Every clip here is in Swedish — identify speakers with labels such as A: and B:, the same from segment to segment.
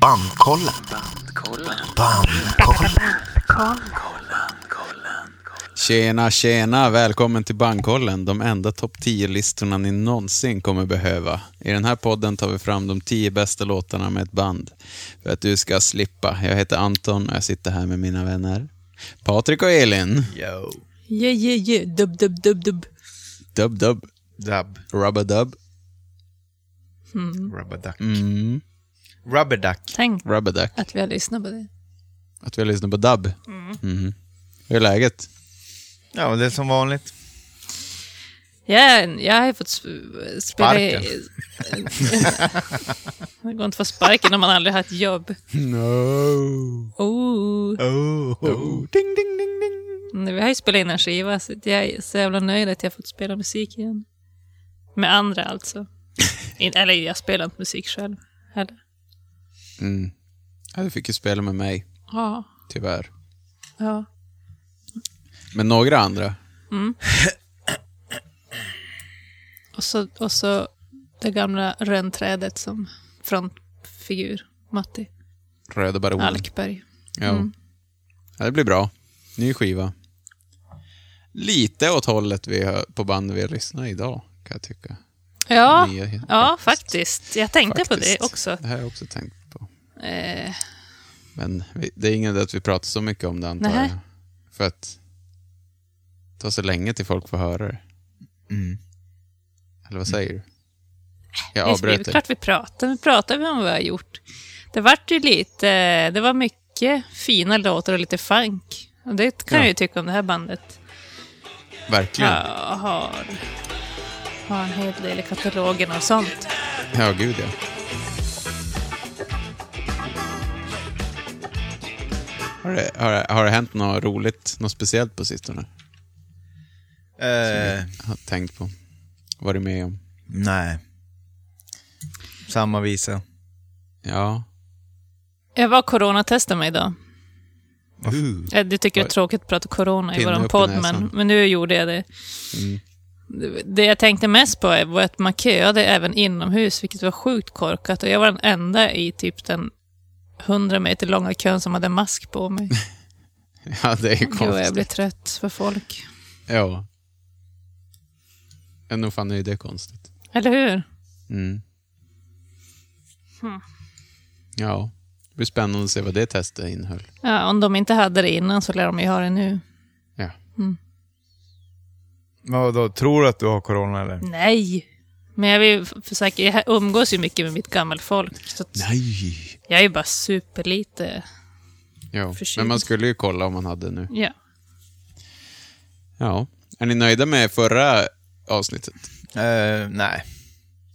A: Bandkollen. Bandkollen.
B: Tjena, tjena! Välkommen till Bankkollen, de enda topp 10-listorna ni någonsin kommer behöva. I den här podden tar vi fram de 10 bästa låtarna med ett band för att du ska slippa. Jag heter Anton och jag sitter här med mina vänner Patrik och Elin.
C: Yo.
D: Yeah, yeah, yeah. Dub, dub, dub, dub.
B: Dub, dub,
C: Dub.
B: rubba dub,
C: Rubberduck.
B: mm,
C: Rubberduck.
D: Tänk
B: rubba duck.
D: att vi har lyssnat på det.
B: Att vi har lyssnat på dub. Mhm. Hur är läget?
C: Ja, det är som vanligt.
D: Jag, jag har ju fått sp- spela... i- det går inte att få sparken om man aldrig har ett jobb.
B: No.
D: Oh.
C: Oh. Ding, ding, ding, ding.
D: Vi har ju spelat in en skiva, så att jag är så jävla nöjd att jag har fått spela musik igen. Med andra alltså. In, eller jag spelar inte musik själv heller.
B: Mm. Ja, du fick ju spela med mig,
D: Ja,
B: tyvärr.
D: ja.
B: Men några andra.
D: Och så, och så det gamla rönträdet som frontfigur, Matti
B: Röda baronen.
D: Alkberg.
B: Ja.
D: Mm.
B: ja, det blir bra. Ny skiva. Lite åt hållet vi har, på band vi har lyssnat idag, kan jag tycka.
D: Ja,
B: Nya he-
D: ja faktiskt. Jag tänkte
B: Faktiskt.
D: på det också.
B: Det här har jag också tänkt på.
D: Eh,
B: Men vi, det är ingen idé att vi pratar så mycket om det, antar
D: Nähä.
B: jag. För att det tar så länge till folk får höra det.
C: Mm.
B: Eller vad säger du? Jag
D: Mm. vi- det
B: avbröt
D: är
B: dig.
D: klart vi pratar. Vi pratar om vad vi har gjort. Det vart ju lite... Det var mycket fina låtar och lite funk. Och det kan
B: Ja.
D: jag ju tycka om det här bandet.
B: Verkligen.
D: Ja,
B: Ja.
D: har, har en hel del i katalogen och sånt.
B: gud ja. Har det, har, det, har det hänt något roligt, något speciellt på sistone?
C: Eh,
B: har tänkt på. Varit med om.
C: nej. Samma visa.
B: Ja.
D: Jag var coronatestad mig idag.
B: Uh.
D: Eh, Du tycker det är
B: Oj.
D: tråkigt att prata corona i
B: Pinne upp
D: vår
B: i
D: podd,
B: näsan. Mm.
D: men, men nu gjorde jag det. Det- Det jag tänkte mest på var att man köade även inomhus, vilket var sjukt korkat. Och jag var den enda i typ den 100 meter långa kön som hade mask på mig.
B: Ja, det är ju
D: Gud, vad jag blir
B: konstigt.
D: trött för folk.
B: Ja. Ja, nog fan är ju det konstigt.
D: Eller hur?
B: Mm. Ja. Det blir spännande att se vad det testet innehöll.
D: Ja, om de inte hade det innan så lär de ju ha det nu.
B: Ja.
C: Vad då Tror du att du har corona eller?
D: Nej! Men jag vill f- försöka, jag umgås ju mycket med mitt gammelfolk. Så att
B: Nej!
D: jag är ju bara superlite.
B: Ja.
D: Förkyld.
B: Men man skulle ju kolla om man hade nu.
D: Ja.
B: Ja. Är ni nöjda med förra avsnittet?
C: Eh, nej.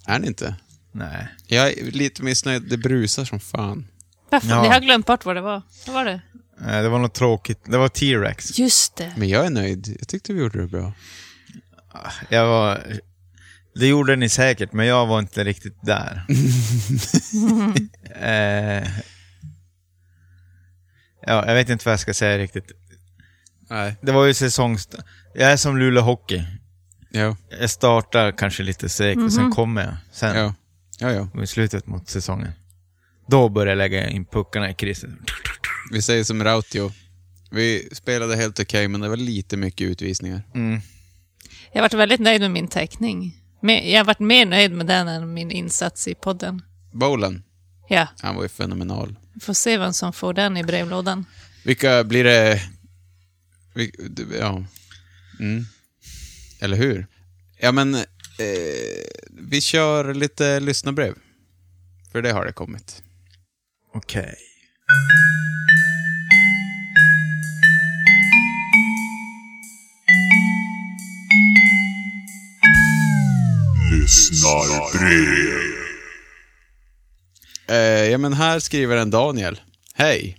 B: Är ni inte?
C: Nej.
B: Jag är lite missnöjd. Det brusar som fan.
D: Varför?
C: Ja.
D: Jag har glömt bort vad det var. Vad var det?
C: Eh, det var något tråkigt. Det var T-Rex.
D: Just det.
B: Men jag är nöjd. Jag tyckte vi gjorde det bra.
C: Jag var... Det gjorde ni säkert, men jag var inte riktigt där. eh, ja, jag vet inte vad jag ska säga riktigt.
B: Nej.
C: Det var ju säsongs... Jag är som Luleå Hockey.
B: Ja.
C: Jag startar kanske lite segt och sen kommer jag. Sen
B: Ja. Ja, ja.
C: i slutet mot säsongen. Då börjar jag lägga in puckarna i krisen.
B: Vi säger som Rautio. Vi spelade helt okej, men det var lite mycket utvisningar.
D: Jag har varit väldigt nöjd med min teckning. Men Jag har varit mer nöjd med den än min insats i podden.
B: Bowlen,
D: Ja,
B: han var ju fenomenal.
D: vi får se vem som får den i brevlådan.
B: Vilka blir det... Vi, du- ja. Mm. Eller hur? Ja, men eh, vi kör lite lyssnarbrev. För det har det kommit.
C: Okej.
B: Eh, ja, men här skriver en Daniel. Hej!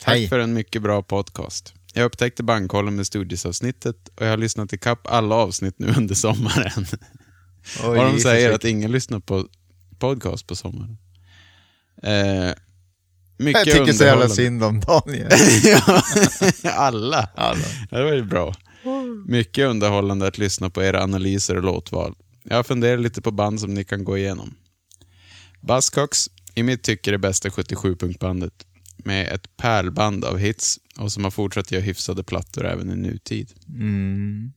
B: Tack
C: Hej.
B: för en mycket bra podcast. Jag upptäckte bankkollen med studiesavsnittet och jag har lyssnat ikapp alla avsnitt nu under sommaren.
C: Oj,
B: Vad de säger
C: Jesus.
B: att ingen lyssnar på podcast på sommaren. Eh, mycket
C: Jag tycker så jävla
B: underhållande.
C: synd om Daniel.
B: Ja, Alla. Ja, Det var ju bra. Mycket underhållande att lyssna på era analyser och låtval. Jag funderar lite på band som ni kan gå igenom. Buzzcocks, i mitt tycke det bästa 77-punktbandet med ett pärlband av hits och som har fortsatt göra hyfsade plattor även i nutid.
C: Mm.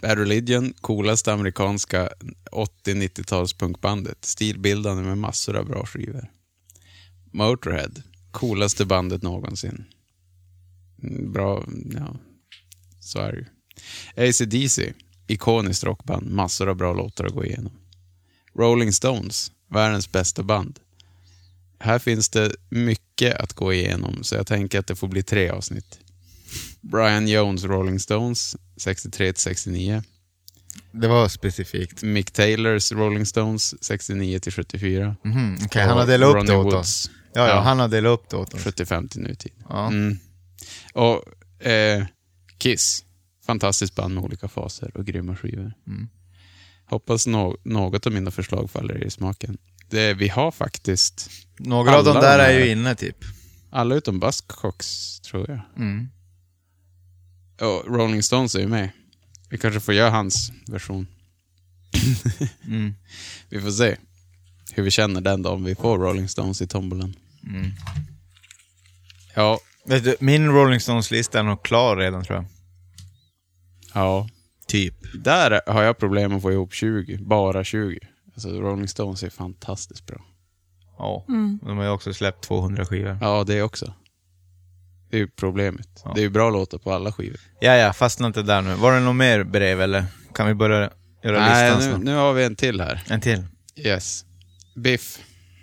B: Bad Religion, coolaste amerikanska 80-90-talspunkbandet. Stilbildande med massor av bra skivor. Motorhead, coolaste bandet någonsin. Mm, Bra, ja, så är det ju. AC/DC, ikoniskt rockband, massor av bra låtar att gå igenom. Rolling Stones, världens bästa band. Här finns det mycket att gå igenom, så jag tänker att det får bli tre avsnitt. Brian Jones, Rolling Stones, 63-69.
C: Det var specifikt.
B: Mick Taylors Rolling Stones 69 till 74.
C: Mhm, Okej, han har delat upp det åt oss. Ja, ja,
B: Ja.
C: han har delat upp det åt oss.
B: 75 till nutid.
C: Ja.
B: Mm. Och eh, Kiss. Fantastiskt band med olika faser och grymma skivor.
C: Mm.
B: Hoppas nå- något av mina förslag faller er i smaken. Det, vi har faktiskt
C: Några av
B: Alla
C: de där
B: de
C: är
B: här-
C: ju inne typ.
B: alla utom Buzzcocks, tror jag.
C: Mm.
B: Och Rolling Stones är ju med. Vi kanske får göra hans version.
C: Mm.
B: Vi får se hur vi känner den dagen vi får Rolling Stones i tombolan.
C: Mm.
B: Ja,
C: Vet du, min Rolling Stones-lista är nog klar redan tror jag.
B: ja.
C: Typ.
B: Där har jag problem att få ihop 20, bara 20. Alltså Rolling Stones är fantastiskt bra.
C: Ja. De har ju också släppt 200 skivor.
B: Ja, det också. Det är ju problemet.
C: Ja.
B: Det är ju bra låtar på alla skivor.
C: Ja, ja, fastna inte där nu. Var det något mer brev eller? Kan vi börja göra listan
B: nu,
C: snart?
B: nu har vi en till här.
C: En till.
B: Yes. Biff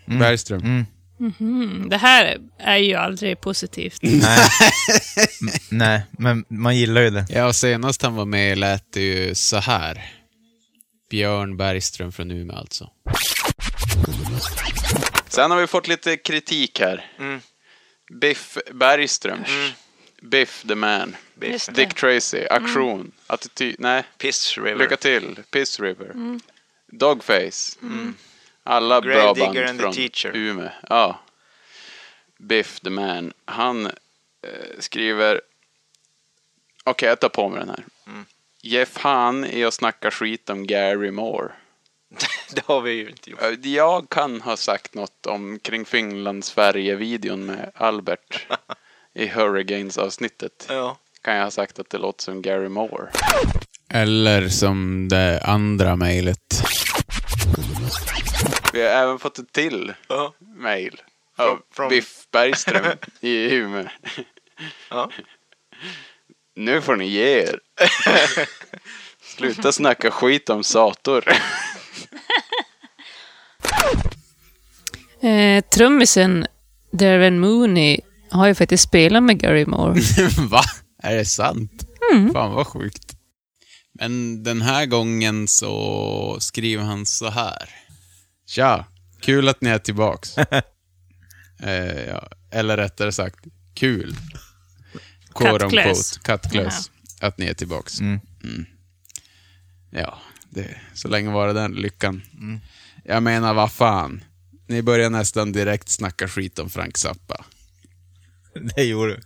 B: Bergström.
C: Mm.
D: Mhm, det här är ju aldrig positivt.
B: Mm.
C: Nej. M- Nej, men man gillar ju det.
B: Ja, senast han var med lät det ju så här. Björn Bergström från Umeå alltså. Sen har vi fått lite kritik här.
D: Mm.
B: Biff Bergström. Biff the man.
D: Just det. Mm.
B: Dick Tracy. Aktion. Attityd. Nej.
E: Piss River.
B: Lycka till. Piss River. Dogface. Mm. Alla bra
E: Gravedigger
B: band
E: and the
B: från
E: Teacher.
B: Umeå. Ja. Biff the man. Han eh, skriver... Okej, jag tar på mig den här.
E: Mm.
B: Jeff Han är och snackar skit om Gary Moore.
E: det har vi ju inte gjort.
B: Eh, Jag kan ha sagt något om kring Finland-Sverige-videon med Albert i Hurricanes-avsnittet
E: Ja.
B: kan jag ha sagt att det låter som Gary Moore. Eller som det andra mejlet. Vi har även fått ett till
E: Ja.
B: mejl.
E: Från-
B: Av
E: från-
B: Biff Bergström i Umeå.
E: Ja.
B: Nu får ni ge er. Sluta snacka skit om Sator.
D: Eh, trummisen Darren Mooney har ju faktiskt spelat med Gary Moore.
B: Va? Är det sant? Fan vad sjukt. Men den här gången så skriver han så här. Tja, kul att ni är tillbaks. eh, ja. Eller rättare sagt, kul. Quote
D: Cutclös.
B: unquote, Cutclös. Att ni är tillbaks.
C: Mm.
B: Ja, det, så länge var det den lyckan. Jag menar, vad fan. Ni börjar nästan direkt snacka skit om Frank Zappa.
C: Det gjorde du.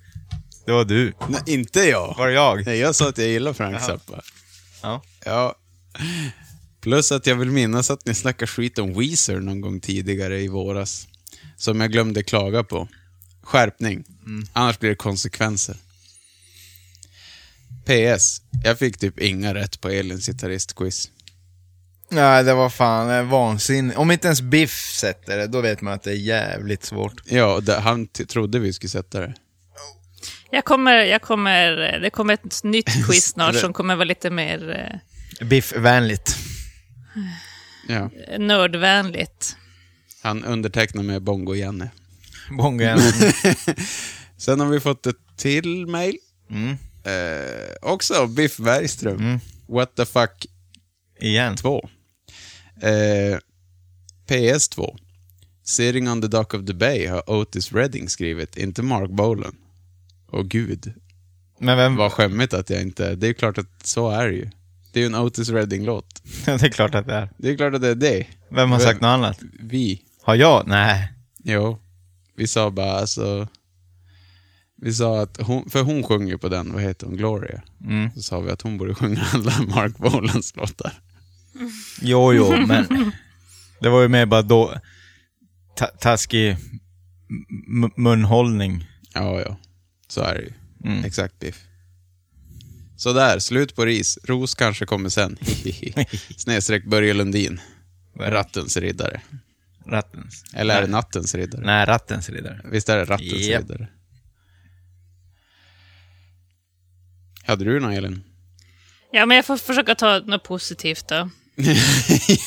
C: Det var du.
B: Nej, inte jag.
C: Var det jag?
B: Nej, jag sa att jag gillar Frank Zappa.
C: Ja.
B: Ja. Plus att jag vill minnas att ni snackade skit om Weezer någon gång tidigare i våras. Som jag glömde klaga på. Skärpning.
C: Mm.
B: Annars blir det konsekvenser. PS. Jag fick typ inga rätt på Elins gitarristquiz.
C: Nej, det var fan eh, vansinnigt. Om inte ens Biff sätter det, då vet man att det är jävligt svårt.
B: Ja, och det, han t- trodde vi skulle sätta det.
D: Jag kommer, jag kommer, det kommer ett nytt quiz snart
B: Det-
D: som kommer vara lite mer eh,
C: Biff-vänligt.
B: Ja.
D: nördvänligt.
B: Han undertecknar med Bongo-Janne.
C: Bongo igen.
B: Sen har vi fått ett till mail.
C: Mm.
B: Eh, också av Biff Bergström.
C: Mm.
B: What the fuck
C: Igen.
B: 2. Eh, PS2. Sitting on the dock of the bay har Otis Redding skrivit, inte Mark Bolan. Och gud,
C: Men vem
B: vad skämmigt att jag inte... Det är klart att så är det ju. Det är ju en Otis Redding-låt.
C: det är klart att det är.
B: Det är klart att det är det.
C: Vem har
B: Vem?
C: sagt något annat?
B: Vi.
C: Har jag? Nej.
B: Jo. Vi sa bara alltså... Vi sa att hon, för hon sjunger på den, vad heter hon, Gloria?
C: Mm.
B: Så sa vi att hon borde sjunga alla Mark Bolans låtar.
C: Jo, jo, men... Det var ju mer bara då... ta- taskig m- munhållning.
B: Ja, ja. Så är det ju.
C: Mm.
B: Exakt Biff. Sådär, slut på ris. Ros kanske kommer sen. Snedstreck Börje Lundin. Rattens riddare.
C: Rattens.
B: Eller är det nattens riddare?
C: Nej, rattens riddare.
B: Visst är det rattens
C: Japp.
B: riddare? Hade du någon, Elin?
D: Ja, men jag får försöka ta något positivt då.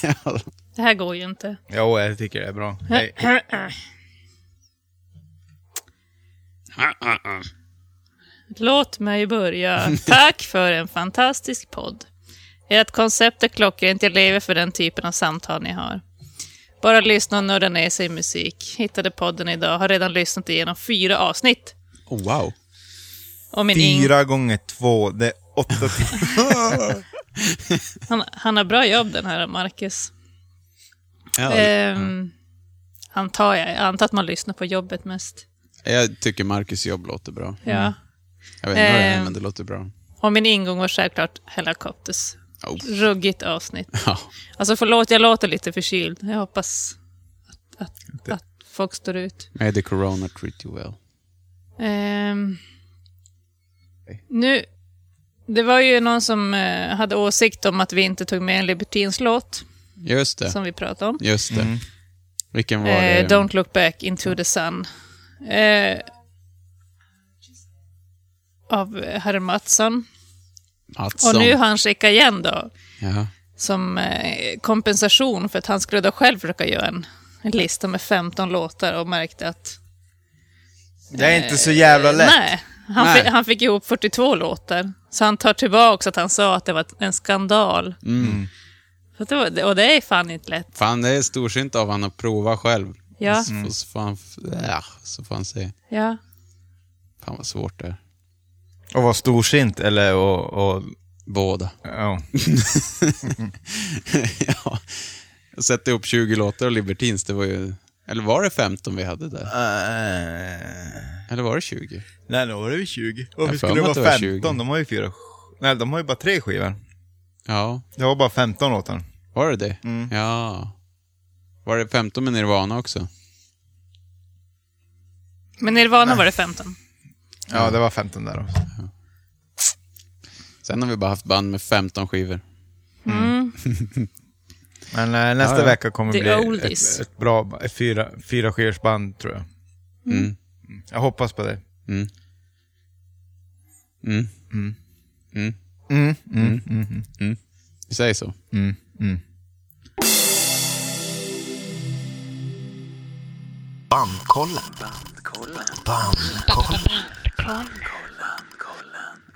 B: ja.
D: Det här går ju inte.
C: Jo, jag tycker det är bra. Hej.
D: Låt mig börja. Tack för en fantastisk podd. Ert koncept är klockrent. Jag lever för den typen av samtal ni har. Bara lyssna och nörda ner sig i musik. Hittade podden idag. Har redan lyssnat igenom fyra avsnitt.
B: oh, wow.
D: Och min Ing-
C: Fyra gånger två, det är åtta timmar.
D: han, han har bra jobb den här Marcus.
B: Ja,
D: Ehm, antar jag. Jag antar att man lyssnar på jobbet mest.
B: Jag tycker Marcus jobb låter bra.
D: Ja.
B: Jag vet inte vad det är,
D: Ehm.
B: men det låter bra.
D: Och min ingång var självklart Hellacopters.
B: Oh.
D: Ruggigt avsnitt.
B: Ja.
D: Alltså förlåt, jag låter lite förkyld. Jag hoppas att, att, att folk står ut.
B: May the corona treat you well.
D: Ehm, nu, det var ju någon som eh, hade åsikt om att vi inte tog med en Libertins låt
B: Just det.
D: som vi pratade om.
B: Just
C: Mm.
B: det. Vilken var
D: Eh,
B: det?
D: Don't look back into the sun. Eh, av Herr Mattsson.
B: Mattsson.
D: Och nu har han skickat igen då.
B: Jaha.
D: som eh, kompensation för att han skulle då själv försöka göra en, en lista med 15 låtar och märkte att...
C: Det är inte så jävla lätt.
D: Nej, han,
B: Nej.
D: Fick, han fick ihop 42 låtar. Så han tar tillbaka att han sa att det var en skandal. Så att det var, och det är fan inte lätt.
B: Fan, det är storsynt av han att prova själv.
D: Ja.
B: Så, så, får han, ja, så får han se.
D: Ja.
B: Fan vad svårt det är.
C: Och vara storsint eller och, och
B: Båda.
C: ja.
B: ja. Jag sätter upp 20 låtar och Libertins, det var ju... Eller var det 15 vi hade där? Eller var det 20?
C: Eh, Nej, då var det väl 20.
B: Jag
C: Varför
B: har
C: skulle
B: för
C: det
B: mig
C: vara
B: att det var
C: 15?
B: 20.
C: De har ju fyra... Nej, de har ju bara tre skivor.
B: Ja,
C: Det var bara 15 låtar.
B: var det det?
C: Mm.
B: Ja. Var det 15 med Nirvana också?
D: Men Nirvana var det 15.
B: Mm.
C: Ja, det var 15 där också.
B: Sen har vi bara haft band med 15 skivor.
C: Men eh, nästa
B: Ja, ja.
C: vecka kommer
D: The
C: bli
D: oldies.
C: ett, ett bra ett fyra, fyra skivorsband, tror jag.
B: Mm.
C: Jag hoppas på det.
B: Mm. Mm. Mm.
C: Mm, mm, mm.
B: Vi säger så.
C: Mm. Mm.
A: Bandkollen. Bandkollen.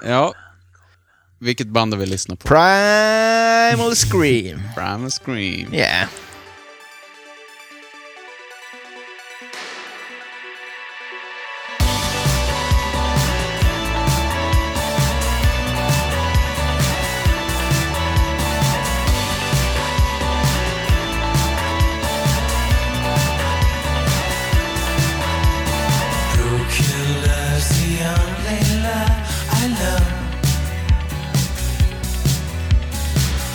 B: Ja. Vilket band har vi lyssnat på?
C: Primal Scream.
B: Primal Scream.
C: Yeah.
F: Broken love's the only love I love.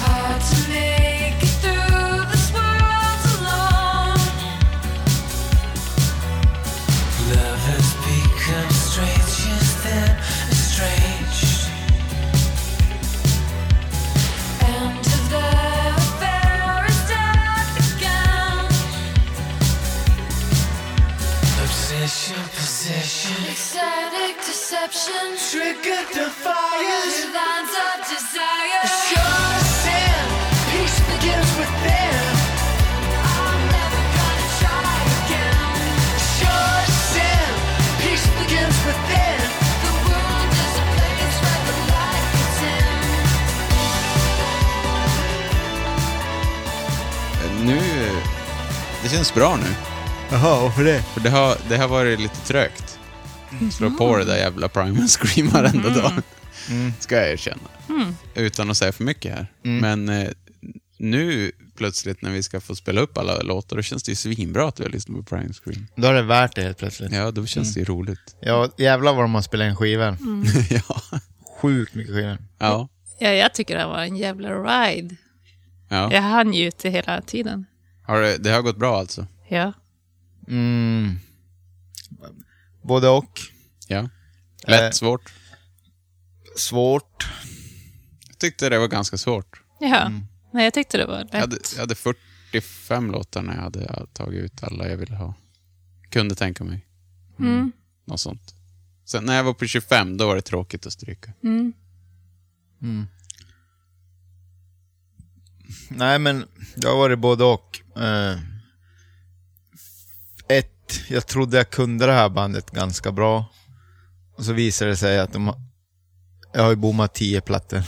G: Hard to make it through this world alone.
F: Love has become stranger than strange.
G: And if the affair is death again,
F: Obsession, possession.
G: ecstatic deception,
F: Trigger the fires.
G: lines of desire.
F: It's your sin. Peace begins within.
G: I'm never gonna try again.
F: It's your sin. Peace begins within.
G: The world is a place where the light gets in.
B: Nu... Det känns bra nu.
C: Jaha, varför det?
B: För det har, det har varit lite trögt. Slå på det där jävla Primal Scream varenda dag. Ska jag erkänna. Utan att säga för mycket här. Men eh, nu plötsligt när vi ska få spela upp alla låtar, då känns det ju svinbra att vi har lyssnat på Primal Scream.
C: Då är det värt det helt plötsligt.
B: Ja, då känns det ju roligt.
C: Ja, jävlar vad de har spelat in skivor.
B: ja.
C: Sjukt mycket skivor.
B: Ja.
D: Ja, jag tycker det var en jävla ride.
B: ja.
D: Jag hann njutit hela tiden.
B: Har det, det har gått bra alltså?
D: Ja.
C: Mm. Både och.
B: Ja. Lätt,
C: Eh.
B: svårt.
C: Svårt.
B: Jag tyckte det var ganska svårt.
D: Jaha. Nej, jag tyckte det var
B: Jag
D: lätt.
B: hade, jag hade 45 låtar när jag hade tagit ut alla jag ville ha. Kunde tänka mig.
D: Mm.
B: Något sånt. Sen när jag var på 25, då var det tråkigt att stryka.
D: Mm.
C: Nej, men det har varit både och. Eh, ett, jag trodde jag kunde det här bandet ganska bra. Och så visade det sig att de har, jag har ju bommat tio plattor.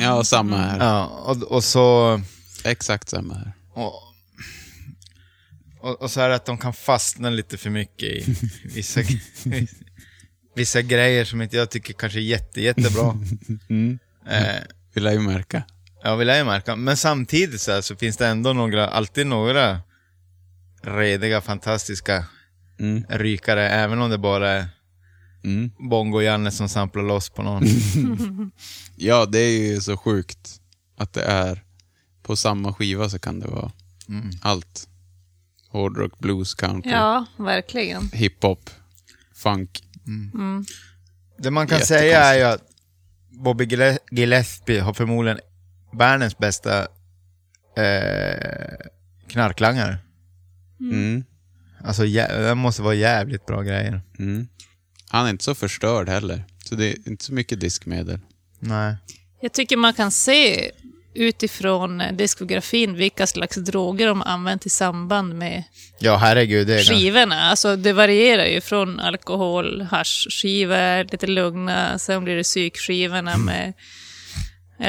B: Ja, samma här.
C: Ja, och, och så...
B: Exakt samma här.
C: Och, och, och så är det att de kan fastna lite för mycket i vissa, vissa grejer som inte jag tycker kanske är jätte, jättebra. Eh,
B: Vill jag ju märka.
C: Ja, vill jag ju märka. Men samtidigt så, här, så finns det ändå några, alltid några rediga, fantastiska
B: Mm.
C: rykare, även om det bara är
B: Mm.
C: Bongo-Janne som samplar loss på någon.
B: Ja, det är ju så sjukt att det är på samma skiva så kan det vara allt. Hårdrock, blues, country,
D: Ja, verkligen.
B: hiphop, funk.
C: det man kan
B: Jättekonstigt.
C: säga är ju att Bobby Gille- Gillespie har förmodligen världens bästa eh, knarklangare.
B: Mm.
C: Alltså, jä- det måste vara jävligt bra grejer.
B: Mm. Han är inte så förstörd heller, så det är inte så mycket diskmedel.
C: Nej.
D: Jag tycker man kan se utifrån eh, diskografin vilka slags droger de har använt i samband med
C: Ja, herregud. Det är ganska-
D: skivorna. Alltså det varierar ju från alkohol, haschskivor, lite lugna, sen blir det psykskivorna
C: Mm.
D: med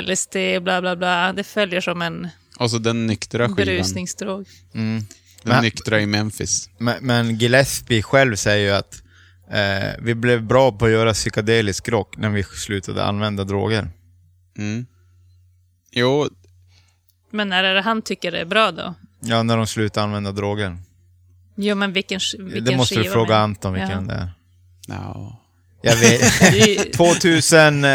D: LSD, bla bla bla. Det följer som en
B: Och så Alltså, den nyktra skivan.
D: berusningsdrog.
B: Den nyktra i Memphis.
C: Men, men Gillespie själv säger ju att eh, vi blev bra på att göra psykedelisk rock när vi slutade använda droger.
B: Mm. Jo,
D: Men när är det han tycker det är bra då?
C: Ja, när de slutade använda droger.
D: Jo, men vilken, sk- vilken
C: det måste du
D: skiva
C: fråga
D: menar-
C: Anton vilken
D: Ja.
C: det är.
B: no.
C: Jag vet. eh,
D: Det är-
C: 2002?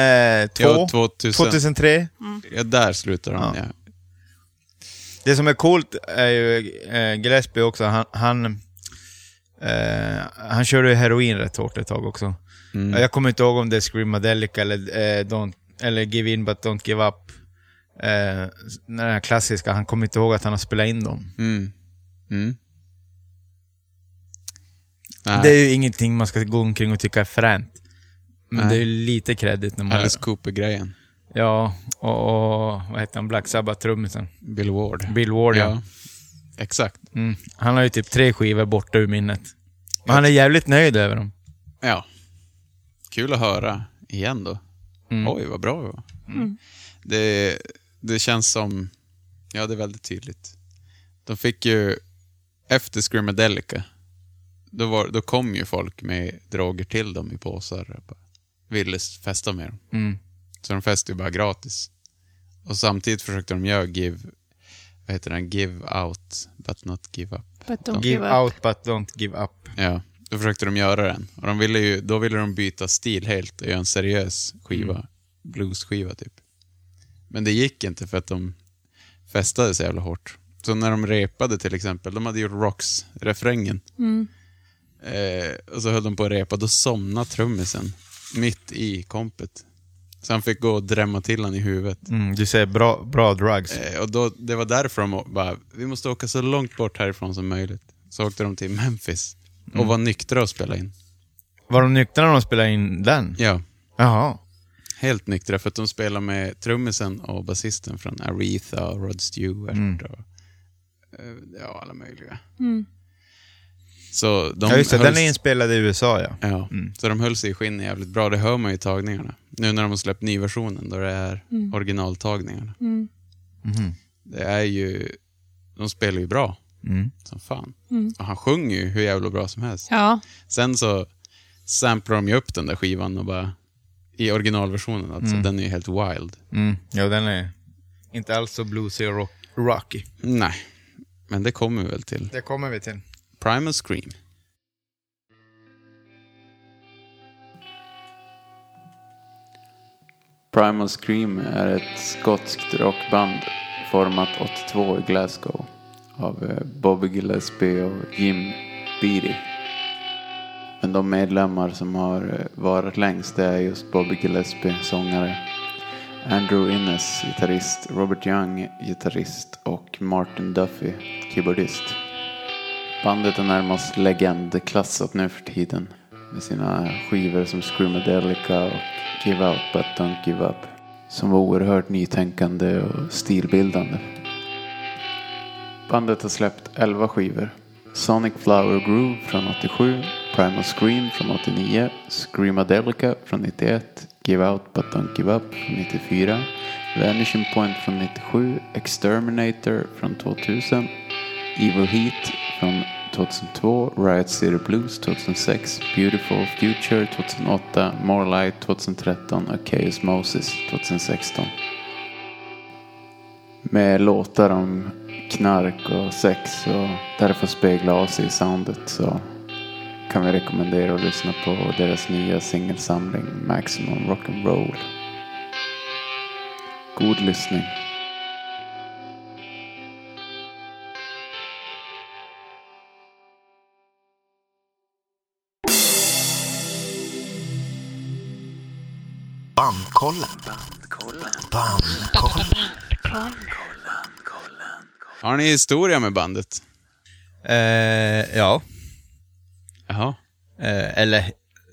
B: ja, 2000.
C: 2003?
B: Ja, där slutar han, ja.
C: Ja. Det som är coolt är ju eh, Gillespie också. Han, han, eh, han körde ju heroin rätt hårt ett tag också.
B: Mm.
C: Jag kommer inte ihåg om det är Screamadelica eller, eh, don't, eller Give In But Don't Give Up. Eh, den här klassiska, han kommer inte ihåg att han har spelat in dem.
B: Mm. Mm. Nej,
C: Det är ju ingenting man ska gå omkring och tycka är fränt. Men
B: Nej.
C: det är ju lite kredit när man...
B: Alice Cooper-grejen.
C: Ja, och, och vad heter han? Black Sabbath-trummisen.
B: Bill Ward.
C: Bill Ward, ja.
B: Ja, exakt.
C: Mm. Han har ju typ tre skivor borta ur minnet. Men han är jävligt nöjd över dem.
B: Ja. Kul att höra igen då. Oj, vad bra vi var. Det, det känns som... Ja, det är väldigt tydligt. De fick ju... Efter Screamadelica, då, var, då kom ju folk med droger till dem i påsar. och bara Ville festa med dem.
C: Mm.
B: Så de festade ju bara gratis. Och samtidigt försökte de göra give... Vad heter den? Give out, but not give up.
D: But don't
C: Give
D: give up.
C: out but don't give up.
B: Ja, då försökte de göra den. Och de ville ju, då ville de byta stil helt och göra en seriös skiva. Bluesskiva typ. Men det gick inte för att de festade så jävla hårt. Så när de repade till exempel, de hade gjort Rocks-refrängen. Eh, och så höll de på att repa, då somnade trummisen mitt i kompet. Så han fick gå och drämma till han i huvudet.
C: Mm, du säger bra, bra drugs.
B: Eh, och då, det var därför de bara, vi måste åka så långt bort härifrån som möjligt. Så åkte de till Memphis och var nyktra och spelade in.
C: Var de nyktra när de spelade in den?
B: Ja,
C: Jaha.
B: helt nyktra för att de spelar med trummisen och basisten från Aretha och Rod Stewart
C: Mm.
B: och eh, ja, alla möjliga. Så de
C: Ja, just det.
B: höll
C: Den är Mm. inspelad i USA, ja.
B: Ja, så de höll sig i skinn jävligt bra. Det hör man ju i tagningarna. Nu när de har släppt nyversionen då det är originaltagningarna.
C: Mhm.
B: Det är ju... De spelar ju bra.
C: Mm.
B: Som fan. Och han sjunger ju hur jävla bra som helst.
D: Ja,
B: Sen så samplar de ju upp den där skivan och bara... I originalversionen alltså. Den är ju helt wild.
C: Mm. Ja, den är inte alls så bluesig och rock, rocky.
B: Nej, men det kommer vi väl till.
C: Det kommer vi till.
B: Primal Scream. Primal Scream är ett skotskt rockband format 82 i Glasgow av eh, Bobby Gillespie och Jim Speedy. Men de medlemmar som har eh, varit längst det är just Bobby Gillespie, sångare. Andrew Innes, gitarrist. Robert Young, gitarrist. Och Martin Duffy, keyboardist. Bandet är närmast legendklassat nu för tiden. Med sina skivor som Screamadelica och Give Out But Don't Give Up. Som var oerhört nytänkande och stilbildande. Bandet har släppt 11 skivor. Sonic Flower Groove från 87, Primal Scream från 89, Screamadelica från 91, Give Out But Don't Give Up från 94, Vanishing Point från 97, Exterminator från 2000, Evil Heat från 2002, Riot City Blues 2006, Beautiful Future 2008, More Light 2013 och Chaos Moses 2016 med låtar om knark och sex och därför spegla av sig i soundet så kan vi rekommendera att lyssna på deras nya singelsamling Maximum Rock'n'Roll. God lyssning.
A: Bandkollen. Bandkollen.
F: Har ni historia med bandet?
C: Eh, ja.
F: Jaha.
C: Eh, eller,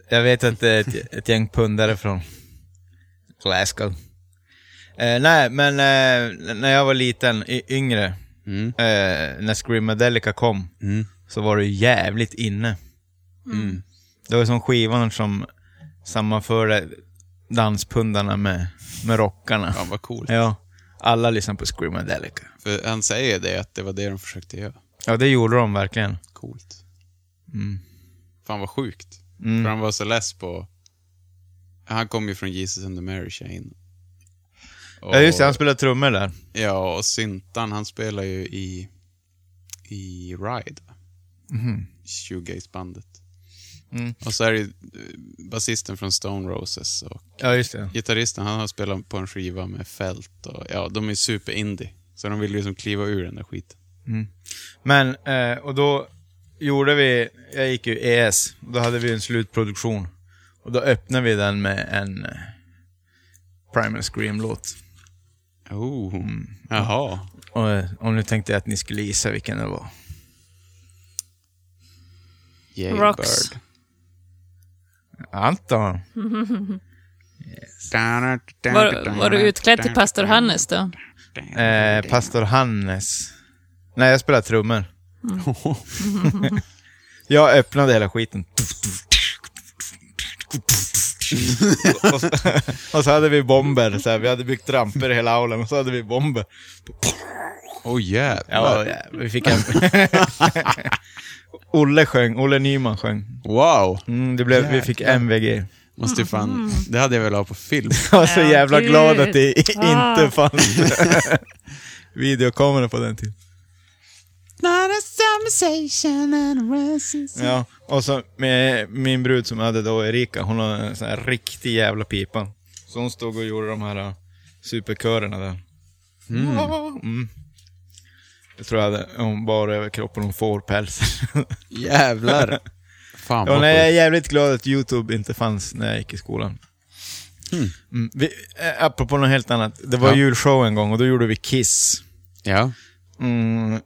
C: jag vet inte, ett, ett gäng pundare från Glasgow. Eh, nej, men eh, när jag var liten, y- yngre, eh, när Screamadelica kom, så var det ju jävligt inne. Det var som skivan som sammanförde danspundarna med, med rockarna.
F: Ja, vad coolt.
C: Ja, alla lyssnade på Screamadelica.
F: För han säger det, att det var det de försökte göra.
C: Ja, det gjorde de verkligen.
F: Coolt.
C: Mm.
F: Fan vad sjukt. För han var så less på... Han kom ju från Jesus and the Mary Chain. Och,
C: Ja, just det, han spelade trummor där.
F: Ja, och Syntan, han spelar ju i... I Ride. Shoegaze-bandet.
C: Mhm. Mm.
F: Och så är det ju, eh, basisten från Stone Roses och
C: Ja, just det.
F: gitarristen, han har spelat på en skiva med Fält och ja, de är super-indie. Så de vill ju liksom kliva ur den där skiten.
C: Men, eh, och då gjorde vi, jag gick ju ES, och då hade vi en slutproduktion. Och då öppnade vi den med en eh, Primal Scream-låt.
F: Oh, jaha.
C: Och, eh, och nu tänkte jag att ni skulle gissa vilken det var.
F: Yay,
D: Rocks.
F: Bird.
C: Anton?
D: Var, var du utklädd till pastor Hannes då?
C: Eh, Pastor Hannes. Nej, jag spelar trummor. jag öppnade hela skiten. och, så, och så hade vi bomber. Så här, vi hade byggt ramper i hela aulan och så hade vi bomber.
F: Åh oh,
C: Ja,
F: jävlar.
C: ja, vi fick en... Olle sjöng, Olle Nyman sjöng.
F: Wow.
C: Mm, det blev, vi fick MVG.
F: Måste
D: Mm.
F: ju fan... Det hade jag velat ha på film.
C: Jag var så
D: Ja,
C: jävla
D: gud.
C: glad att det i-
D: Ah.
C: inte fanns videokamera på den tiden. Ja, och så med min brud som jag hade då, Erika, hon har en sån här riktig jävla pipa. Så hon stod och gjorde de här äh, superkörerna där. Mm. Jag tror jag hade, hon bar över kroppen, hon får päls.
F: Jävlar. Fan
C: Ja,
F: vad
C: nej, jag är
F: coolt.
C: jävligt glad att YouTube inte fanns när jag gick i skolan. Mm. Vi, eh, apropå något helt annat. Det var
F: Ja.
C: julshow en gång och då gjorde vi Kiss.
F: Ja.
C: Mm.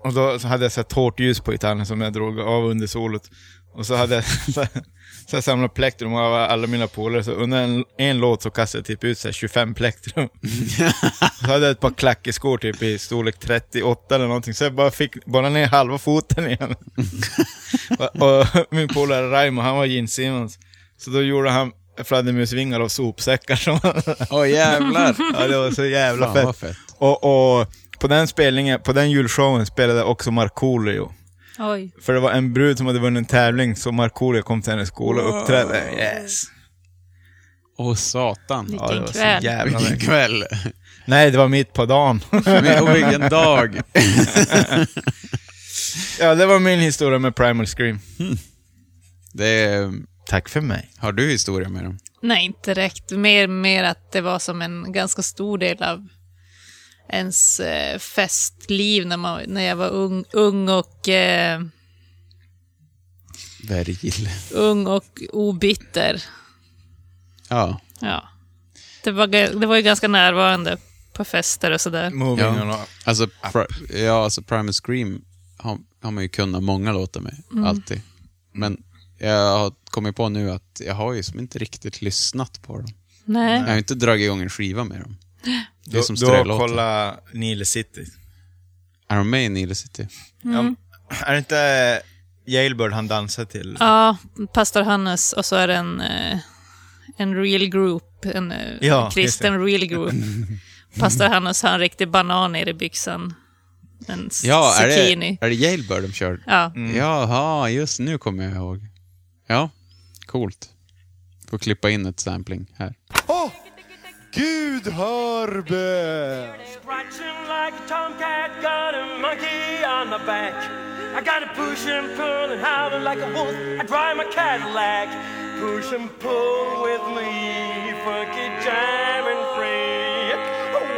C: Och då så hade jag så här torrt ljus på gitarren som jag drog av under solot. Och så hade jag så här, så här samlat plektrum av alla mina polare. Så under en, en låt så kastade jag typ ut så här 25 plektrum. så hade jag ett par klackeskor typ i storlek 38 eller någonting. Så jag bara fick bara ner halva foten igen. och, och min polare Raimo, han var Gene Simmons. Så då gjorde han fladdermusvingar av sopsäckar. Som,
F: Åh jävlar.
C: ja, det var så jävla
F: Fan vad
C: fett.
F: fett.
C: Och, och på den spelningen, på den julshowen spelade också Markoolio.
D: Oj.
C: För det var en brud som hade vunnit en tävling, så Markoolio kom till hennes skola och uppträdde. Yes!
F: Åh satan.
C: Ja, det var så
D: kväll.
C: jävla
F: Vilken
C: mäktigt.
F: kväll.
C: Nej, det var mitt på dagen.
F: Men- Och vilken dag.
C: ja, det var min historia med Primal Scream.
F: Det är,
C: Tack för mig.
F: har du historia med dem?
D: Nej, inte direkt. Mer, mer att det var som en ganska stor del av ens eh, festliv när, man, när jag var ung, ung och eh,
F: Vergil.
D: Ung och obitter.
F: Ja.
D: Ja. Det var, ga- det var ju ganska närvarande på fester och sådär.
C: Moving on
F: Ja.
C: up.
F: Alltså, pri- ja, alltså Primus Scream har, har man ju kunnat många låtar med, alltid. Men jag har kommit på nu att jag har ju som inte riktigt lyssnat på dem.
D: Nej.
F: Jag har ju inte dragit igång en skiva med dem. Det är
C: Då,
F: som
C: då
F: strölåtar.
C: kolla Nile City.
F: Är de med i Nile City?
C: Ja, är det inte Jailbird han dansar till?
D: Ja, Pastor Hannes och så är det en, eh, en real group, en, eh,
C: Ja,
D: en kristen real group. Pastor Hannes har en riktig banan nere i byxan. En s-
F: Ja, är
D: zucchini.
F: det, är det Jailbird de kör?
D: Ja.
C: Mm.
F: Jaha, just nu kommer jag ihåg. Ja, coolt. Får klippa in ett sampling här.
H: Scratching like a tomcat, got a monkey on the back. I gotta push and pull and howl like a wolf. I drive my Cadillac. Push and pull with me, funky jamming free.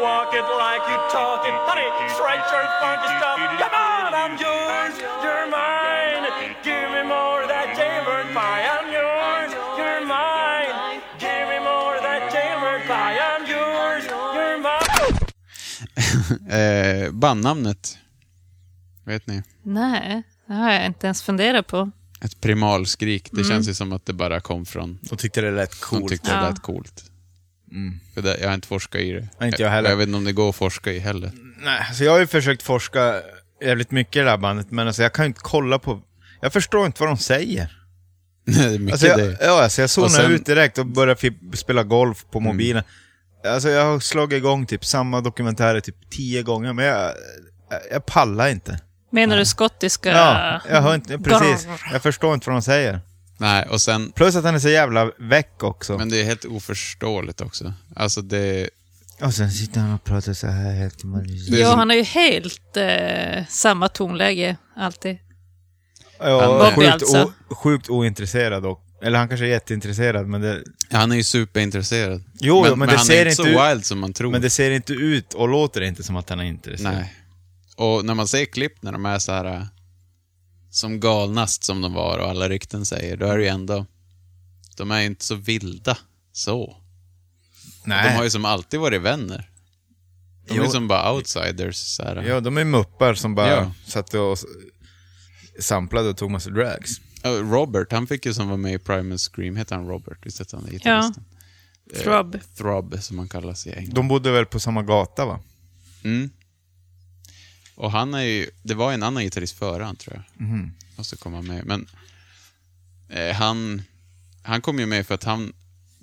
H: Walk it like you talk it, honey. Stretch your funky stuff. Come on, I'm yours, you're mine. Give me more of that jailbird pie. I'm yours, you're mine. Give me more of that jailbird pie. I'm yours, you're mine.
F: Eh, bandnamnet. Vet ni?
D: Nej, det har jag inte ens funderat på.
F: Ett primalskrik.
D: Mm.
F: Det känns ju som att det bara kom från...
C: De tyckte det lät
F: De
C: coolt. Mm.
F: tyckte det lät coolt. För det, jag har inte forskat i det.
C: Nej, inte jag heller.
F: Jag vet inte om det går att forska i heller.
C: Nej, så jag har ju försökt forska jävligt mycket i det här bandet, men alltså jag kan ju inte kolla på... Jag förstår inte vad de säger.
F: Nej, det är mycket
C: Alltså jag,
F: det.
C: ja, alltså jag zonade
F: sen- Mm.
C: ut direkt och började fi- spela golf på mobilen. Alltså jag har slagit igång typ samma dokumentärer typ tio gånger, men jag, jag pallar inte.
D: Menar du skottiska?
C: Ja, jag hör inte, precis. Jag förstår inte vad de säger.
F: Nej, och sen...
C: Plus att han är så jävla väck också.
F: Men det är helt oförståeligt också. Alltså det...
C: Och sen sitter han och pratar så här helt
F: det är
D: Ja,
F: som-
D: han har ju helt eh, samma tonläge alltid.
F: Eh,
C: Ja,
F: Bobby
C: sjukt,
D: alltså.
C: o, sjukt ointresserad och, Eller han kanske är jätteintresserad, men det,
F: Han är ju superintresserad.
C: Jo, men det
F: han
C: ser
F: är
C: inte
F: inte så
C: ut-
F: wild som man tror.
C: men det ser inte ut och låter inte som att han är intresserad.
F: Nej. Och när man ser klipp när de är så här äh, som galnast som de var och alla rykten säger, då är det ju ändå... De är ju inte så vilda så.
C: Nej.
F: De har ju som alltid varit vänner. De är
C: Jo.
F: ju som bara outsiders. Så här.
C: Ja, de är muppar som bara
F: Ja.
C: satt och s- samplade och tog massa drags.
F: Äh, Robert, han fick ju som var med i Primus Scream, heter han Robert? Visst hette han det? Gitarristen.
D: Throb.
F: Throb, som han kallas i England.
C: De bodde väl på samma gata va?
F: Mm. Och han är ju, det var en annan gitarrist före han tror jag.
C: Mhm.
F: Och så kom han med. Men eh, han, han kom ju med för att han,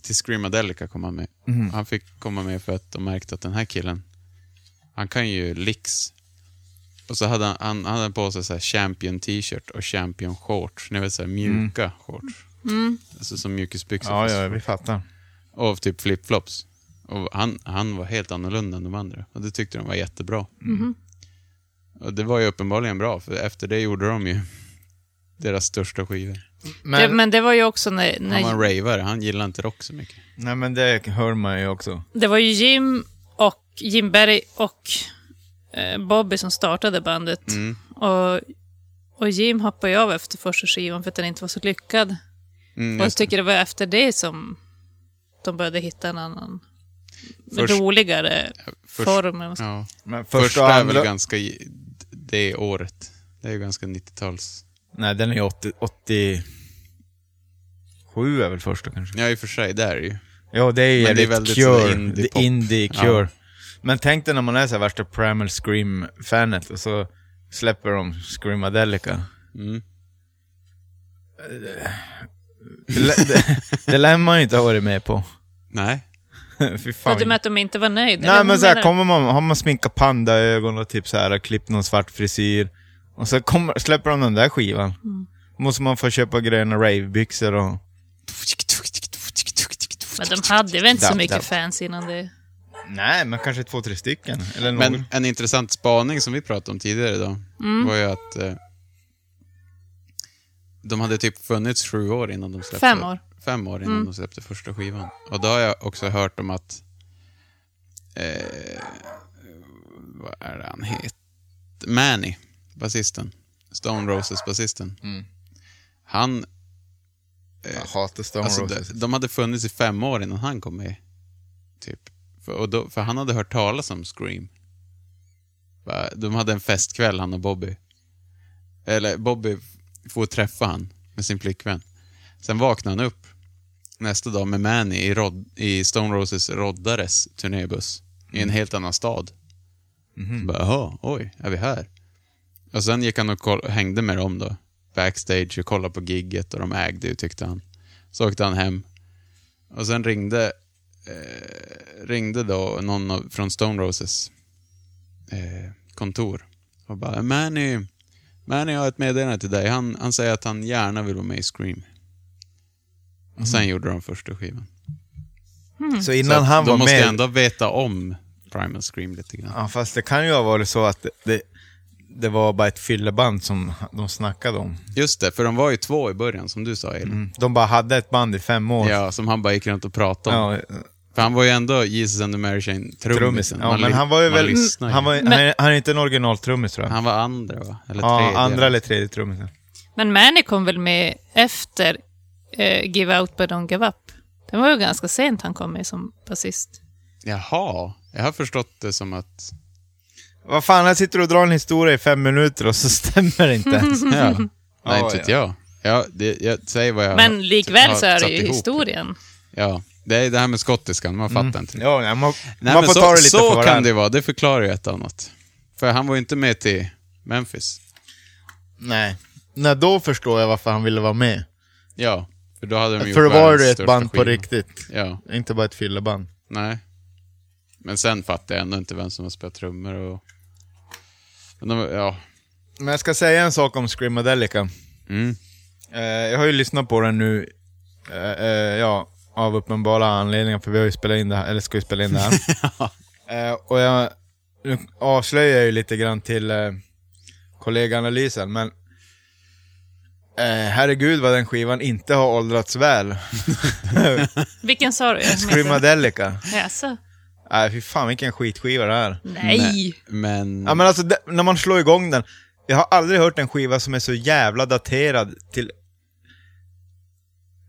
F: till Screamadelica kom han med.
C: Mhm.
F: Han fick komma med för att de märkte att den här killen, han kan ju licks. Och så hade han, han, han hade på sig så här champion t-shirt och champion shorts. Ni vet så här mjuka shorts. Alltså som mjukisbyxor.
C: Mm. Ja,
F: fast-
C: ja, vi fattar.
F: av typ flipflops. Och han, han var helt annorlunda än de andra och det tyckte de var jättebra. Och det var ju uppenbarligen bra, för efter det gjorde de ju deras största skivor.
D: Men det,
C: Men,
D: men det var ju också när,
F: Han var
D: när
F: en ravare, han gillade inte rock så mycket.
C: nej, men det hör man ju också.
D: Det var ju Jim och Jim Berry och eh, Bobby som startade bandet.
F: Mm.
D: Och, och Jim hoppade ju av efter första skivan för att den inte var så lyckad.
F: Mm,
D: och jag tycker det var efter det som de började hitta en annan
F: Först-
D: roligare
F: först-
D: form. eller vad man ska-
F: Ja.
C: Men första,
F: Första,
C: och
F: är
C: andra...
F: väl ganska i- det året. Det är ju ganska 90-tals.
C: Nej, den är ju 80... 87 är väl första kanske?
F: Ja, i och för sig, det är det ju.
C: Ja, det är ju
F: Men det är
C: jävligt
F: väldigt
C: Cure.
F: sådär
C: Indie,
F: indie-pop.
C: indie
F: Ja.
C: Cure. Men tänk dig när man är så här värsta Primal Scream-fanet och så släpper de Screamadelica.
F: Mm.
C: Det, lä- det, det lär man ju inte ha varit med på.
F: Nej.
C: Fy
D: För att
C: fan.
D: du med att de inte var nöjda? Eller
C: Nej men
D: vad
C: så här,
D: menar du?
C: kommer man, har man sminkat pandaögon och typ så här, klippt någon svart frisyr. Och så kommer, släpper de den där skivan.
D: Mm.
C: Måste man få köpa gröna ravebyxor och...
D: Men de hade väl inte så
C: Dab,
D: mycket
C: dab.
D: fans innan det?
C: Nej, men kanske två, tre stycken. Eller någon.
F: Men en intressant spaning som vi pratade om tidigare idag var ju att eh, de hade typ funnits sju år innan de släppte...
D: Fem år.
F: Fem år innan de släppte första skivan. Och då har jag också hört om att... Eh, vad är det han heter? Manny, basisten. Stone Roses-basisten. Han,
C: Jag hatar Stone
F: alltså, de,
C: Roses.
F: de hade funnits i fem år innan han kom med. Typ. För, och då, för han hade hört talas om Scream. Va, De hade en festkväll, han och Bobby. Eller Bobby får träffa han med sin flickvän. Sen vaknade han upp nästa dag med Manny i, Rod, i Stone Roses roddares turnébuss i en helt annan stad. Så bara, jaha, oj, är vi här? Och sen gick han och koll- hängde med dem då. Backstage och kollade på gigget och de ägde ju tyckte han. Så åkte han hem. Och sen ringde, eh, ringde då någon av, från Stone Roses eh, kontor och bara Manny, Manny har ett meddelande till dig. Han, han säger att han gärna vill vara med i Scream. Och sen gjorde de första skivan.
C: Så
F: Så
C: innan
F: att
C: Mm. han
F: de
C: var
F: måste
C: med...
F: ändå veta om Primal Scream lite grann.
C: Ja, fast det kan ju ha varit så att det, det, det var bara ett fylleband som de snackade om.
F: Just det, för de var ju två i början som du sa Elin.
C: De bara hade ett band i fem år.
F: Ja, som han bara gick runt och pratade om.
C: Mm. Ja,
F: För han var ju ändå Jesus and the Mary Chain
C: trummis.
F: trummisen.
C: Ja,
F: Man
C: men
F: ly-
C: han var ju
F: man
C: väl...
F: lyssnar ju.
C: Han, var, ju- han, är- han är inte en originaltrummis tror jag.
F: han var andra va? Eller
C: ja,
F: tredje?
C: andra eller tredje trummisen.
D: Men Manny kom väl med efter eh, Give Out But Don't Give Up? Det var ju ganska sent han kom med som basist.
F: Jaha, jag har förstått det som att...
C: Vad fan, jag sitter och drar en historia i fem minuter och så stämmer det inte ens.
F: Ja. Nej,
C: Ja,
F: inte vet jag. Ja, det, jag säger vad jag har
D: Men likväl
F: satt-
D: så är det
F: typ satt
D: ju
F: ihop.
D: historien.
F: Ja, det är det här med skottiskan, man fattar inte. det.
C: Mm. Ja, nej, man,
F: Nej,
C: man
F: men
C: får
F: så,
C: ta det lite
F: så
C: på varandra.
F: kan det vara, det förklarar ju ett annat. För han var ju inte med till Memphis.
C: Nej. Nej, då förstår jag varför han ville vara med.
F: Ja, för då hade de gjort
C: För då var
F: världens
C: det ett
F: största
C: band på
F: skiva.
C: riktigt.
F: Ja,
C: Inte bara ett fylleband.
F: nej. Men sen fattar jag ändå inte vem som har spelat trummor och... Men de, ja,
C: Men jag ska säga en sak om Screamadelica.
F: Mm.
C: Eh, jag har ju lyssnat på den nu, eh, eh, ja, av uppenbara anledningar, för vi har ju spelat in det här, eller ska ju spela in det här. Eh, och jag nu avslöjar jag ju lite grann till eh, kolleganalysen, men eh, herregud vad den skivan inte har åldrats väl.
D: Vilken sa du? Jag minns inte.
C: Screamadelica.
D: Jaså?
C: Nej, fy fan vilken skitskiva det är.
D: Nej.
F: men...
C: Ja men alltså, det, när man slår igång den. Jag har aldrig hört en skiva som är så jävla daterad till...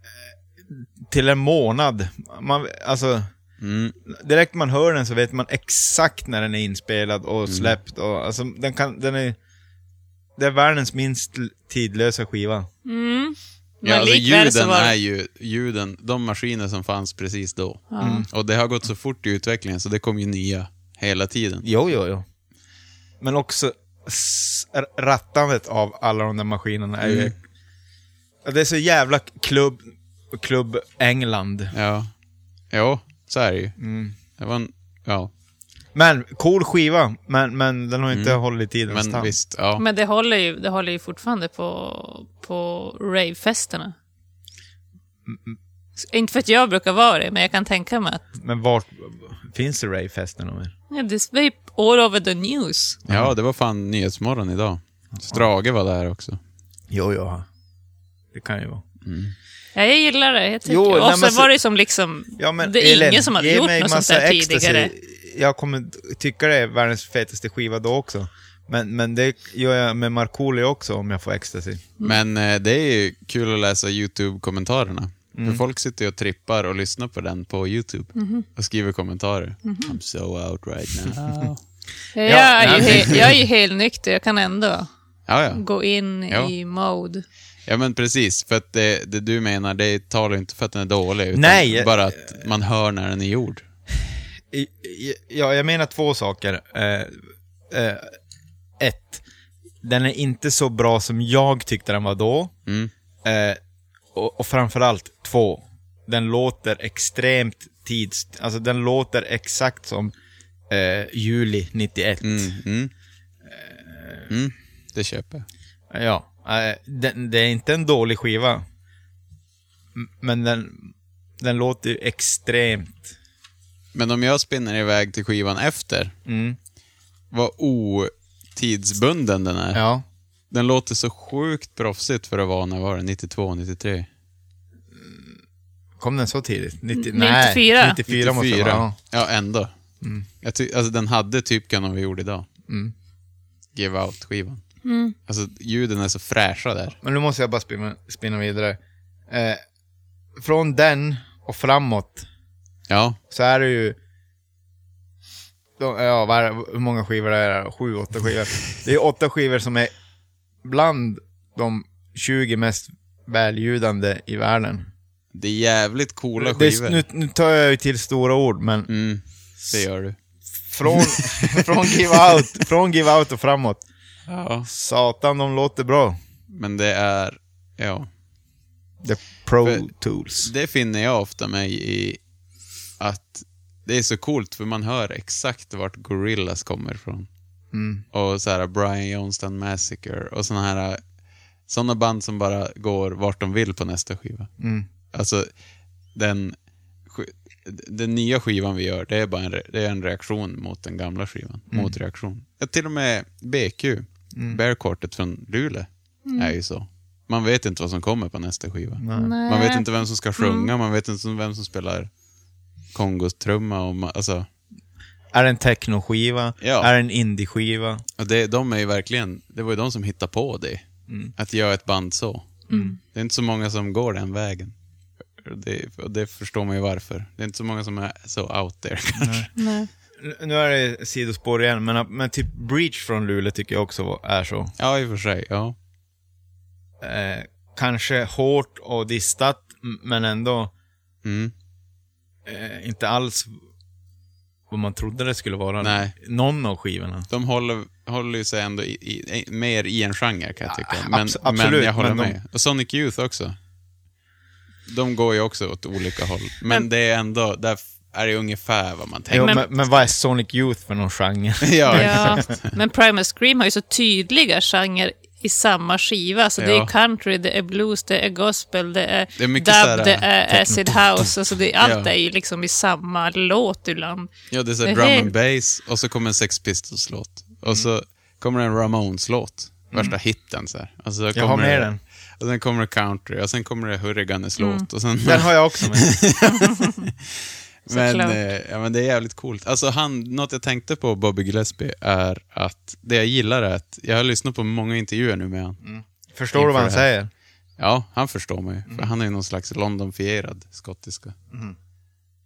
C: eh, Till en månad. Man, alltså,
F: Mm.
C: direkt man hör den så vet man exakt när den är inspelad och släppt och alltså, den kan, den är... Det är världens minst l- tidlösa skiva.
D: Mm. Men
F: Ja, alltså
D: likväl så
F: ljuden
D: var
F: är
D: det...
F: ju ljuden, de maskiner som fanns precis då. Och det har gått så fort i utvecklingen så det kom ju nya hela tiden.
C: Jo, jo, jo. Men också s- r- rattandet av alla de där maskinerna är ju... Ja, Det är så jävla klubb... Klubb England.
F: Ja. Jo, så är det ju. Det var en, ja,
C: Men cool skiva, men, men den har ju inte hållit tiden
F: men visst. Ja.
D: Men det håller ju, det håller ju fortfarande på, på ravefesterna. Så- Inte för att jag brukar vara det, men jag kan tänka mig att
C: men vart... Finns det ravefester någon mer?
D: ja, det är ju all over the news.
F: ja, det var fan Nyhetsmorgon idag. Strage var där
D: Mm.
F: också.
C: Jo, jo. Det kan ju vara.
D: Ja, jag gillar det. Jag tycker.
C: Jo, nej,
D: och
C: men
D: sen
C: så-
D: var det ju som liksom... det är ingen som har
C: ge
D: gjort
C: mig
D: något sånt
C: massa
D: där
C: ecstasy.
D: tidigare.
C: Jag kommer tycka det är världens fetaste skiva då också. Men, men det gör jag med Markoolio också om jag får ecstasy.
F: Men eh, det är ju kul att läsa YouTube-kommentarerna. För folk sitter ju och trippar och lyssnar på den på YouTube
D: Mhm.
F: och skriver kommentarer. I'm so out right now.
D: Jag, är
C: nej,
D: ju
C: men-
D: he- jag är ju helt nykter, jag kan ändå
F: ja, ja.
D: gå in
F: Ja.
D: i mode.
F: Ja men precis, för att det, det du menar, det talar ju inte för att den är dålig, utan
C: Nej.
F: bara att man hör när den är gjord.
C: I- i- Ja, jag menar två saker. Eh, eh, ett, den är inte så bra som jag tyckte den var då. Eh, och, och framförallt två, den låter extremt tids... Alltså den låter exakt som eh, juli 91.
F: Mm. Mm. Det köper jag.
C: Ja, eh, den, det är inte en dålig skiva. M- Men den, den låter ju extremt...
F: Men om jag spinner iväg till skivan efter,
C: Mm.
F: vad otidsbunden den är.
C: Ja.
F: Den låter så sjukt proffsigt för att vara, när var det? 92, 93?
C: Kom den så tidigt? 90,
D: 94.
C: Nej, 94 måste det vara. ja. Mm.
F: Ja, ändå. Jag ty- alltså den hade typ kunnat vara gjord idag. Give out-skivan. Alltså ljuden är så fräscha där.
C: Men nu måste jag bara spinna, spinna vidare. Eh, från den och framåt
F: Ja,
C: så är det ju... De, ja, vad är det- hur många skivor är det? Sju, åtta skivor. Det är åtta skivor som är bland de 20 mest väljudande i världen.
F: det är jävligt coola
C: Det,
F: skivor.
C: är- nu, nu tar jag ju till stora ord, men
F: Mm, det gör du.
C: från, från, give out, från give out och framåt.
F: Ja.
C: Satan, de låter bra.
F: Men det är, ja.
C: The Pro
F: För-
C: Tools.
F: Det finner jag ofta mig i att det är så coolt för man hör exakt vart Gorillas kommer ifrån. Och så här Brian Johnston Massacre och såna här såna band som bara går vart de vill på nästa skiva. Alltså den, sk- den nya skivan vi gör, det är bara en, re- det är en reaktion mot den gamla skivan. Mot reaktion. Ja, till och med BQ, Bear Quartet från Luleå, är ju så. Man vet inte vad som kommer på nästa skiva.
D: Nej.
F: Man vet inte vem som ska sjunga, man vet inte vem som spelar kongotrumma och ma- alltså,
C: Är det en technoskiva?
F: Ja.
C: Är det en indie-skiva?
F: och det, de är ju verkligen, det var ju de som hittade på det. Att göra ett band så. Det är inte så många som går den vägen. Och Det, och det förstår man ju varför. Det är inte så många som är så out there kanske.
D: Nej.
C: N- Nu är det sidospår igen, men, men typ Breach från Luleå tycker jag också är så.
F: Ja, i och för sig. Ja.
C: Eh, kanske hårt och distat, m- men ändå
F: Mm.
C: eh, inte alls vad man trodde det skulle vara.
F: Nej.
C: Någon av skivorna.
F: De håller, håller ju sig ändå i, i, i, mer i en genre kan jag tycka. Men,
C: abs-
F: men
C: absolut,
F: jag håller
C: men de-
F: med. Och Sonic Youth också. De går ju också åt olika håll. Men, det är ändå, där f- är det ungefär vad man
C: Jo,
F: tänker.
C: men,
D: Men-
C: men, vad är Sonic Youth för någon genre?
F: ja,
D: Ja, men Primal Scream har ju så tydliga genrer i samma skiva. Så det
F: Ja.
D: är country, det är blues, det är gospel, det är,
F: Det är mycket
D: dub,
F: så här- äh,
D: det är acid house. Alltså det, allt
F: Ja.
D: är ju liksom i samma låt ibland.
F: ja, det är så
D: Det
F: här
D: är
F: drum
D: helt-
F: and bass och så kommer en Sex Pistols-låt. Och
C: Mm.
F: så kommer en Ramones-låt. Värsta hiten så här. Och så
C: Jag har
F: kommer
C: med
F: det-
C: den.
F: Och sen kommer det country och sen kommer det Hurriganes
D: Mm.
F: låt. Och sen,
C: Den har jag också med.
F: Men,
D: Såklart.
F: eh, ja, men det är jävligt coolt. Alltså han, något jag tänkte på Bobby Gillespie är att det jag gillar är att jag har lyssnat på många intervjuer nu med han.
C: Mm. Förstår du vad han
F: Inför det här.
C: säger?
F: Ja, han förstår mig.
C: Mm.
F: För han är ju någon slags Londonfierad skottiska.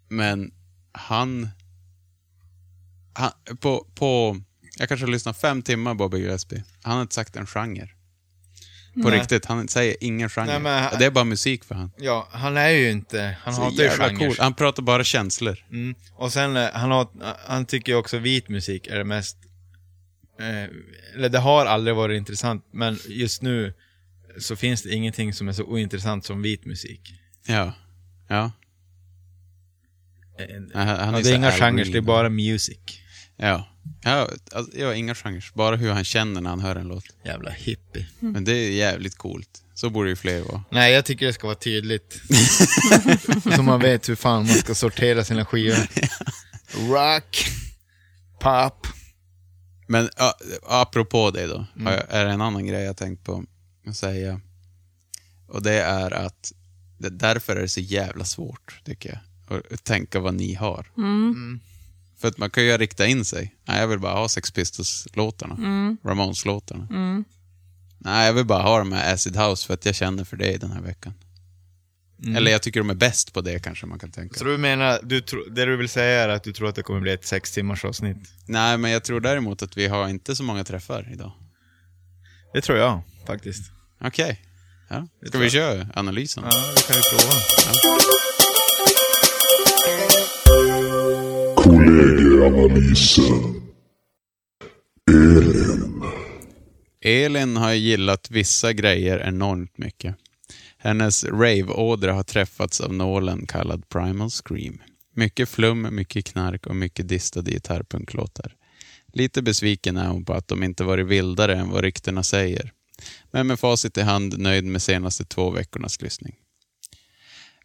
F: Men han, han på, på... Jag kanske har lyssnat fem timmar Bobby Gillespie. Han har inte sagt en genre. På riktigt, han säger ingen genre.
C: Nej, men han-
F: det är bara musik för han.
C: Ja, han är ju inte... Han hatar ju
F: Jävla
C: genrer.
F: coolt. Han pratar bara känslor.
C: Mm. Och sen, eh, han, har, han tycker ju också vit musik är det mest... Eh, eller det har aldrig varit intressant, men just nu så finns det ingenting som är så ointressant som vit musik.
F: Ja. Ja.
C: Eh,
F: Nej, han- han
C: ja,
F: är
C: det är
F: så
C: inga
F: allmän.
C: genrer, det är bara music.
F: Ja. Ja, alltså, ja, inga genrer. Bara hur han känner när han hör en låt.
C: Jävla hippie.
F: Men det är jävligt coolt. Så borde ju fler vara.
C: Nej, jag tycker det ska vara tydligt. så man vet hur fan man ska sortera sina skivor. Rock, pop.
F: Men ja, apropå det då, har jag, är det en annan grej jag tänkt på att säga. Och det är att det, därför är det så jävla svårt, tycker jag, att tänka vad ni har. För att man kan ju rikta in sig. Nej, jag vill bara ha Sex Pistols-låtarna. Ramones-låtarna. Nej, jag vill bara ha dem med Acid House för att jag känner för det den här veckan. Eller jag tycker de är bäst på det kanske man kan tänka.
C: Så du menar, du tro, det du vill säga är att du tror att det kommer bli ett sex timmars avsnitt?
F: Nej, men jag tror däremot att vi har inte så många träffar idag.
C: Det tror jag faktiskt.
F: Okej. Ja. Ska vi köra analysen?
C: Ja, det kan vi prova.
F: Elin har ju gillat vissa grejer enormt mycket. Hennes rave-ådra har träffats av nålen kallad Primal Scream. Mycket flum, mycket knark och mycket distade gitarrpunklåtar. Lite besviken är hon på att de inte varit vildare än vad ryktena säger. Men med facit i hand nöjd med senaste två veckornas lyssning.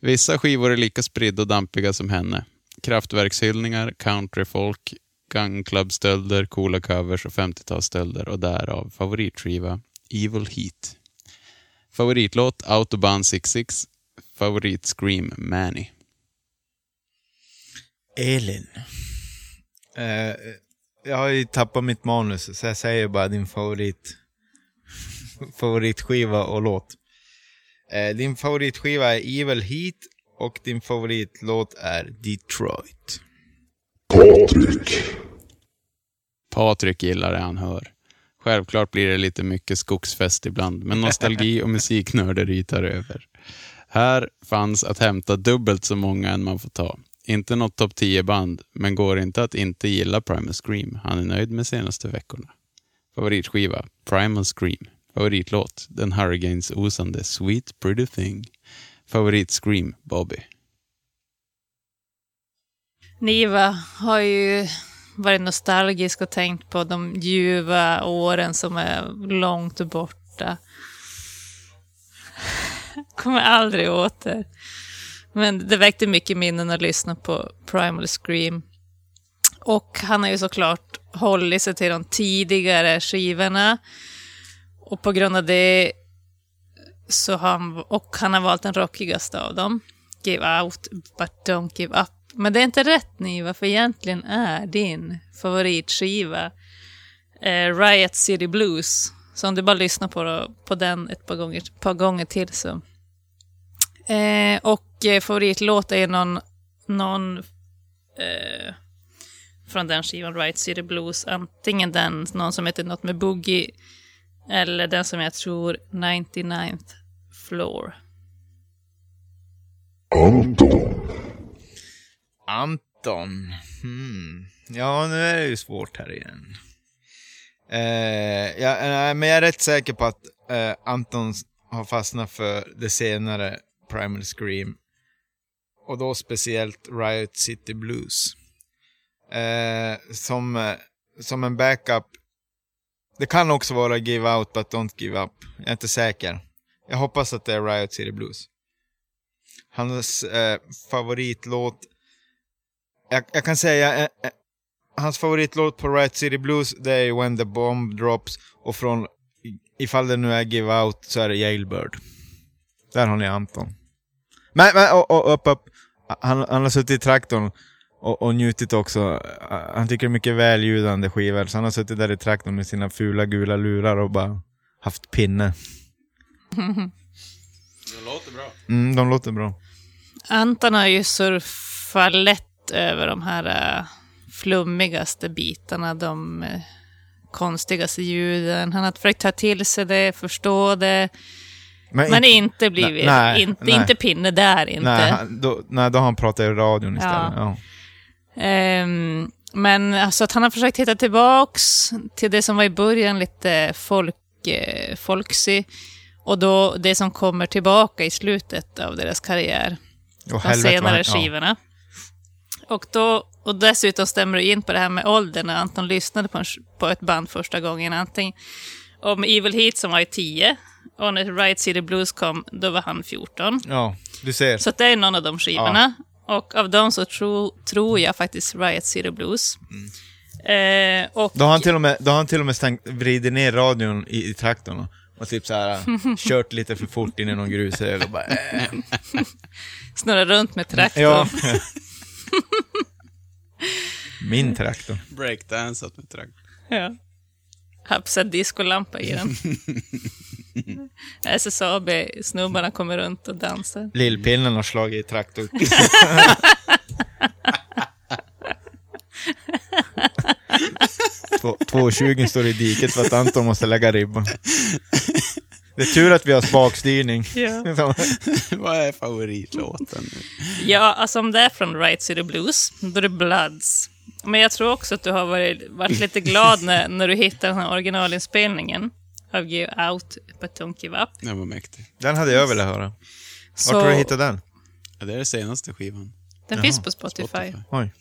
F: Vissa skivor är lika spridda och dampiga som henne. Kraftverkshyllningar, countryfolk, gangclubstölder, coola covers och 50-talsstölder och därav favoritskiva Evil Heat. Favoritlåt Autobahn 66, favorit Scream Manny.
C: Elin. Eh, jag har ju tappat mitt manus, så jag säger bara din favorit. favoritskiva och låt. Eh, din favoritskiva är Evil Heat och din favoritlåt är Detroit.
F: Patrik gillar det han hör. Självklart blir det lite mycket skogsfest ibland, men nostalgi och musiknörderi tar över. Här fanns att hämta dubbelt så många än man får ta. Inte något topp 10-band, men går inte att inte gilla Primal Scream. Han är nöjd med senaste veckorna. Favoritskiva, Primal Scream. Favoritlåt, den Hurricanes-osande Sweet Pretty Thing. Favorit-Scream, Bobby.
D: Niva har ju varit nostalgisk och tänkt på de ljuva åren som är långt borta. Kommer aldrig åter. Men det väckte mycket minnen att lyssna på Primal Scream. Och han har ju såklart hållit sig till de tidigare skivorna. Och på grund av det så har han, och han har valt den rockigaste av dem. Give out, but don't give up. Men det är inte rätt Niva, för egentligen är din favoritskiva eh, Riot City Blues. Så om du bara lyssnar på, då, på den ett par gånger, par gånger till så. Eh, och eh, favoritlåt är någon, någon eh, från den skivan, Riot City Blues. Antingen den, någon som heter något med Boogie, eller den som jag tror 99th Floor.
C: Anton. Hmm. Ja, nu är det ju svårt här igen. Eh, ja, nej, men jag är rätt säker på att eh, Anton har fastnat för det senare Primal Scream. Och då speciellt Riot City Blues. Eh, som, eh, som en backup. Det kan också vara Give Out But Don't Give Up. Jag är inte säker. Jag hoppas att det är Riot City Blues. Hans eh, favoritlåt jag, jag kan säga, eh, eh, hans favoritlåt på Right City Blues, det är ju When the Bomb Drops, och från, i- ifall det nu är Give Out, så är det Jailbird. Där har ni Anton. Men, men, och, och, upp, upp. Han, han har suttit i traktorn och, och njutit också. Eh, Han tycker det är mycket väljudande skivor, så han har suttit där i traktorn med sina fula gula lurar och bara haft pinne. De låter bra. Mm, de låter bra.
D: Anton har ju surfat lätt över de här eh, flummigaste bitarna, de eh, konstigaste ljuden. Han har försökt ta till sig det, förstå det, men
C: inte-
D: inte blivit,
C: nej,
D: inte,
C: nej.
D: inte pinne där inte.
C: Nej, han, då, nej, då har han pratat i radion istället.
D: Ja.
C: Ja.
D: Ehm, men alltså att han har försökt hitta tillbaks till det som var i början lite folk, eh, folksy och då det som kommer tillbaka i slutet av deras karriär.
C: Och
D: de
C: helvete vad
D: senare
C: han-
D: skivorna. Och, då, och dessutom stämmer du in på det här med åldern när Anton lyssnade på, en, sk- på ett band första gången. Antingen om Evil Heat som var i 10 och när Right City Blues kom, då var han 14.
C: Ja. ja, du ser.
D: Så att det är någon av de skivorna. Och av dem så tro, tror jag faktiskt Riot City Blues. Eh, och
C: Då har han till och med, då har han till och med stängt, vridit ner radion i, i traktorn och, och typ så här kört lite för fort in i någon grushög och bara... Äh.
D: snurrar runt med traktorn.
C: Ja. Min traktor.
F: Breakdansat med trakt.
D: Ja. Hapsad discolampa i den. Äh, SSAB-snubbarna kommer runt och dansar.
C: Lillpinnen har slagit i traktorn. Två- 220 står i diket för att Anton måste lägga ribban. Det är tur att vi har spakstyrning.
D: Ja.
F: Vad är favoritlåten?
D: ja, alltså om det är från Right City Blues, då är det Bloods. Men jag tror också att du har varit, varit lite glad när, när du hittade den här originalinspelningen av Give Out But Don't Give Up.
F: Den var mäktig.
C: Den hade jag velat höra.
D: Så,
C: Vart har du hittat den?
F: Ja, det är den senaste skivan.
D: Den finns på Spotify.
C: Oj.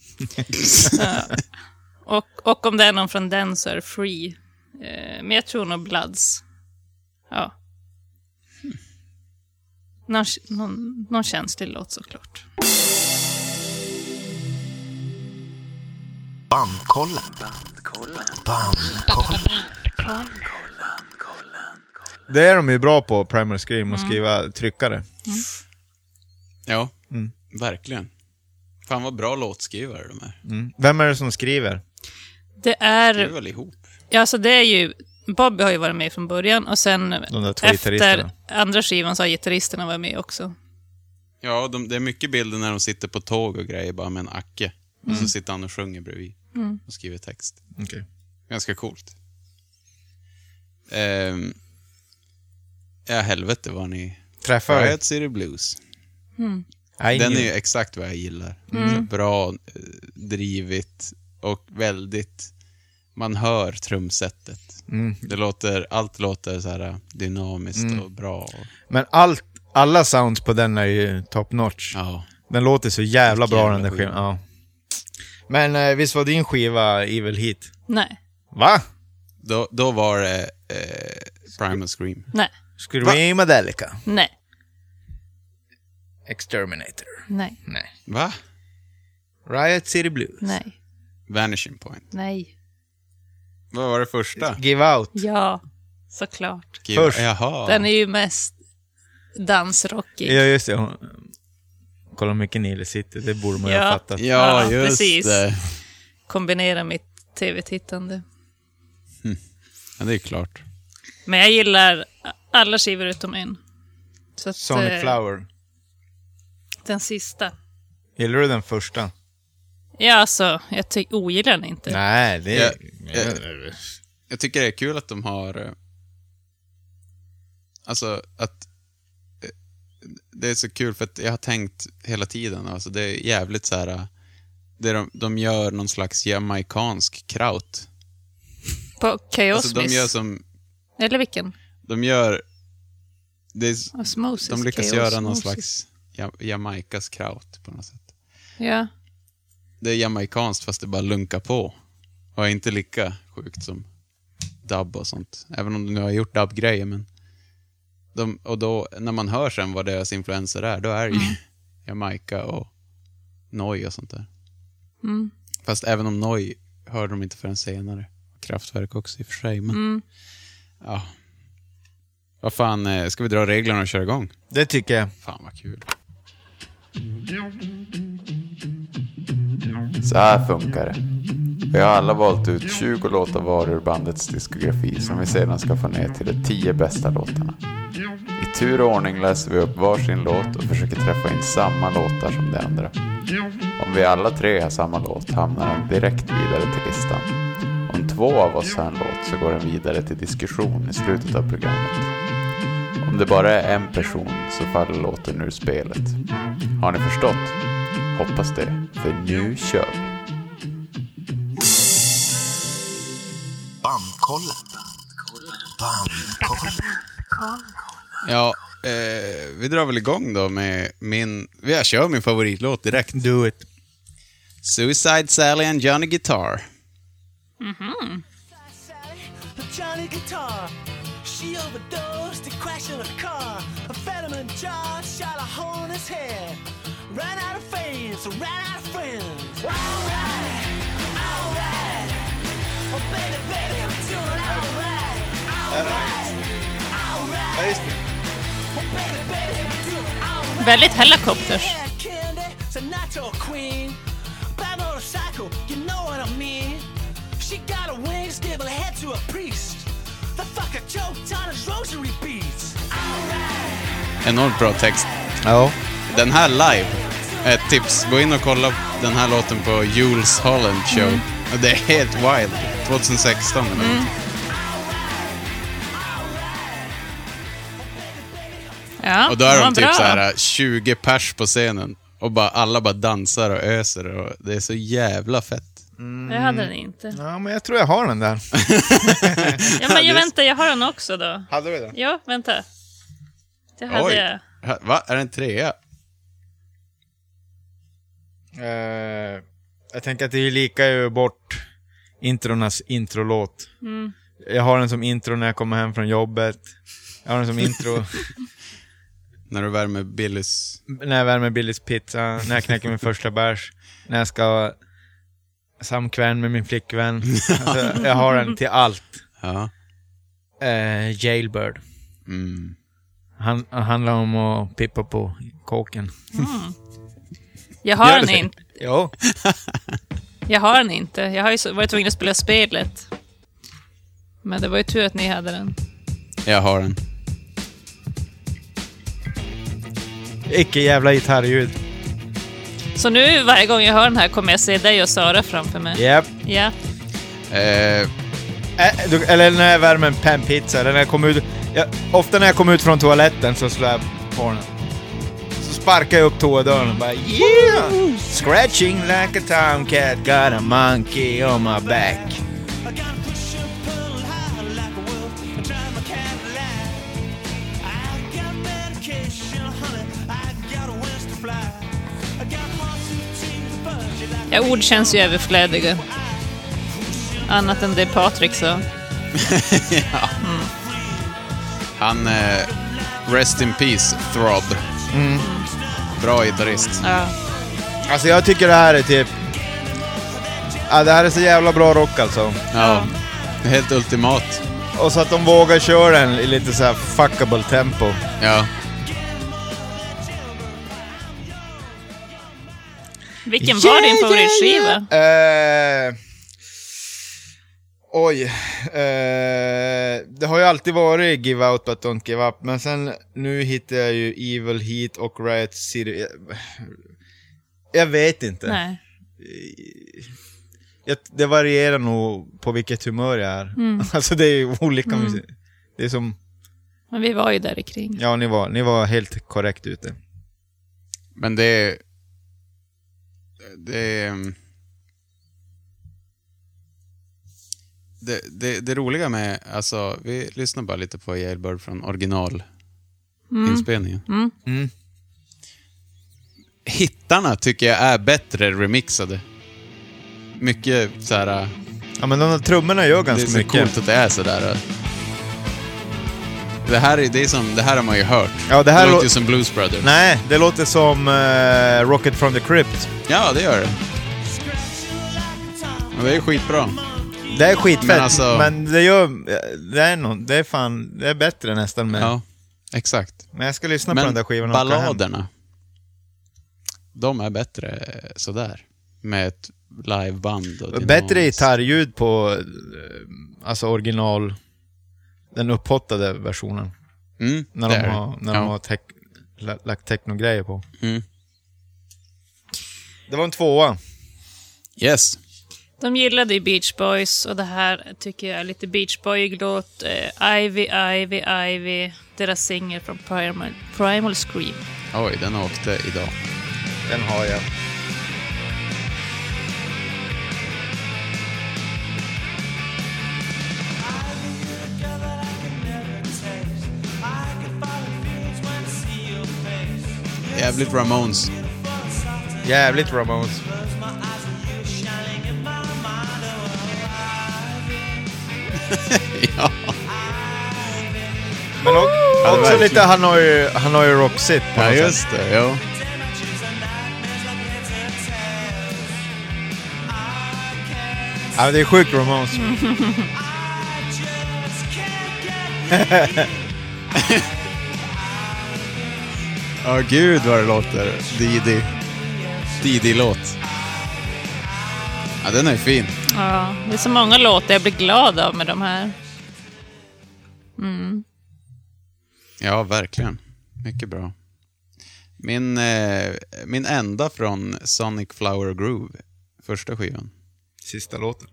D: Och, och om det är någon från den så är det Free. Eh, men jag tror nog Bloods. Ja. Någon, någon, någon känslig låt såklart.
A: Bandkollen. Bandkollen.
C: Det är de ju bra på, Primal Scream,
D: Mm.
C: att skriva tryckare.
F: Ja, verkligen. Fan vad bra låtskrivare de är.
C: Vem är det som skriver?
D: Det är,
F: Skriver väl ihop.
D: ja, alltså det är ju Bobby har ju varit med från början och sen
C: där två
D: efter
C: gitarristerna.
D: andra skivan så har gitarristerna varit med också.
F: Ja, de, det är mycket bilder när de sitter på tåg och grejer bara med en acke. Och så sitter han och sjunger bredvid och skriver text.
C: Okej.
F: Ganska coolt. Ehm, ja, helvete vad ni...
C: Träffar
F: Riot City Blues.
C: Nej,
F: Den är ju exakt vad jag gillar.
D: Mm.
F: Så Bra, eh, drivigt och väldigt... Man hör trumsetet. Det låter, allt låter så här eh, dynamiskt och bra. Och,
C: Men allt, alla sounds på den är ju top notch.
F: ja.
C: Den låter så jävla
F: Vilken
C: bra
F: jävla
C: den där
F: skiva.
C: skivan. Ja. Men eh, visst var din skiva Evil Heat?
D: Nej,
C: Va?
F: Då, då var det eh, Primal Scream.
D: nej,
C: Screamadelica.
D: nej,
C: Exterminator.
D: nej,
C: Nej.
F: Va?
C: Riot City Blues.
D: nej,
F: Vanishing Point.
D: nej.
F: Vad var det första?
C: Give Out.
D: Ja, såklart.
F: Give-
C: Först.
F: Jaha.
D: Den är ju mest dansrockig.
C: Ja, just det. Hon- Kolla hur mycket Nile City, det borde man ju
D: Ja.
C: ha fattat.
F: Ja,
D: Ja,
F: just
D: precis.
F: det.
D: Kombinera mitt tv-tittande.
F: Ja, det är klart.
D: Men jag gillar alla skivor utom en. Så att,
C: Sonic
D: eh,
C: Flower.
D: Den sista.
C: Gillar du den första?
D: Ja, alltså, jag ty- ogillar den inte.
C: Nej, det
F: Ja,
C: är...
F: Jag tycker det är kul att de har... eh, Alltså att... eh, Det är så kul för att jag har tänkt hela tiden, alltså det är jävligt så här... eh, Det de, de gör någon slags jamaikansk kraut.
D: På Chaos
F: Alltså de
D: Miss.
F: gör som...
D: Eller vilken?
F: De gör... Det är, s-
D: Osmosis.
F: de lyckas
D: Chaos
F: göra någon
D: Osmosis.
F: slags ja, jamaikas kraut på något sätt.
D: Ja.
F: det är jamaikanskt fast det bara lunkar på. Och är inte lika sjukt som dub och sånt. Även om de nu har gjort dub-grejer. Men de, och då, när man hör sen vad deras influenser är, då är det ju Jamaica och Noi och sånt där. Fast även om Noi hörde de inte förrän senare. Kraftwerk också i och för sig, men... Ja. Vad fan, eh, ska vi dra reglerna och köra igång?
C: Det tycker jag.
F: Fan vad kul.
B: Så här funkar det. Vi har alla valt ut 20 låtar var ur bandets diskografi som vi sedan ska få ner till de 10 bästa låtarna. I tur och ordning läser vi upp varsin låt och försöker träffa in samma låtar som de andra. Om vi alla tre har samma låt hamnar den direkt vidare till listan. Om två av oss har en låt så går den vidare till diskussion i slutet av programmet. Om det bara är en person så faller låten ur spelet. Har ni förstått? Hoppas det, för nu kör vi!
A: Bandkollen. Bandkollen.
F: Ja, eh, vi drar väl igång då med min... Jag kör min favoritlåt direkt.
C: Do it.
F: Suicide Sally and Johnny Guitar.
G: The Johnny guitar. She overdosed and crashed in a car. A vitamin jar shot a hole in his head. Ran out of fans, ran out of friends. Alright, alright. Oh baby, baby, I'm doing alright. Alright, alright. Oh baby, baby, I'm doing alright.
D: Väldigt Hellacopters.
G: Yeah, Candy, Sinatra queen. By motorcycle, you know what I mean. She got a wings, give her head to a priest. The fucker choked on his rosary beads.
F: Enormt bra text.
C: Ja.
F: Den här live, ett tips. Gå in och kolla den här låten på Jules Holland Show.
C: Mm.
F: Och Det är helt wild. 2016 eller mm.
D: Ja,
F: Och då är
D: den
F: de
D: var
F: typ
D: bra.
F: så här 20 pers på scenen. Och bara, alla bara dansar och öser. Och det är så jävla fett.
D: Jag hade den inte.
F: Mm.
C: ja, men jag tror jag har den där.
D: Ja, men jag, vänta, jag har den också då.
C: Hade du den?
D: Ja, vänta. Det hade jag.
F: Ha- Va? Är det en trea?
C: Eh, jag tänker att det är lika ju bort intronas introlåt. Jag har den som intro när jag kommer hem från jobbet. Jag har den som intro
F: När du värmer Billys...
C: när jag värmer Billys pizza, när jag knäcker min första bärs, när jag ska samkväm med min flickvän. Alltså, jag har den till allt.
F: Ja.
C: Eh, jailbird. Han, han handlar om att pippa på kåken.
D: Jag
C: Gör
D: har
C: det
D: den
C: sig.
D: inte.
C: Jo.
D: Jag har den inte. Jag har ju så- varit tvungen att spela spelet. Men det var ju tur att ni hade den.
F: Jag har den.
C: Icke jävla gitarrljud.
D: Så nu varje gång jag hör den här kommer jag se dig och Sara framför mig.
C: Japp.
D: Ja.
F: Eh,
C: Äh, du- eller när jag värmer en panpizza, eller när jag kommer ut... Jag, ofta när jag kommer ut från toaletten så slår jag på den. Så sparkar jag upp toadörren och bara yeah! Scratching like a tomcat, got a monkey on my back.
G: I gotta push and pull and hide like a wolf and drive my Cadillac. I got medication, honey. I got a west to fly. I got horses to change the budget like
D: ja, ord känns ju överflödiga. Annat än det Patrik sa.
F: han... Eh, rest in peace, Throb. Bra gitarrist.
D: Ja.
C: Alltså jag tycker det här är typ... Ja, det här är så jävla bra rock alltså.
F: Ja. Helt ultimat.
C: Och så att de vågar köra den i lite så här fuckable tempo.
F: Ja.
D: Vilken var din favoritskiva?
C: Eh, oj. Eh, det har ju alltid varit Give Out But Don't Give Up, men sen nu hittar jag ju Evil Heat och Riot City. Jag- Jag vet inte. Eh,
D: Nej.
C: Jag, det varierar nog på vilket humör jag är.
D: Mm.
C: Alltså det är ju olika musik. Det är som,
D: Men vi var ju där i kring.
C: ja ni var, ni var helt korrekt ute.
F: Men det är... Det är... mm, Det, det, det roliga med, alltså, vi lyssnar bara lite på Jailbird från originalinspelningen.
C: Mm.
F: Hittarna tycker jag är bättre remixade. Mycket så här...
C: Ja men de där trummorna gör
F: Det är
C: ganska
F: så
C: mycket.
F: coolt att det är sådär. Det här, är, det, är som, det här har man ju hört.
C: Ja, det här
F: låter
C: lå-
F: ju som Blues Brothers.
C: Nej, det låter som eh, Rocket from the Crypt.
F: Ja, det gör det. Men det är skitbra.
C: Det är skitfett, men,
F: Men alltså-
C: det gör... Det är, någon, det är fan... Det är bättre nästan med...
F: Ja, exakt.
C: Men jag ska lyssna på den
F: Men
C: där skivan och åka hem.
F: balladerna, de är bättre eh, sådär. Med ett liveband. Och
C: Bättre
F: dynamiskt.
C: gitarrljud på... eh, Alltså original... Den upphottade versionen.
F: Mm,
C: När
F: det
C: de
F: är det.
C: har, när
F: ja.
C: de har tech, la- lagt technogrejer på.
F: Mm.
C: Det var en tvåa.
F: Yes.
D: De gillade ju Beach Boys och det här tycker jag är lite Beach Boy-låt. Eh, Ivy, Ivy, Ivy. Deras singel från Primal, Primal Scream.
F: Oj, den åkte idag.
C: Den har jag.
F: Jävligt Ramones.
C: Jävligt Ramones.
F: ja.
C: Men också, också
F: verkligen.
C: lite Hanoi, Hanoi Roxit på
F: ja,
C: något sätt.
F: just det. Ja.
C: Ja, men det är sjukt Ramones.
D: Mm.
F: Ja, gud vad det låter. Didi. Didi-låt. Ja, den är fin.
D: Ja, det är så många låtar jag blir glad av med de här.
F: Ja, verkligen. Mycket bra. Min, eh, min enda från Sonic Flower Groove, första skivan.
C: Sista låten.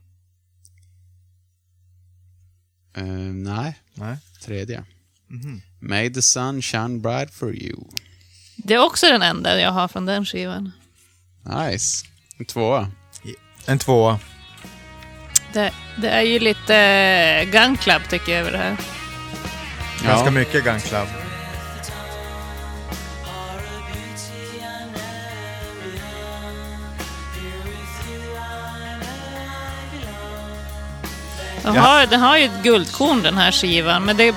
F: Eh, nej,
C: Nej.
F: tredje.
C: Mhm.
F: May the sun shine bright for you.
D: Det är också den enda jag har från den skivan.
F: Nice. En Tvåa.
C: En tvåa.
D: Det, det är ju lite eh, Gun Club tycker jag över det här.
C: Ganska mycket Gun Club.
D: Den, har, den har ju ett guldkorn den här skivan, men det,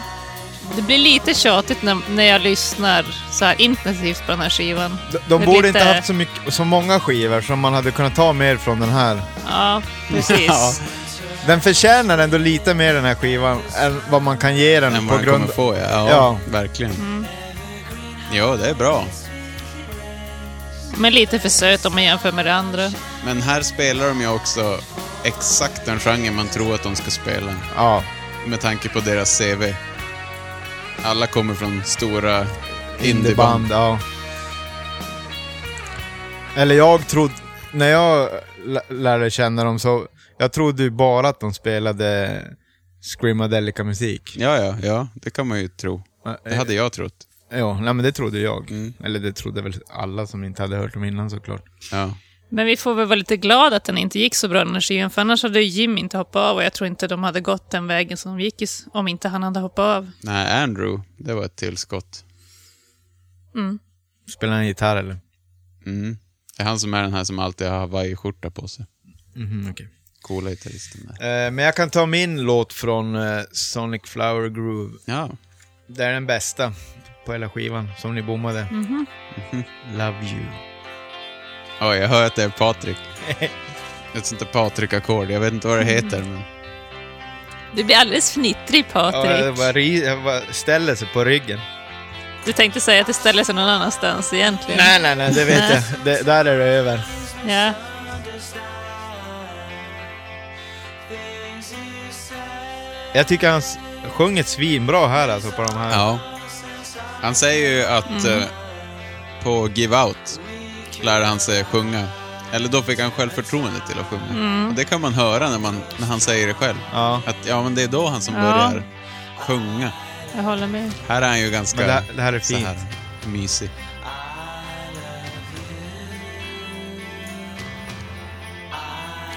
D: det blir lite tjatigt när, när jag lyssnar så här intensivt på den här skivan.
C: De, de
D: Det är
C: borde
D: lite-
C: inte haft så, mycket, så många skivor som man hade kunnat ta mer från den här.
D: Ja, precis.
F: Ja.
C: Den förtjänar ändå lite mer den här skivan än vad man kan ge den
F: Än
C: på
F: vad jag
C: grund
F: kommer få, ja. Ja,
C: Ja.
F: verkligen. Ja, det är bra.
D: Men lite för söt om man jämför med det andra.
F: Men här spelar de ju också exakt den genre man tror att de ska spela.
C: Ja.
F: med tanke på deras CV. Alla kommer från stora indieband.
C: Indieband, ja. Eller jag trodde, när jag lä- lärde känna dem så, jag trodde ju bara att de spelade Screamadelica musik.
F: Ja, ja, ja, det kan man ju tro.
C: Ja,
F: Det hade Mm. jag trott.
C: Ja, nej men det trodde jag. Eller det trodde väl alla som inte hade hört dem innan såklart.
F: Ja.
D: Men vi får väl vara lite glada att den inte gick så bra, den här skivan, för annars hade ju Jim inte hoppat av och jag tror inte de hade gått den vägen som de gick i s- om inte han hade hoppat av.
F: Nej, Andrew, det var ett tillskott.
C: Spelar han gitarr eller?
F: Mm. Det är han som är den här som alltid har hawaiiskjorta på sig.
C: Mm,
F: Coola gitarristen där.
C: eh, men jag kan ta min låt från eh, Sonic Flower Groove.
F: Ja,
C: Det är den bästa på hela skivan, som ni bommade.
F: Mhm.
C: Love you.
F: Oj, jag hör att det är Patrik. Ett sånt där Patrik-ackord. Jag vet inte vad det heter, men...
D: Det blir alldeles fnittrig,
C: Ja, jag
D: Patrik.
C: bara, ri- jag bara ställer sig på ryggen.
D: Du tänkte säga att det ställer sig någon annanstans egentligen.
C: Nej, nej, nej, det vet jag. Det, där är det över.
D: Ja.
C: Jag tycker han s- sjunger svinbra här alltså på de här.
F: Ja. Han säger ju att eh, på Give Out lärde han sig sjunga. Eller då fick han självförtroende till att sjunga. Och det kan man höra när, man, när han säger det själv.
C: Ja.
F: Att ja, men det är då han som
D: Ja.
F: börjar sjunga.
D: Jag håller med.
F: Här är han ju ganska
C: Men det här- det här är
F: så här, mysig.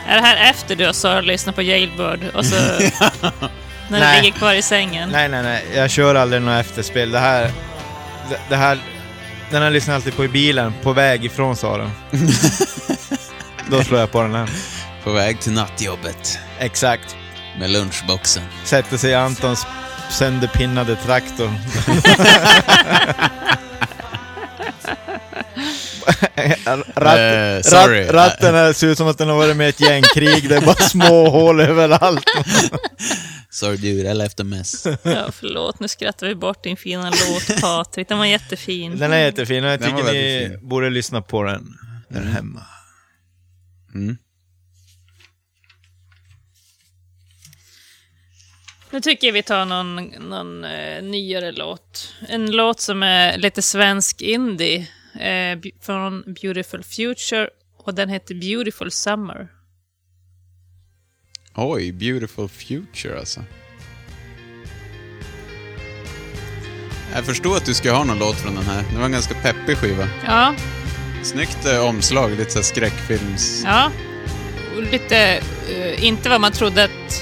D: Är det här efter du och Sara lyssnat på Jailbird och så... när
C: Nej.
D: du ligger kvar i sängen?
C: Nej, nej, nej. Jag kör aldrig något efterspel. Det här... Det, det här... Den här lyssnar jag alltid på i bilen, på väg ifrån Sara. Då slår jag på den här.
F: På väg till nattjobbet
C: Exakt.
F: med lunchboxen.
C: Sätter sig i Antons sönderpinnade traktor.
F: Eh,
C: Ratt,
F: Eh, sorry.
C: ratt, ratten här ser ut som att den har varit med i ett gängkrig. Det är bara små hål överallt.
F: Sorry dude, I left a mess.
D: Ja, förlåt, nu skrattar vi bort din fina låt, Patrik. Den var jättefin.
C: Den är jättefin och jag
F: Den var
C: tycker ni
F: väldigt fin. Mm.
C: borde lyssna på den där hemma.
D: Nu tycker jag vi tar någon, någon eh, nyare låt. En låt som är lite svensk indie eh, bu- från Beautiful Future och den heter Beautiful Summer.
F: Oj, Beautiful Future alltså. Jag förstod att du skulle ha någon låt från den här. Det var en ganska peppig skiva.
D: Ja,
F: Snyggt eh, omslag, lite såhär skräckfilms...
D: ja. Och lite, eh, inte vad man trodde att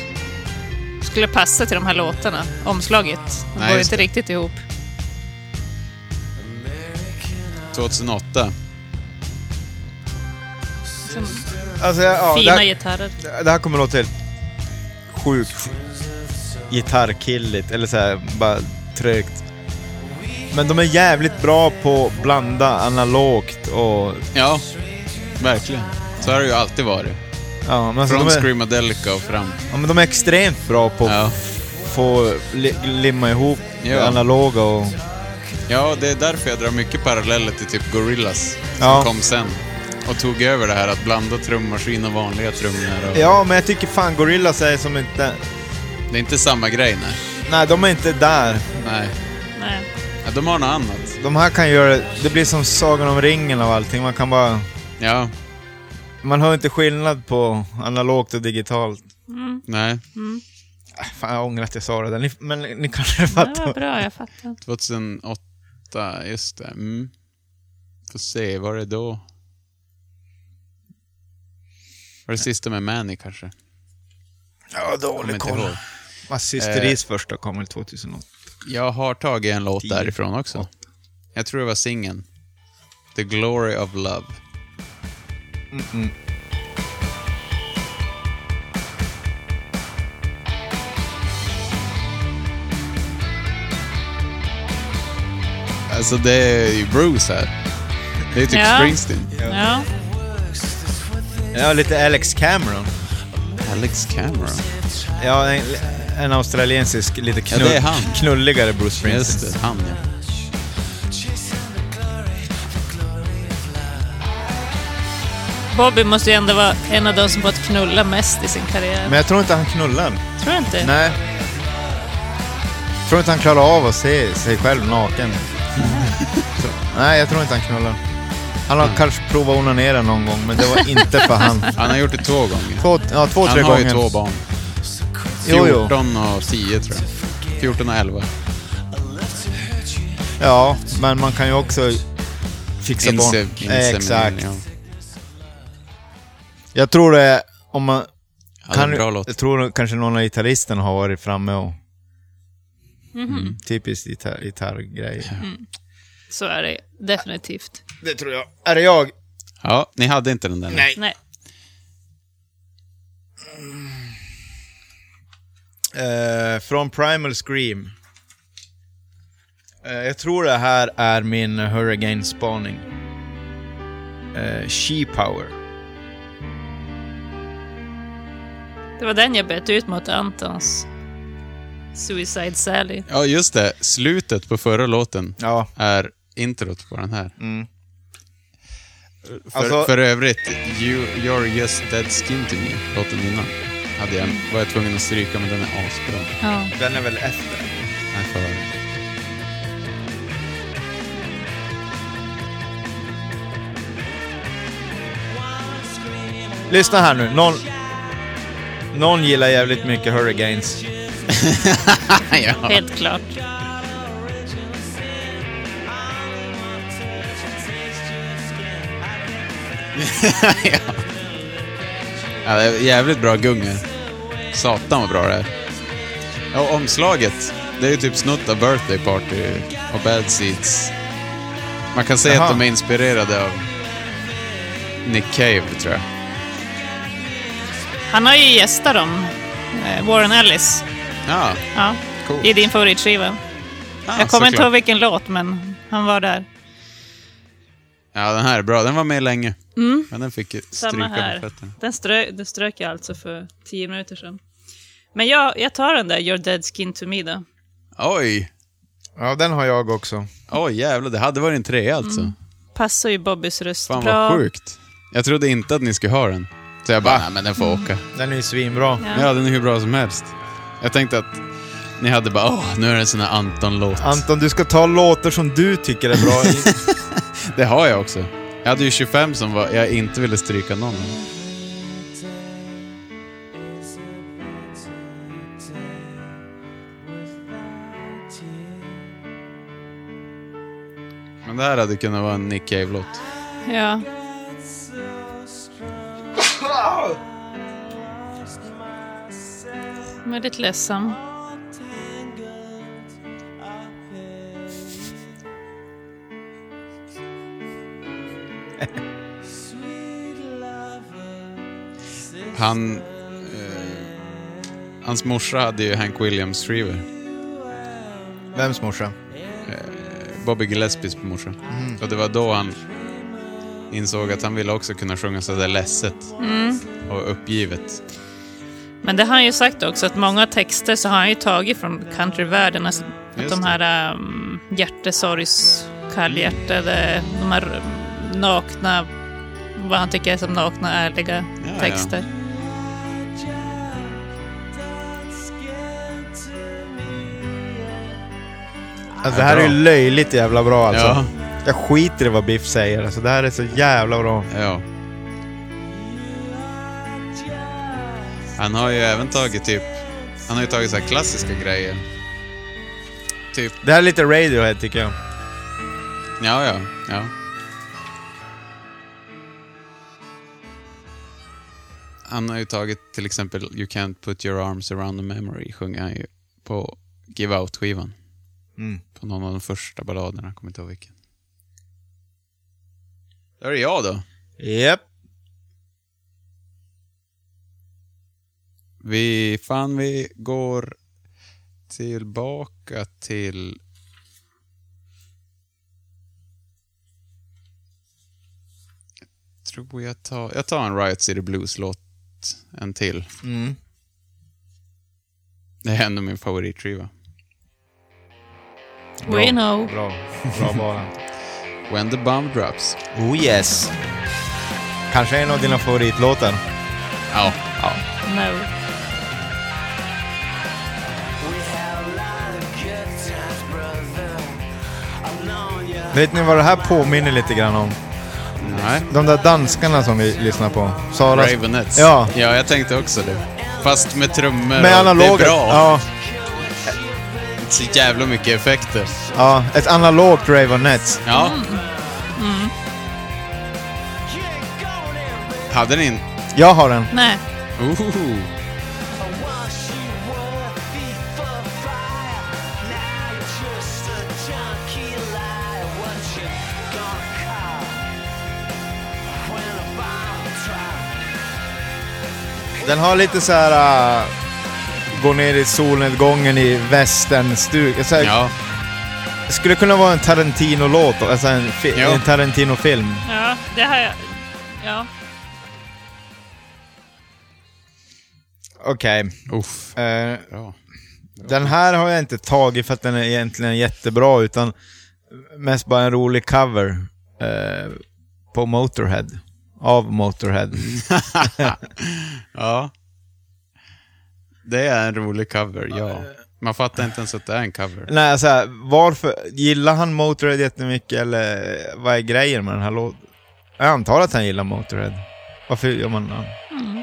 D: skulle passa till de här låtarna. Omslaget
F: Nej,
D: Nej, går ju
F: just
D: inte
F: det.
D: riktigt ihop.
F: 2008.
D: Som
C: Alltså, ja,
D: fina
C: där-
D: gitarrer.
C: Det här kommer låta helt sjukt gitarrkilligt, eller så här, bara trögt. Men de är jävligt bra på att blanda analogt och...
F: Ja, verkligen. Så har det ju alltid varit.
C: Ja, men alltså
F: Från
C: de, är,
F: Screamadelica och fram.
C: ja, men de är extremt bra på att
F: Ja.
C: få li, limma ihop
F: Ja.
C: det analoga och...
F: Ja, det är därför jag drar mycket paralleller till typ Gorillaz, som
C: Ja.
F: kom sen. Och tog över det här att blanda trummaskin och vanliga trummor. Och...
C: Ja, men jag tycker fan Gorillaz är som inte...
F: Det är inte samma grej, nej.
C: Nej, de är inte där.
F: nej.
D: Nej.
F: Ja, de har något annat.
C: De här kan göra... Det blir som Sagan om ringen av allting. Man kan bara...
F: Ja,
C: Man hör inte skillnad på analogt och digitalt. Äh,
F: nej.
C: Fan, jag ångrar att jag sa det där. Ni, men ni kanske
D: Det var
C: fattar.
D: bra, jag fattar.
F: 2008, just det. Mm. Får se, var det då? Var det sista med Manny kanske?
C: Ja,
F: Kommer
C: dålig
F: inte Eh. ihåg.
C: Vad Systeris första kom väl 2008?
F: Jag har tagit en låt därifrån också. Jag tror det var singeln. The Glory of Love. Alltså det är ju Bruce här. Det är typ
D: Ja.
F: Springsteen.
D: Ja.
C: Ja, lite Alex Cameron.
F: Alex Cameron.
C: Ja, en, en australiensisk, lite
F: Ja,
C: knull,
F: det är han.
C: knulligare Bruce Springsteen.
F: Just det, han ja.
D: Bobby måste ju ändå vara en av de som fått knulla mest i sin karriär.
C: Men jag tror inte han knullar.
D: Tror du inte?
C: Nej. tror inte han klarar av att se sig själv naken. Så, nej, jag tror inte han knullar. Han
F: Mm.
C: har kanske provat att onanera någon gång, men det var inte för han.
F: Han har gjort det två gånger.
C: Två, ja, två,
F: Han
C: tre
F: har
C: gånger.
F: ju två barn.
C: Jo, jo.
F: 14 och 10 tror jag. 14 och 11.
C: Ja, men man kan ju också fixa barn.
F: Inse, inse
C: Exakt.
F: meningen,
C: Jag tror det, är- om man...
F: Ja,
C: Kan,
F: kan bra låt.
C: jag tror kanske någon av gitarristerna har varit framme och... Mm. Typiskt gitarr, gitarrgrej.
D: Så är det definitivt.
C: Det tror jag. Är det jag?
F: Ja, ni hade inte den där?
C: Nej.
D: Nej.
C: Eh, från Primal Scream. Eh, jag tror det här är min Hurricane-spaning. Eh, she Power.
D: Det var den jag bet ut mot Antons Suicide Sally.
F: Ja, just det. Slutet på förra låten
C: Ja. Mm.
F: är introt på den här. För,
C: Alltså-
F: för övrigt, you, You're just dead skin to me, låten innan, hade jag, var jag tvungen att stryka, men den är asbra.
D: Ja.
C: Den är väl efter?
F: Nej, för-
C: Lyssna här nu. Någon, någon gillar jävligt mycket Hurricanes.
D: Helt klart.
F: Ja, det är jävligt bra gunga. Satan vad bra det är. Ja, och omslaget, det är ju typ snutt av Birthday Party och Bad Seeds. Man kan säga
C: Jaha.
F: att de är inspirerade av Nick Cave, tror jag.
D: Han har ju gästat dem. Eh, Warren Ellis.
F: Ja,
D: Ja.
F: Coolt.
D: I din favoritskiva.
F: ja
D: jag kommer inte
F: såklart.
D: ihåg vilken låt, men han var där.
F: Ja, den här är bra. Den var med länge. Men den fick ju
D: Mm. Samma
F: stryka med
D: här.
F: fötterna.
D: Den strö, det strök jag alltså för tio minuter sedan. Men jag, jag tar den där Your Dead Skin To Me då.
F: Oj!
C: Ja, den har jag också.
F: Oj, jävlar. Det hade varit en trea alltså.
D: Passar ju Bobbys röst
F: Fan
D: Mm. bra.
F: vad sjukt. Jag trodde inte att ni skulle ha den. Så jag bara, nej men den får åka.
C: Den är ju svinbra.
F: Ja, den är hur bra som helst. Jag tänkte att ni hade bara, åh, nu är det en sån här Anton-låt.
C: Anton, du ska ta låtar som du tycker är bra.
F: det har jag också. Jag hade ju 25 som var, jag inte ville stryka någon. Men det här hade kunnat vara en Nick Cave-låt.
D: Ja. Jag är lite ledsam.
F: Han... Eh, hans morsa hade ju Hank Williams Shriver.
C: Vems morsa?
F: Bobby Gillespies morsa. Och det var då han insåg att han ville också kunna sjunga sådär ledset och uppgivet.
D: Men det har han ju sagt också, att många texter så har han ju tagit från countryvärlden. Alltså, att
F: Just
D: de
F: det.
D: här um, hjärtesorgs, kallhjärtade, de här nakna, vad han tycker är som nakna, ärliga
F: Ja,
D: texter.
C: Alltså, det här är ju löjligt jävla bra alltså.
F: Ja.
C: Jag skiter i vad Biff säger. Alltså, det här är så jävla bra.
F: Ja. Han har ju även tagit typ... Han har ju tagit så här klassiska grejer. Typ...
C: Det här är lite Radiohead tycker jag.
F: Ja, ja. ja. Han har ju tagit till exempel You can't put your arms around a memory sjunger han ju på Give Out-skivan. På någon av de första balladerna, jag kommer inte ihåg vilken. Där är det jag då.
C: Japp.
F: Vi, fan, vi går tillbaka till... Jag tror jag tar... Jag tar en Riot City Blues-låt, en till.
C: Mm.
F: Det är ändå min favoritskiva.
D: We know.
C: Bra. Bra bara.
F: When the bomb drops.
C: Oh yes. Kanske en av dina favoritlåtar.
F: Ja.
D: No.
G: We have a lot of good
C: Vet ni vad det här påminner lite grann om?
F: Nej.
C: De där danskarna som vi lyssnar på. Sara...
F: Ravenettes.
C: Ja.
F: ja, jag tänkte också det. Fast med trummor
C: Med
F: och det är
C: analoga...
F: bra.
C: Ja,
F: Så jävla mycket effekter.
C: ja, ett analogt Ravenettes.
F: Ja. Hade ni inte...
C: Jag har den.
D: Nej.
F: Ooh.
C: Den har lite så här... äh, gå ner i solnedgången i västernstuga. Så här-
F: Ja.
C: Det skulle kunna vara en Tarantino-låt, alltså en, fi-
F: Ja.
C: en Tarantino-film.
D: Ja, det har jag... Ja.
C: Okej.
F: Uff.
C: eh,
F: Bra.
C: den här har jag inte tagit för att den är egentligen jättebra, utan mest bara en rolig cover eh, på Motorhead. Av Motorhead.
F: Ja. Det är en rolig cover, ja. Man fattar inte ens att det är en cover.
C: Nej, så här, varför... Gillar han Motorhead jättemycket, eller vad är grejen med den här låten? Jag antar att han gillar Motorhead. Varför gör man den?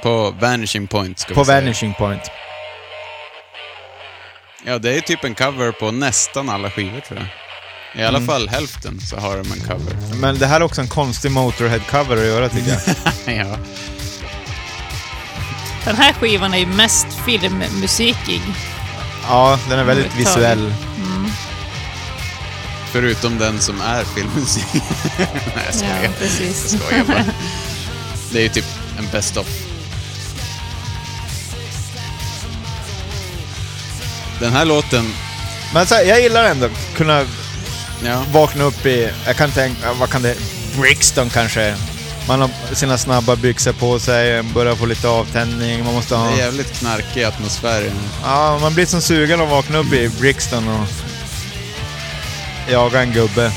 F: På Vanishing Point ska
C: På
F: vi säga.
C: Vanishing Point.
F: Ja, det är typ en cover på nästan alla skivor tror jag. I alla fall hälften så har de en cover.
C: Men det här är också en konstig Motorhead-cover att göra, tycker jag.
F: ja.
D: Den här skivan är ju mest filmmusikig.
C: Ja, den är väldigt visuell.
F: Förutom den som är filmmusik. Nej, jag skojar.
D: Ja, precis.
F: Jag skojar bara. Det är ju typ en best of. Den här låten,
C: Men så här, jag gillar ändå kunna
F: ja.
C: vakna upp i, jag kan tänka, vad kan det, Brixton kanske? Man har sina snabba byxor på sig, börjar få lite avtändning, man måste
F: Det
C: ha...
F: är jävligt knarkig atmosfär i den.
C: Ja, man blir som sugen att vakna upp i Brixton och jaga en gubbe.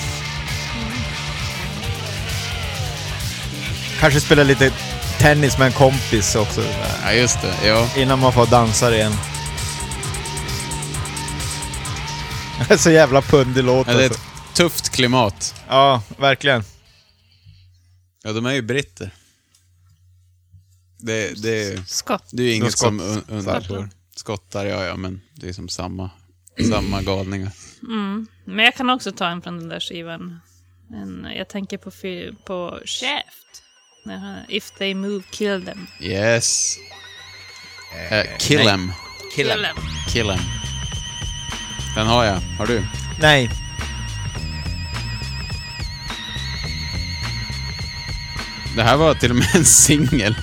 C: Kanske spela lite tennis med en kompis också,
F: Ja, just det. Ja.
C: innan man får dansa igen. Det är så jävla pundig låt
F: ja det är
C: alltså.
F: ett tufft klimat.
C: Ja, verkligen.
F: Ja, de är ju britter. Det, det, är-
D: Skott.
F: det är ju inget
C: skott-
F: som un- undgår. Skottar, ja, ja, men det är som samma, samma galningar.
D: Men jag kan också ta en från den där skivan. En, jag tänker på, fi- på Shaft. När han- If they move, kill them.
F: Yes. Eh, kill em.
D: Kill them.
F: Kill em. Den har jag. Har du?
C: Nej.
F: Det här var till och med en singel.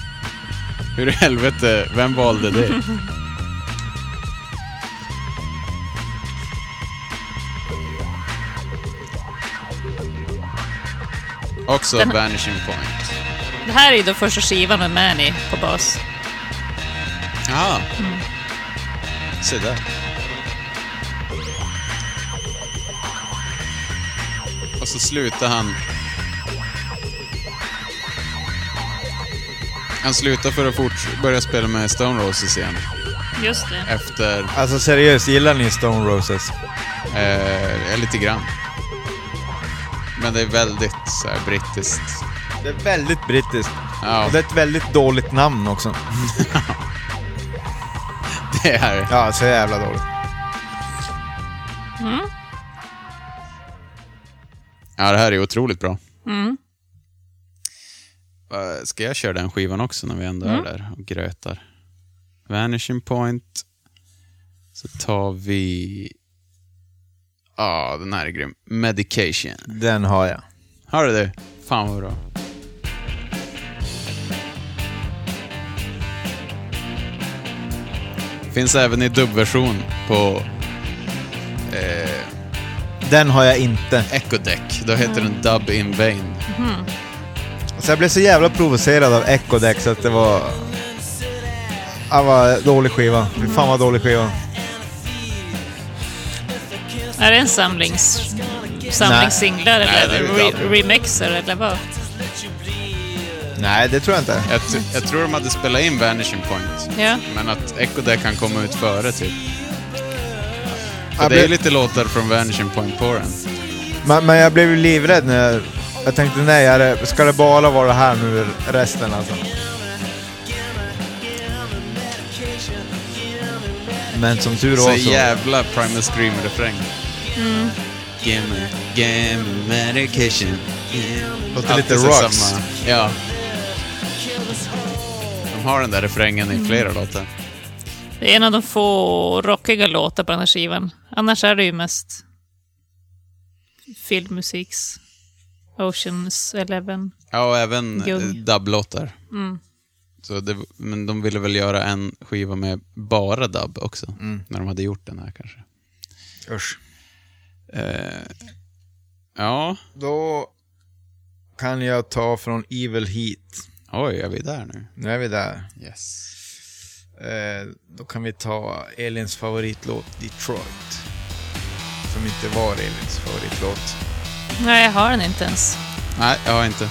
F: Hur i helvete, vem valde det? Också Vanishing Point.
D: Det här är ju då första skivan med Manny på bas.
F: Ja. Ah.
C: Mm.
F: Se där. Och så slutar han... Han slutar för att fort börja spela med Stone Roses igen.
D: Just det.
F: Efter...
C: Alltså seriöst, gillar ni Stone Roses?
F: Eh, ja, lite grann. Men det är väldigt så här, brittiskt.
C: Det är väldigt brittiskt.
F: Ja,
C: Och det är ett väldigt dåligt namn också.
F: det är
C: Ja, så jävla dåligt.
F: Ja, det här är otroligt bra. Mm. Ska jag köra den skivan också när vi ändå är där och grötar? Vanishing Point. Så tar vi... Ja, den här är grym. Medication.
C: Den har jag.
F: Har du det? Fan vad bra. Finns även i dubbversion på
C: Den har jag inte.
F: Echo Deck. Då heter den Dub In Vain.
C: Så Alltså, jag blev så jävla provocerad av Echo Deck så att det var... Ja, vad dålig skiva. Fy fan vad dålig skiva.
D: Är det en samlings... Samlingssinglar
F: Nej,
D: eller
F: det är ju
D: re-
F: dubbel.
D: remixer eller vad?
C: Nej, det tror jag inte.
F: Jag, tr- jag tror de hade spelat in Vanishing Point.
D: Ja.
F: Men att Echo Deck kan komma ut före, typ. För
C: Ja,
F: det är ju
C: men-
F: lite låtar från Vanishing Point på den.
C: Men, men jag blev ju livrädd när jag, jag tänkte nej, är det, ska det bara vara här nu resten alltså? Men som tur var
F: Så
C: så...
F: jävla Primal Scream-refräng. Gimme, gimme medication. Gimme.
C: Låter
F: Alltid
C: lite
F: så
C: rocks.
F: Ja. De har den där refrängen i flera låtar.
D: Det är en av de få rockiga låtar på den här skivan. Annars är det ju mest filmmusiks Oceans Eleven.
F: Ja, och även eh,
D: Gung.
F: dubblåtar. Så det, men de ville väl göra en skiva med bara dubb också,
C: Mm.
F: när de hade gjort den här kanske.
C: Usch.
F: Eh, ja,
C: Då kan jag ta från Evil Heat.
F: oj, är vi där nu?
C: Nu är vi där.
F: Yes.
C: Eh, då kan vi ta Elins favoritlåt Detroit. Som inte var Elins favoritlåt.
D: Nej, jag har den inte ens.
F: Nej, jag har inte.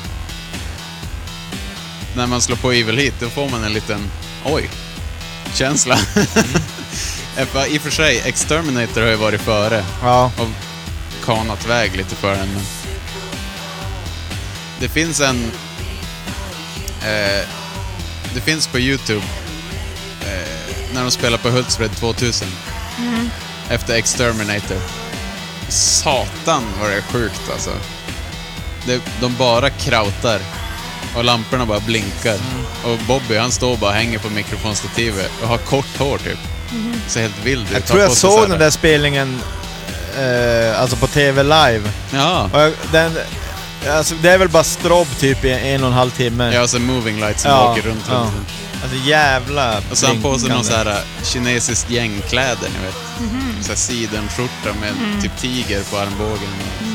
F: När man slår på Evil Hit, då får man en liten oj-känsla. I och för sig, Exterminator har ju varit före
C: Ja.
F: och kanat väg lite för den. Men... Det finns en... Eh, det finns på YouTube eh, när de spelar på Hultsfred 2000 efter Exterminator. Satan vad det är sjukt alltså. Det, de bara krautar och lamporna bara blinkar. Och Bobby han står och bara hänger på mikrofonstativet och har kort hår typ. Så helt vild ut.
C: Jag
F: Tar
C: tror
F: på
C: jag
F: sig så
C: såg
F: här-
C: den där spelningen eh, alltså på TV live.
F: Ja.
C: Och jag, den, alltså, det är väl bara strobb typ i en och en halv timme.
F: Ja, alltså moving lights som
C: Ja,
F: åker runt.
C: ja.
F: runt.
C: Alltså jävla
F: Och så har han på sig någon
C: blinkande.
F: sån här kinesiskt gängkläder, ni vet. Mm. Så här sidenskjorta med typ tiger på armbågen.
C: Ja,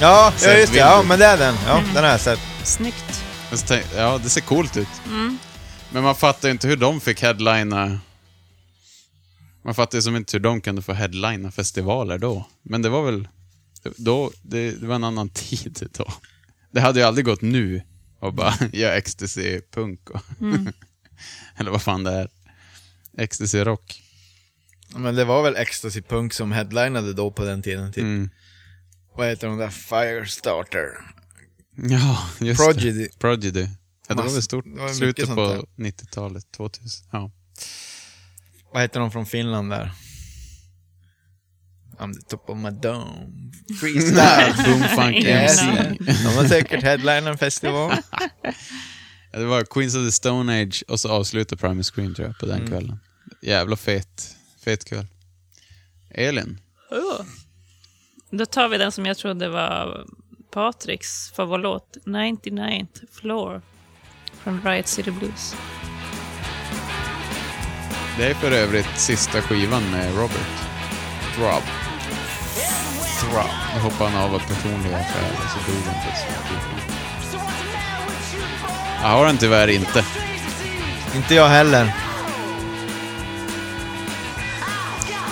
C: ja
F: Seth
C: just det. Ja,
F: Winter.
C: men det är den. Ja, den har jag sett.
D: Snyggt.
F: Och så tänk, ja, det ser coolt ut. Men man fattar ju inte hur de fick headlina. Man fattar ju som inte hur de kunde få headlina festivaler då. Men det var väl... Då, det, det var en annan tid då. Det hade ju aldrig gått nu och bara göra ecstasy-punk. och- Eller vad fan det är. Ecstasy-rock.
C: Men det var väl Ecstasy Punk som headlinade då på den tiden typ. Vad heter de där? Firestarter.
F: Ja, just
C: Prodigy.
F: det. Prodigy. Ja, det var
C: Massa-
F: väl stort.
C: det var mycket
F: Slutet
C: sånt
F: på
C: där.
F: 90-talet, 2000. Ja.
C: Vad heter de från Finland där? I'm the top of my dome.
F: Freestyle. Boom Funk
C: Yes.
F: MC.
C: De har säkert headlinat en festival.
F: Ja, det var Queens of the Stone Age och så avslutade Primus Scream tror jag på den
C: Mm.
F: kvällen. Jävla fet, fet kväll. Elin? Oh.
D: Då tar vi den som jag trodde var Patriks favoritlåt, 99th Floor från Riot City Blues.
F: Det är för övrigt sista skivan med Robert. Rob. Rob. Nu hoppar han av av personliga skäl och så dog han plötsligt. Jag har den tyvärr inte.
C: Inte jag heller.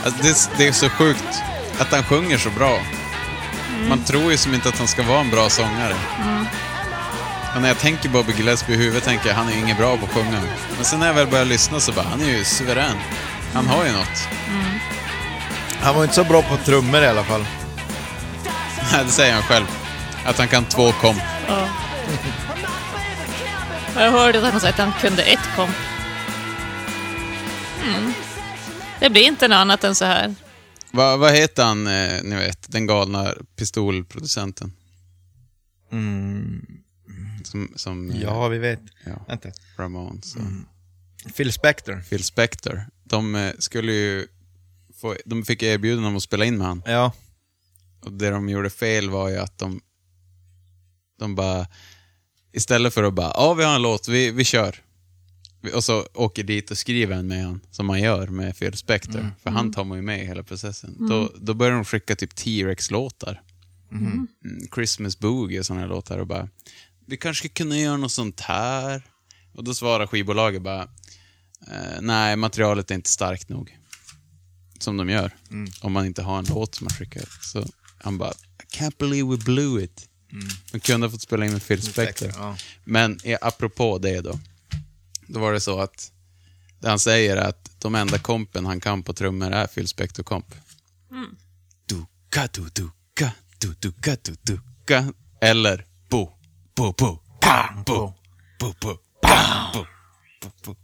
F: Alltså, det, det är så sjukt att han sjunger så bra. Man tror ju som inte att han ska vara en bra sångare. Och när jag tänker Bobby Gillespie i huvudet tänker jag han är ju inget bra på att sjunga. Men sen när jag väl börjar lyssna så bara, han är ju suverän. Han har ju något.
C: Han var inte så bra på trummor i alla fall.
F: Nej, det säger han själv. Att han kan två komp.
D: Och jag hörde att han sa att han kunde ett komp. Mm. Det blir inte något annat än så här.
F: Va, vad heter han, eh, ni vet, den galna pistolproducenten? Som, som eh,
C: Ja, vi vet.
F: Ja.
C: Vänta.
F: Ramones. och-
C: Phil Spector.
F: Phil Spector. De eh, skulle ju få, de fick erbjudande om att spela in med han.
C: Ja.
F: Och det de gjorde fel var ju att de, de bara, istället för att bara, ja vi har en låt, vi, vi kör. Vi- Och så åker dit och skriver en med han, som man gör med Phil Spector. För han tar man ju med i hela processen. Då, då börjar de skicka typ T-Rex-låtar. Mm, Christmas Boogie och sådana låtar och bara, vi kanske kunde göra något sånt här. Och då svarar skivbolaget bara, eh, nej materialet är inte starkt nog som de gör. Om man inte har en låt som man skickar. Så han bara, I can't believe we blew it. De kunde ha fått spela in med Phil Spector.
C: ja.
F: Men eh, apropå det då. Då var det så att det han säger är att de enda kompen han kan på trummor är Phil Spector-komp. Duka, du, duka, du du ka du du ka Eller bo, bo, bo, pam, bo, bo, bo, pam, bo, bo, bo.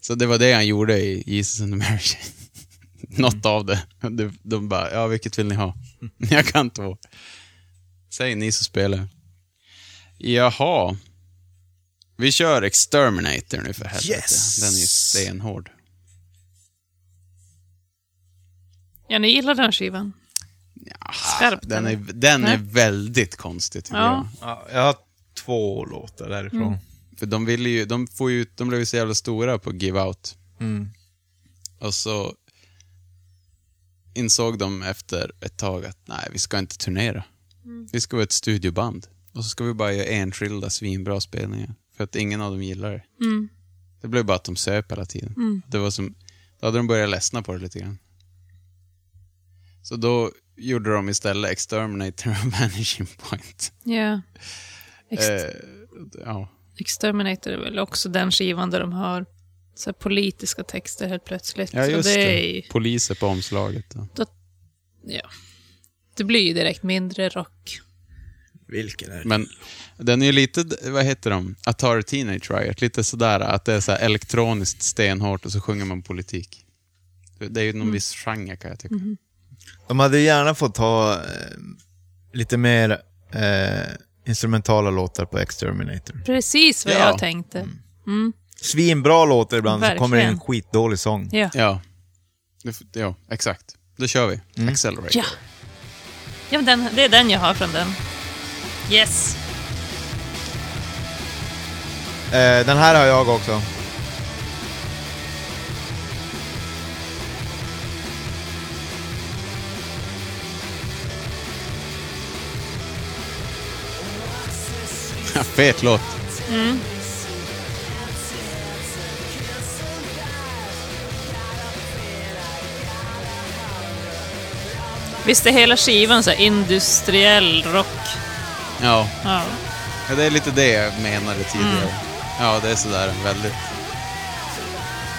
F: Så det var det han gjorde i Jesus and the Mary Chain. Något av det. De, de bara, ja vilket vill ni ha? Jag kan två. Säg ni så spelar jag. Jaha. Vi kör Exterminator nu för helvete.
C: Yes!
F: Den är ju stenhård.
D: Ja, ni gillar den skivan? Skarp.
F: Den är, den är väldigt konstig tycker
D: Ja.
F: jag.
C: Ja, jag har två låtar därifrån.
F: För de ville ju, de får ju, de blev ju så jävla stora på Give Out. Och så insåg de efter ett tag att nej, vi ska inte turnera. Vi ska vara ett studioband. Och så ska vi bara göra enskilda svinbra spelningar. För att ingen av dem gillar det. Det blev bara att de söp hela tiden. Det var som, då hade de börjat ledsna på det lite grann. Så då gjorde de istället Exterminator och Vanishing Point.
D: Ja. Ex-
F: Eh, ja.
D: Exterminator är väl också den skivan där de har så här politiska texter helt plötsligt.
F: Ja, just
D: så det,
F: det.
D: är ju-
F: Poliser på omslaget. Då.
D: ja. det blir ju direkt mindre rock.
C: Vilken är det?
F: Men den är ju lite, vad heter de? Atari Teenage Riot. Lite sådär att det är så här elektroniskt stenhårt och så sjunger man politik. Det är ju någon
D: Mm.
F: viss genre kan jag tycka.
D: Mhm.
C: De hade gärna fått ha eh, lite mer eh, instrumentala låtar på Exterminator.
D: Precis vad
F: Ja. Mm.
D: jag tänkte.
C: Svinbra låtar ibland, så kommer det
D: Verkligen.
C: en skitdålig sång.
D: Ja.
F: Ja. Det f- Ja, exakt. Då kör vi. Accelerate.
D: Ja. ja men den, det är den jag har från den. Yes.
C: Eh, den här har jag också.
F: Ja, fet låt.
D: Visst är hela skivan så här industriell rock?
F: Ja.
D: Ja.
F: ja, det är lite det jag menade tidigare.
D: Mm.
F: Ja, det är sådär väldigt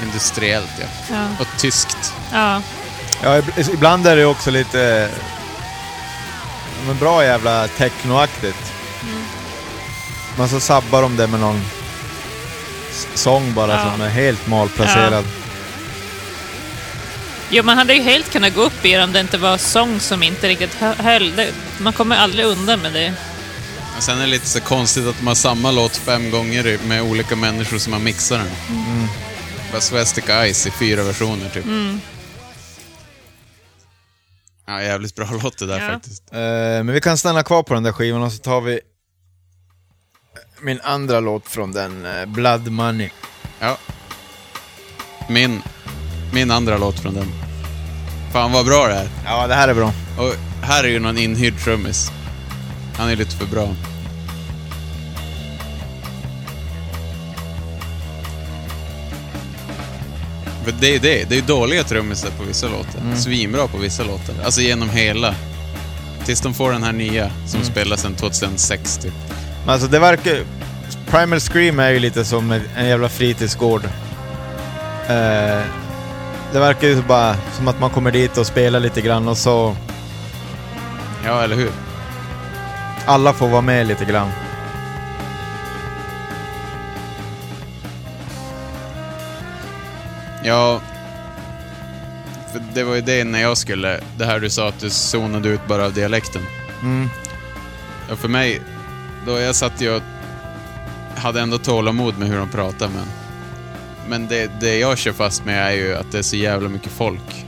F: industriellt ja.
D: Ja.
F: Och tyskt.
D: ja.
C: Ja, ib- ibland är det också lite... Eh, men bra jävla technoaktigt.
D: Mm.
C: Man så sabbar de det med någon s- sång bara
D: Ja.
C: som är helt malplacerad.
D: Jo, man hade ju helt kunnat gå upp i det om det inte var sång som inte riktigt hö- höll. Det, man kommer aldrig undan med det.
F: Men sen är det lite så konstigt att de har samma låt fem gånger i- med olika människor som har mixat den. Mm. Bara Swastic Ice i fyra versioner typ. Ja, jävligt bra låt det där
D: Ja.
F: faktiskt.
C: Eh, men vi kan stanna kvar på den där skivan och så tar vi min andra låt från den, eh, Blood Money.
F: Ja. Min, min andra låt från den. Fan vad bra det är.
C: Ja, det här är bra.
F: Och här är ju någon inhyrd trummis. Han är lite för bra. För det är ju det. Det är ju dåliga trummisar på vissa låtar. Svinbra på vissa låtar. Alltså genom hela. Tills de får den här nya som spelas sedan 2006 typ.
C: Men alltså det verkar... Primal Scream är ju lite som en en jävla fritidsgård. Eh, det verkar ju bara som att man kommer dit och spelar lite grann och så
F: Ja, eller hur?
C: alla får vara med lite grann.
F: Ja. För det var ju det när jag skulle... Det här du sa att du zonade ut bara av dialekten.
C: Mm.
F: Ja, för mig... Då jag satt ju och hade ändå tålamod med hur de pratar men... Men det, det jag kör fast med är ju att det är så jävla mycket folk.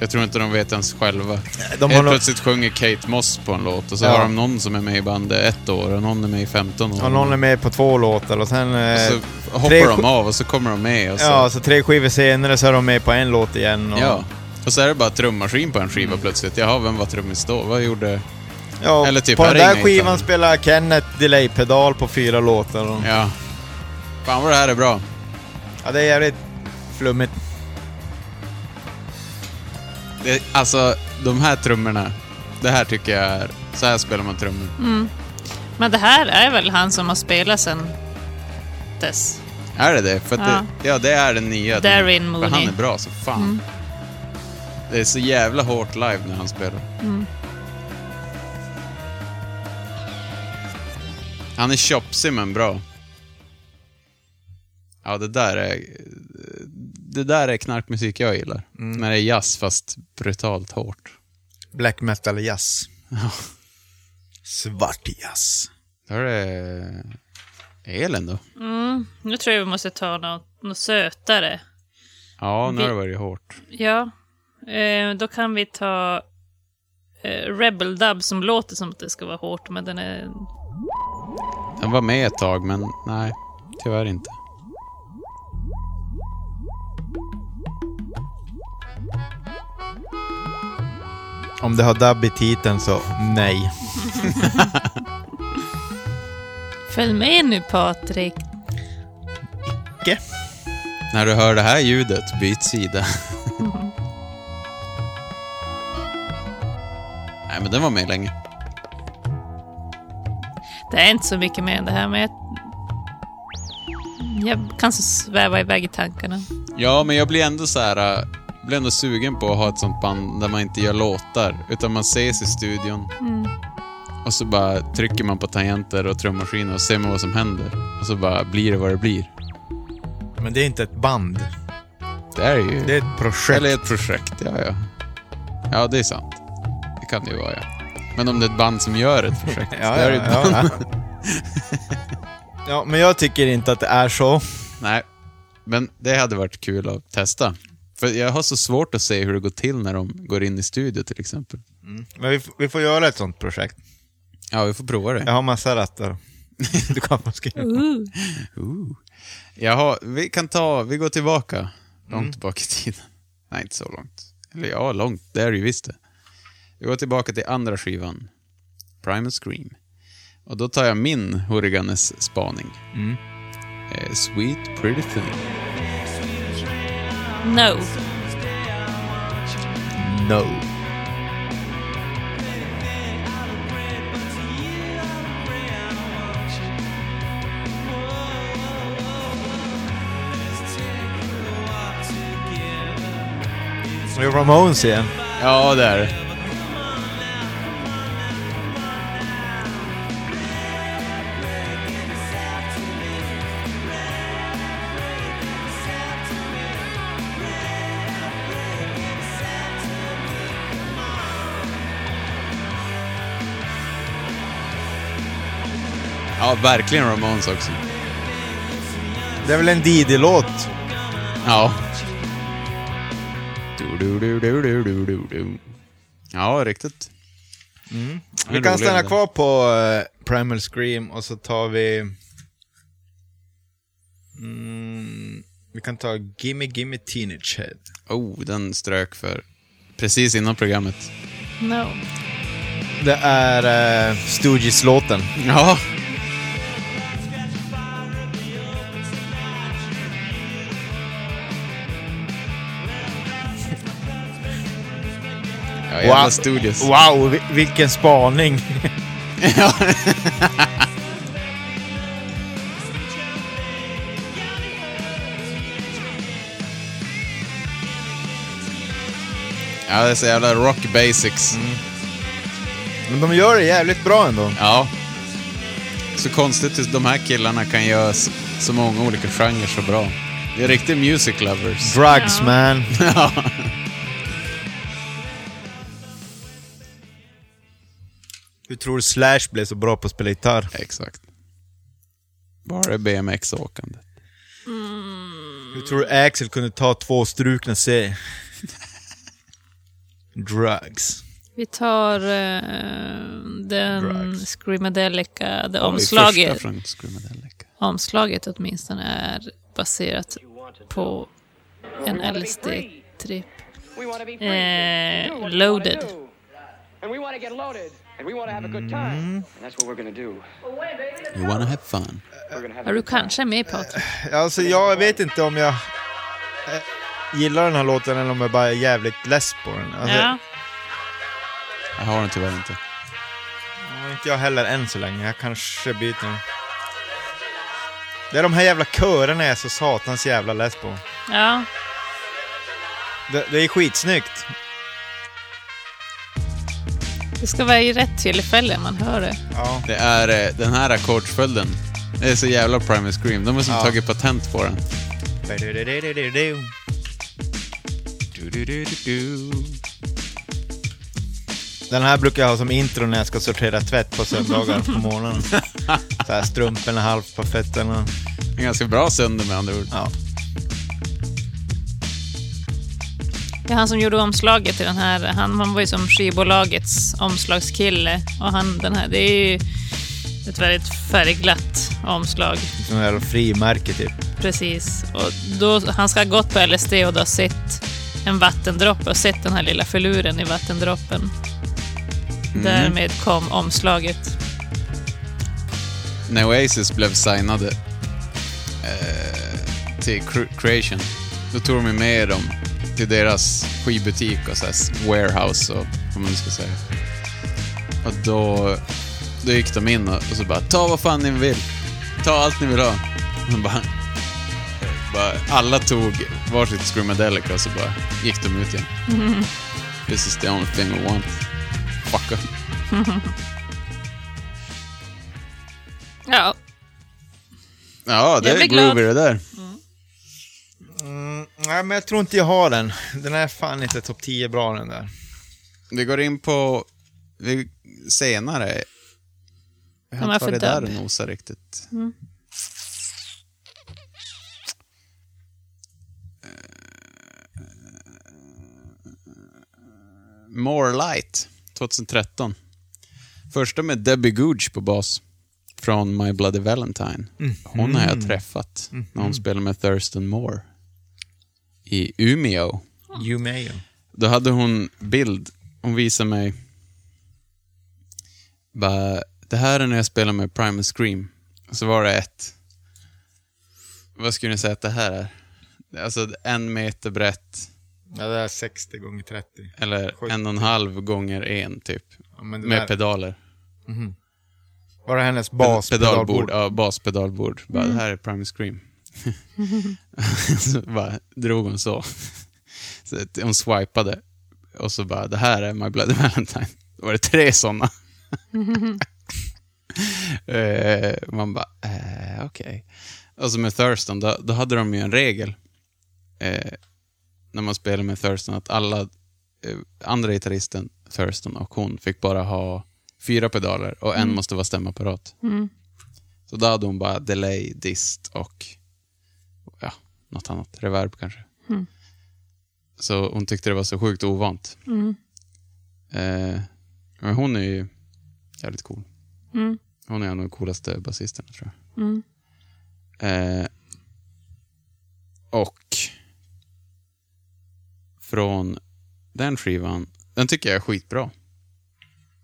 F: Jag tror inte de vet ens själva.
C: Mm. de har
F: Helt
C: nog-
F: plötsligt sjunger Kate Moss på en låt och så
C: Ja.
F: har de någon som är med i bandet ett år och någon är med i 15 år.
C: Och någon är med på två låtar och sen...
F: och
C: Eh,
F: så hoppar
C: tre-
F: de av och så kommer de med. Och så...
C: Ja, så tre skivor senare så är de med på en låt igen. Och,
F: Ja. Och så är det bara trummaskin på en skiva plötsligt. Jaha, vem var trummis då? Vad gjorde...
C: Ja, och
F: Eller typ,
C: på den
F: här är
C: där
F: inga
C: skivan
F: gitarrer.
C: spelar Kenneth delay-pedal på fyra låtar. Och, ja.
F: Ja. Fan vad det här är bra.
C: det är jävligt flummigt.
F: Det, alltså, de här trummorna. Det här tycker jag är... Så här spelar man trummor.
D: Men det här är väl han som har spelat sen dess?
F: Är det det? För att
D: Ja.
F: Det, ja, det är den nya.
D: Darin
F: Den-
D: Mooney. Mm.
F: För han är bra så fan.
D: Mm.
F: Det är så jävla hårt live när han spelar. Han är tjopsig men bra. Ja, det där är... Det där är knarkmusik jag gillar. När det är jazz fast brutalt hårt.
C: Black metal jazz. Svart jazz.
F: Då är det... Elen då?
D: Nu tror jag vi måste ta något, något sötare.
F: Ja, nu har det
D: Vi-
F: varit hårt.
D: Ja, eh, då kan vi ta eh, Rebel Dub som låter som att det ska vara hårt, men den är...
F: Den var med ett tag, men nej. Tyvärr inte.
C: Om det har dubb i titeln så nej.
D: Följ med nu Patrik.
F: När du hör det här ljudet, byt sida. nej, men den var med länge.
D: Det är inte så mycket mer än det här, men jag, jag kan så sväva iväg i tankarna.
F: Ja, men jag blir ändå så här... äh, blir ändå sugen på att ha ett sånt band där man inte gör låtar, utan man ses i studion.
C: Mm.
F: Och så bara trycker man på tangenter och trummaskiner och ser man vad som händer. Och så bara blir det vad det blir.
C: Men det är inte ett band.
F: Det är ju...
C: Det är ett projekt.
F: Eller ett projekt, ja, ja. Ja, det är sant. Det kan det ju vara, ja. Men om det är ett band som gör ett projekt,
C: ja,
F: det är
C: ja,
F: det ett band.
C: ja, ja. ja, men jag tycker inte att det är så.
F: Nej, men det hade varit kul att testa. För jag har så svårt att se hur det går till när de går in i studio till exempel.
C: Men vi, f- vi får göra ett sånt projekt.
F: Ja, vi får prova det.
C: Jag har massa rattar. Du kan få skriva.
F: Jaha, vi kan ta, vi går tillbaka. Långt tillbaka i tiden. Nej, inte så långt. Eller ja, långt. Det är det ju visst det. Vi går tillbaka till andra skivan. Primal Scream. Och då tar jag min Hurriganes spaning. Eh, Sweet Pretty Thing.
D: No.
C: No. Det är Ramones igen.
F: Ja, det är det. Ja, verkligen Ramones också.
C: Det är väl en Didi-låt?
F: Ja. Du, du, du, du, du, du, du, du. Ja, riktigt.
C: Vi kan stanna kvar på eh, Primal Scream och så tar vi... Mm, vi kan ta Gimme Gimme Teenage Head.
F: Oh, den strök för precis innan programmet.
D: No.
C: Det är uh, Stooges-låten.
F: Ja. Ja, jävla
C: Wow.
F: studios.
C: Wow, vi- vilken spaning!
F: Ja, det är så jävla rock basics.
C: Mm. Men de gör det jävligt bra ändå.
F: Ja. Så konstigt att de här killarna kan göra s- så många olika genrer så bra. Det är riktiga music lovers.
C: Drugs man. Hur tror du Slash blev så bra på att spela gitarr?
F: Exakt. Bara BMX-åkande.
C: Hur tror du Axel kunde ta två strukna C? Drugs.
D: Vi tar eh, den
C: Drugs.
D: Screamadelica, där
F: Det
D: omslaget,
F: första från Screamadelica.
D: omslaget åtminstone är baserat på en LSD-tripp.
I: We want to be free.
D: Eh,
I: Do what we
D: loaded.
I: wanna do. And we want to get loaded. And we want to have a good time. And that's what we're going to do.
F: You wanna have fun.
I: We're going to have a
D: Är du
I: good time.
D: kanske med Patrik?
C: Alltså jag vet inte om jag eh, gillar den här låten eller om jag bara är jävligt less på den. Alltså,
D: Ja.
F: Jag har den tyvärr inte.
C: Inte jag heller än så länge. Jag kanske byter den. Det är de här jävla körerna jag är så satans jävla less på.
D: ja.
C: Det, det är skitsnyggt.
D: Det ska vara i rätt tillfälle man hör det.
C: Ja.
F: Det är eh, den här ackordsföljden. Det är så jävla Primal Scream. De har som
C: Ja.
F: tagit patent på den.
C: Den här brukar jag ha som intro när jag ska sortera tvätt på söndagar på morgonen. Så här strumporna halvt på fötterna.
F: En ganska bra sönder med andra ord.
C: Ja.
D: Det är han som gjorde omslaget till den här. Han, han var ju som skivbolagets omslagskille. Och han, den här, det är ju ett väldigt färgglatt omslag.
C: Som jävla frimärke typ.
D: Precis. Och då, han ska ha gått på LSD och då ha sett en vattendroppe och sett den här lilla filuren i vattendroppen.
F: Mm.
D: Därmed kom omslaget.
F: När Oasis blev signade eh, till Cre- Creation, då tog de ju med dem till deras skivbutik och så här warehouse och vad man nu ska säga. Och då, då gick de in och, och så bara ta vad fan ni vill. Ta allt ni vill ha. Och de bara, bara, alla tog varsitt Screamadelica och så bara gick de ut igen.
D: Mm.
F: This is the only thing we want. Fuck up.
D: Ja,
F: Ja, det
D: Jag
F: är
D: blir glad.
F: groovy det där.
C: Nej, men jag tror inte jag har den. Den är fan inte topp 10 bra den där.
F: Vi går in på vi, senare. Jag
D: De
F: har
D: är
F: inte
D: för Mm.
F: varit där och
D: dubb.
F: nosat riktigt. Eh, More Light, 2013. Första med Debbie Googe på bas. Från My Bloody Valentine. Hon har jag träffat när hon spelade med Thurston Moore. I Umeå.
C: You may.
F: Då hade hon bild. Hon visade mig. Bara, det här är när jag spelar med Primal Scream. Och så var det ett. Vad skulle ni säga att det här är? Alltså en meter brett.
C: Ja, det är 60 gånger 30.
F: Eller
C: Sjuttio.
F: en och en halv gånger en typ.
C: Ja, men det
F: Med
C: där-
F: pedaler.
C: Var det hennes bas?
F: pedalbord. Ja, baspedalbord. Bara, det här är Primal Scream. så bara drog hon så. så att hon swipade. Och så bara, det här är My Bloody Valentine. Då var det tre sådana. Eh, man bara, eh, okej. Och så med Thurston, då, då hade de ju en regel. Eh, när man spelade med Thurston, att alla eh, andra gitarristen, Thurston och hon, fick bara ha fyra pedaler och en måste vara stämapparat. Så då hade hon bara delay, dist och ja, något annat. Reverb kanske. Så hon tyckte det var så sjukt ovant. Eh, men hon är ju jävligt cool. Hon är en av de coolaste basisterna tror jag. Eh, och från den skivan, den tycker jag är skitbra.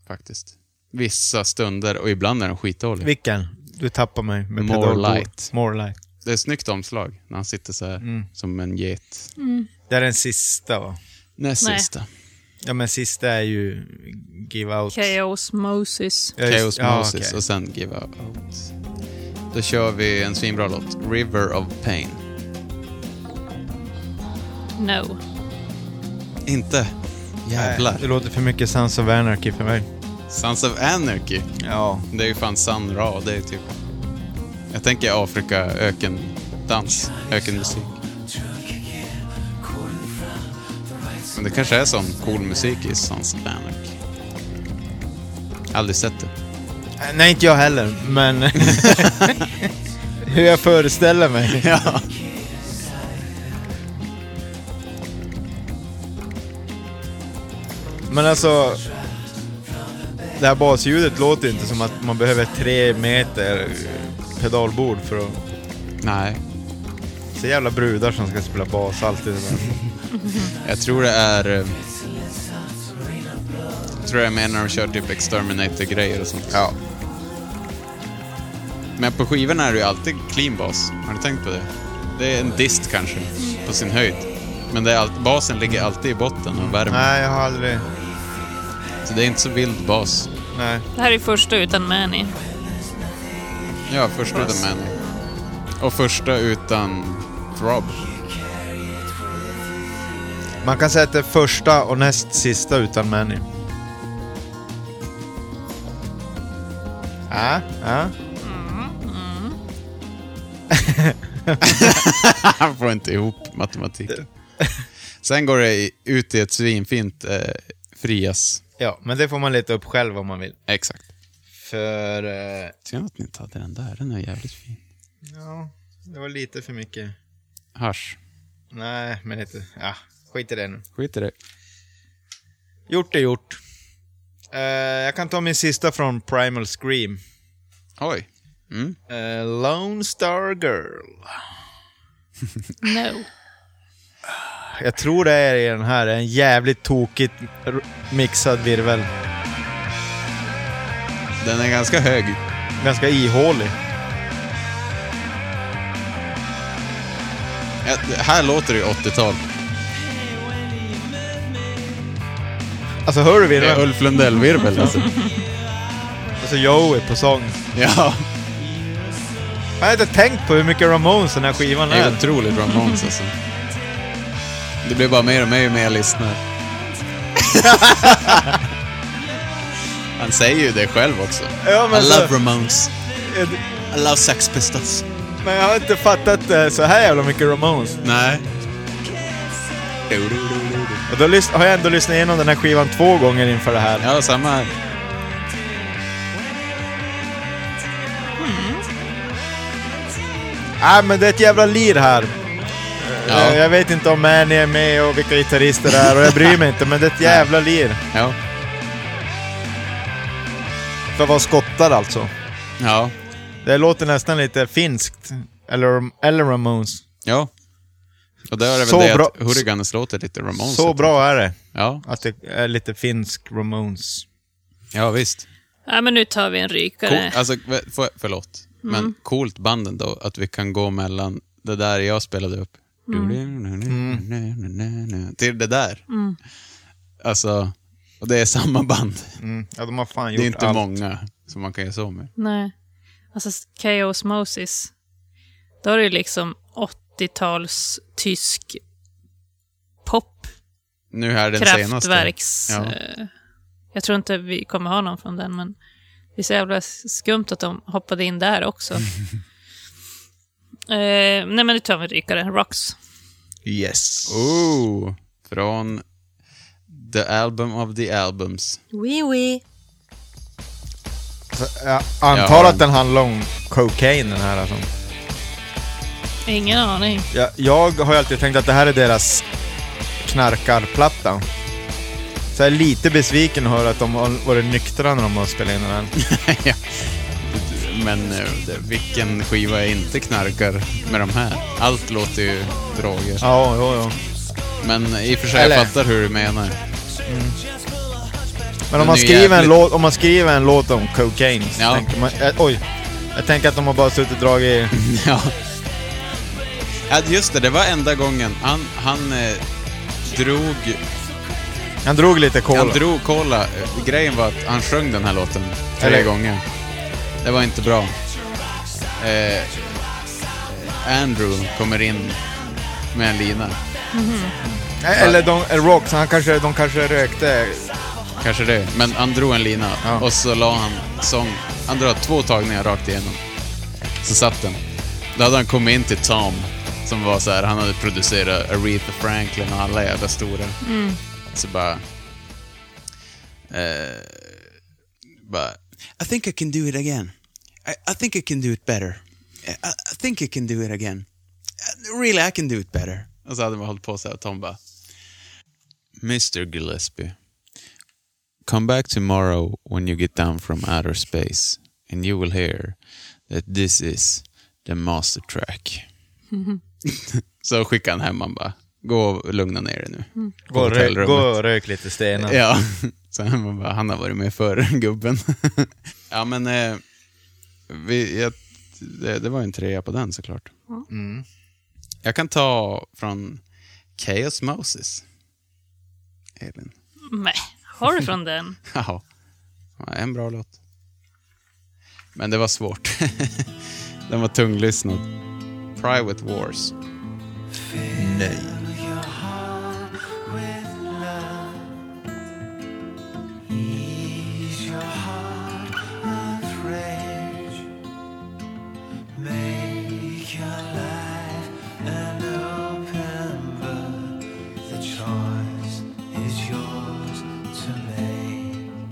F: Faktiskt. Vissa stunder och ibland är den skitdålig.
C: Vilken? Du tappar mig med
F: More
C: pedalbord.
F: light.
C: More light.
F: Det är ett snyggt omslag när han sitter så här
C: Mm.
F: som en get.
C: Det är den sista va?
F: Näst
D: Nej.
F: sista.
C: Ja men sista är ju Give Out.
D: Chaos Moses.
C: Ja, just-
F: Chaos
C: ja,
F: Moses alltså,
C: okej.
F: och sen Give Out. Då kör vi en svinbra låt. River of Pain.
D: No.
F: Inte. Jävlar.
C: Nej, Det låter för mycket Sons of Anarchy för mig.
F: Sons of Anarchy.
C: Ja.
F: Det är ju fan Sun Ra. Det är typ... Jag tänker Afrika, öken, dans, ökenmusik. Men det kanske är sån cool musik i Sons of Anarchy. Aldrig sett det.
C: Äh, Nej, inte jag heller, men... Hur jag föreställer mig.
F: Ja.
C: Men alltså... Det här basljudet låter ju inte som att man behöver tre meter eh, pedalbord för att...
F: Nej.
C: Så jävla brudar som ska spela bas alltid.
F: Jag tror det är... eh, Jag tror det är med när de kör typ Exterminator-grejer och sånt. Ja. Men på skivorna är det ju alltid clean bas. Har ni tänkt på det? Det är en dist kanske, på sin höjd. Men det är allt, basen ligger alltid i botten och värmer.
C: Nej, jag har aldrig...
F: Så det är inte så vild bas.
C: Nej.
D: Det här är första utan Manny.
F: Ja, första utan Manny. Och första utan Throb.
C: Man kan säga att det är första och näst sista utan Manny. Ja, ja.
F: Han får inte ihop matematiken. Sen går det i- ut i ett svinfint eh, frias.
C: Ja, men det får man leta upp själv om man vill.
F: Exakt.
C: För... Eh,
F: Synd att ni inte hade den där. Den är jävligt fin.
C: ja, det var lite för mycket.
F: Hasch.
C: Nej, men inte... Ja, skit i det nu.
F: Skit i det.
C: Gjort är gjort. Eh, jag kan ta min sista från Primal Scream.
F: Oj. Mm.
C: Eh, Lone Star Girl.
D: No.
C: Jag tror det är i den här. En jävligt tokigt r- mixad virvel.
F: Den är ganska hög.
C: Ganska ihålig.
F: Ja, det- här låter det ju 80-tal.
C: Alltså hör du
F: Det är
C: virveln?
F: Ulf Lundell-virvel alltså.
C: Alltså Joey på sång.
F: Ja,
C: Jag har inte tänkt på hur mycket Ramones den här skivan
F: det är
C: är.
F: otroligt Ramones alltså. Det blir bara mer och mer ju mer jag lyssnar. Han säger ju det själv också.
C: Ja, men
F: I
C: så-
F: love Ramones. I love Sex Pistols.
C: Men jag har inte fattat eh, så här jävla mycket Ramones.
F: Nej.
C: Och då lys- har jag ändå lyssnat igenom den här skivan två gånger inför det här.
F: Ja, samma här.
C: Nej, Äh, men det är ett jävla lir här.
F: Ja.
C: Eh, Jag vet inte om Manny är med och vilka gitarrister det är och jag bryr mig inte, men det är ett jävla lir.
F: Ja.
C: För att vara skottar alltså.
F: Ja.
C: Det låter nästan lite finskt. Eller, eller Ramones.
F: Ja. Och där är det väl
C: Så
F: det
C: bra-
F: att Hooligans låter lite Ramones.
C: Så bra är det.
F: Ja.
C: Att det är lite finsk Ramones.
F: ja, visst.
D: Ja, men nu tar vi en rykare.
F: Cool, alltså, v- för, förlåt,
D: Mm.
F: men coolt banden då, att vi kan gå mellan det där jag spelade upp
D: Mm.
C: Mm.
F: till det där.
D: Mm.
F: Alltså, och det är samma band.
C: Mm. Ja, de har fan gjort
F: Det är inte
C: allt.
F: många som man kan göra så med.
D: Nej. Alltså, Chaos Moses. Då är det ju liksom 80-tals tysk pop.
F: Nu här den senaste.
D: kraftverks...
F: Ja.
D: eh, Jag tror inte vi kommer ha någon från den, men det är så jävla skumt att de hoppade in där också. eh, nej, men nu tar vi en rykare. Rocks.
C: Yes.
F: Oh, från The Album of the Albums.
D: Oui, oui.
C: Jag antar
F: Ja.
C: att den handlar om cocaine den här alltså.
D: Ingen aning.
C: Jag, jag har ju alltid tänkt att det här är deras knarkarplatta. Så jag är lite besviken att höra att de har varit nyktra när de har spelat in den här.
F: Ja. Men eh, det- vilken skiva är inte knarkar med de här? Allt låter ju droger.
C: Ja, jo, jo.
F: Men i och för sig,
C: Eller-
F: jag fattar hur du menar.
C: Men om
F: Den
C: man,
F: är
C: skriver en
F: jävligt-
C: låt, om man skriver en låt om cocaine så
F: Ja.
C: tänker man... eh, oj. Jag tänker att de har bara suttit och dragit...
F: Ja. ja, just det. Det var enda gången. Han, han eh, drog...
C: Han drog lite
F: Han
C: cola.
F: drog kolla. Grejen var att han sjöng den här låten tre
C: Eller-
F: gånger. Det var inte bra. Eh, Andrew kommer in med en lina.
C: Eh, Eller de, eh, Rocks, han kanske, de kanske rökte.
F: Kanske det. Men han drog en lina
C: Ja.
F: och så la han sång. Han drog två tagningar rakt igenom. Så satt den. Då hade han kommit in till Tom, som var så här, han hade producerat Aretha Franklin och alla jävla stora. Så bara... Eh, bara... I think I can do it again. I, I think I can do it better. I, I think I can do it again. Really, I can do it better. Och så hade man hållit på så här och Tom bara... Mr Gillespie. Come back tomorrow when you get down from outer space, and you will hear that this is the master track. så skickade han hem han bara, gå och lugna ner dig nu. På
C: Gå och rök,
F: hotellrummet.
C: gå och rök lite stenar.
F: Ja, så han bara, han har varit med förr, gubben. ja, men eh, vi, jag, det, det var ju en trea på den såklart. Jag kan ta från Chaos Moses. Elin.
D: Nej, har du från den?
F: Ja, Ja, en bra låt. Men det var svårt. Den var tunglyssnad. Private Wars.
C: Nej.
G: Ease your heart afraid. yours is yours to make.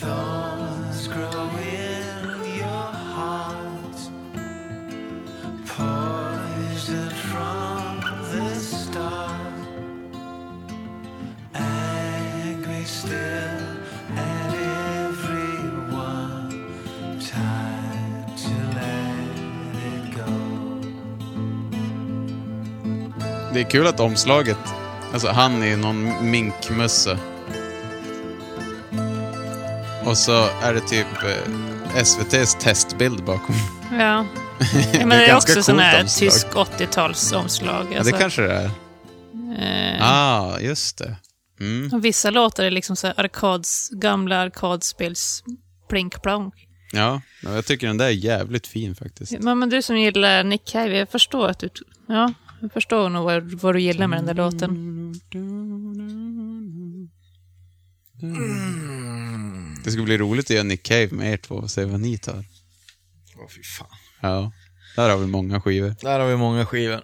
G: Thorns grow in your heart, poisoned from the start. Angry still at everyone, time to let it go.
F: Det är kul att omslaget, alltså han är ju någon minkmössa. Och så är det typ eh, SVT's testbild bakom.
D: Ja. ja men
F: Det är
D: det är
F: ganska
D: också sån
F: coolt
D: här
F: omslag.
D: tysk 80-talsomslag.
F: Ja, det
D: Alltså,
F: kanske det är.
D: eh,
F: Ah, just det. Mm.
D: och vissa låtar är liksom så här arkads, gamla arkadspels plink plonk.
F: Ja, men jag tycker den där är jävligt fin faktiskt.
D: Men, men du som gillar Nick Cave, jag förstår att du... Ja, jag förstår nog vad, vad du gillar med den där låten.
F: Det skulle bli roligt att göra Nick Cave med er två och se vad ni tar.
C: Åh, fy fan.
F: Ja, där har vi många skivor.
C: Där har vi många skivor.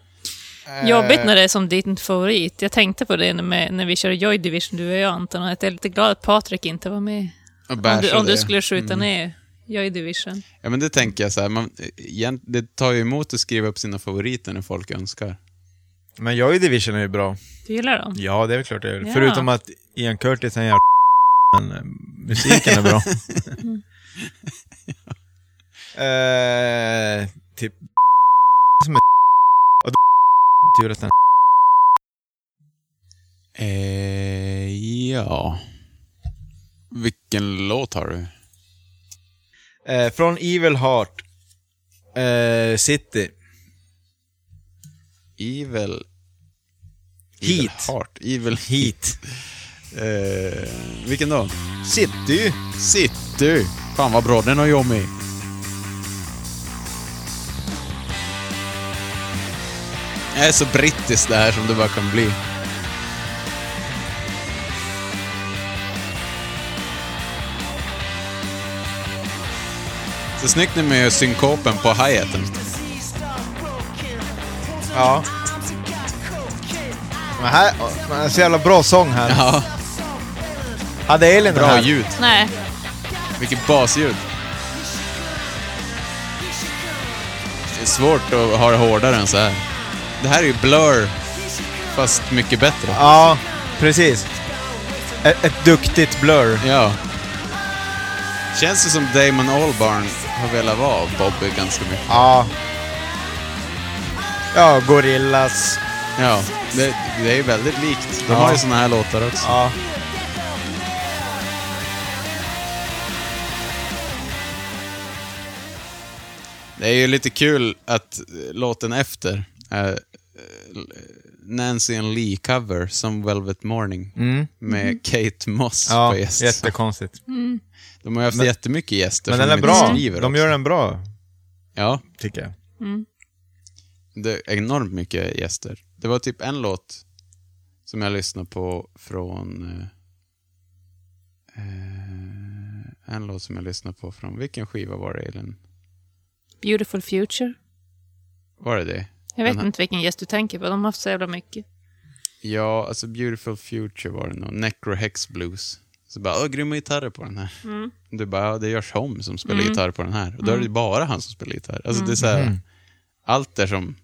C: Eh.
D: Jobbigt när det är som din favorit. Jag tänkte på det när, med, när vi körde Joy Division, du och jag Anton, att jag är lite glad att Patrik inte var med.
F: Och
D: Om du,
F: bärs
D: om
F: av det.
D: du
F: Mm.
D: skulle
C: Mm.
D: skjuta ner Joy Division.
F: Ja, men det tänker jag så här, man, egent- det tar ju emot att skriva upp sina favoriter när folk önskar.
C: Men Joy Division är ju bra.
D: Du gillar dem?
C: Ja, det är väl klart jag gör.
D: Ja.
C: Förutom att Ian Curtis är en jävla men eh, musiken är bra. eh, typ som är och då- tur att den
F: Eh, ja. Vilken låt har du?
C: eh, Från Evil Heart eh, City.
F: Evil... Evil
C: Heat.
F: Heart. Evil
C: Heat.
F: Eh, vilken då?
C: City!
F: City! Fan vad bra den har jag med. Det är så brittiskt det här som det bara kan bli. Så snyggt nu med synkopen på hi-haten.
C: Ja. Men här, men det är så jävla bra sång här.
F: Ja,
C: Hade Elin den
F: bra
C: här?
F: ljud.
D: Nej.
F: Vilket basljud. Det är svårt att ha det hårdare än så här. Det här är ju Blur, fast mycket bättre.
C: Ja, precis. Ett, ett duktigt blur.
F: Ja. Känns det som Damon Albarn har velat vara Bobby ganska mycket.
C: Ja. Ja, Gorillas.
F: Ja, det, det är ju väldigt likt. De
C: Ja.
F: har ju såna här låtar också.
C: Ja.
F: Det är ju lite kul att eh, låten efter är eh, Nancy and Lee-cover, som Velvet Morning, med Kate Moss
C: Mm. ja
F: på gäst.
C: jättekonstigt.
F: De har ju haft jättemycket gäster
C: Men
F: som
C: den
F: de
C: är
F: inte
C: bra.
F: skriver
C: De
F: också.
C: gör den bra,
F: Ja,
C: tycker jag.
F: det är enormt mycket gäster. Det var typ en låt som jag lyssnade på från... eh, eh, En låt som jag lyssnade på från... Vilken skiva var det, Elin?
D: Beautiful Future.
F: Var det det?
D: Jag vet
F: Den här-
D: inte vilken gäst du tänker på, de har haft så jävla mycket.
F: Ja, alltså Beautiful Future var det nog. Necrohex Blues. Så bara, åh, grymma gitarrer på den här. Du bara, ja, det görs om som spelar gitarr på den här. Och då är det bara han som spelar gitarr. Alltså det är så här,
C: Mm.
F: allt är som...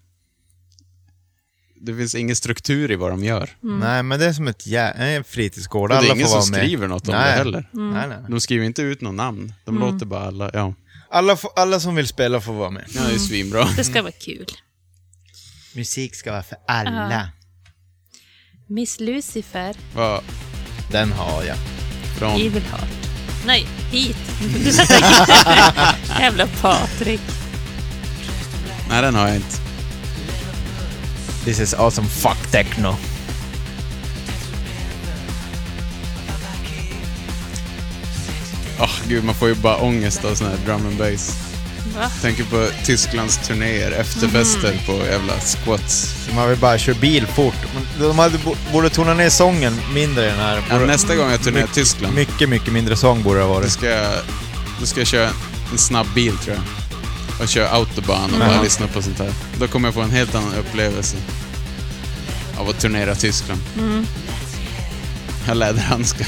F: Det finns ingen struktur i vad de gör.
C: Nej, men det är som ett jä- en fritidsgård. Mm.
F: Och
C: Alla
F: det är
C: får
F: ingen som
C: vara med.
F: skriver något om
C: Nej.
F: det heller.
C: Nej, nej. nej.
F: De skriver inte ut något namn. De låter bara alla, ja.
C: Alla, får, alla som vill spela får vara med.
F: Ja, det är svinbra.
D: Det ska vara kul.
C: Musik ska vara för alla.
D: Miss Lucifer,
F: Va,
C: Den har jag.
F: från,
D: Evil Heart. Nej, hit! jävla Patrik.
F: nej, den har jag inte.
C: This is awesome fuck techno.
F: Åh, gud, man får ju bara ångest av sån här drum and bass.
D: Va?
F: Tänker på Tysklands turnéer, efterfester på jävla squats.
C: Man vill bara köra bil fort. Men De hade, bo- borde tona ner sången mindre i den här.
F: Ja,
C: Borde-
F: nästa gång jag turnerar i
C: mycket-
F: Tyskland,
C: Mycket, mycket mindre sång borde det ha
F: då
C: varit.
F: ska, jag, då ska jag köra en snabb bil tror jag. Och köra autobahn och bara
C: Jaha.
F: lyssna på sånt här. Då kommer jag få en helt annan upplevelse. av att turnera Tyskland.
D: Mm.
F: Jag har läderhandskar.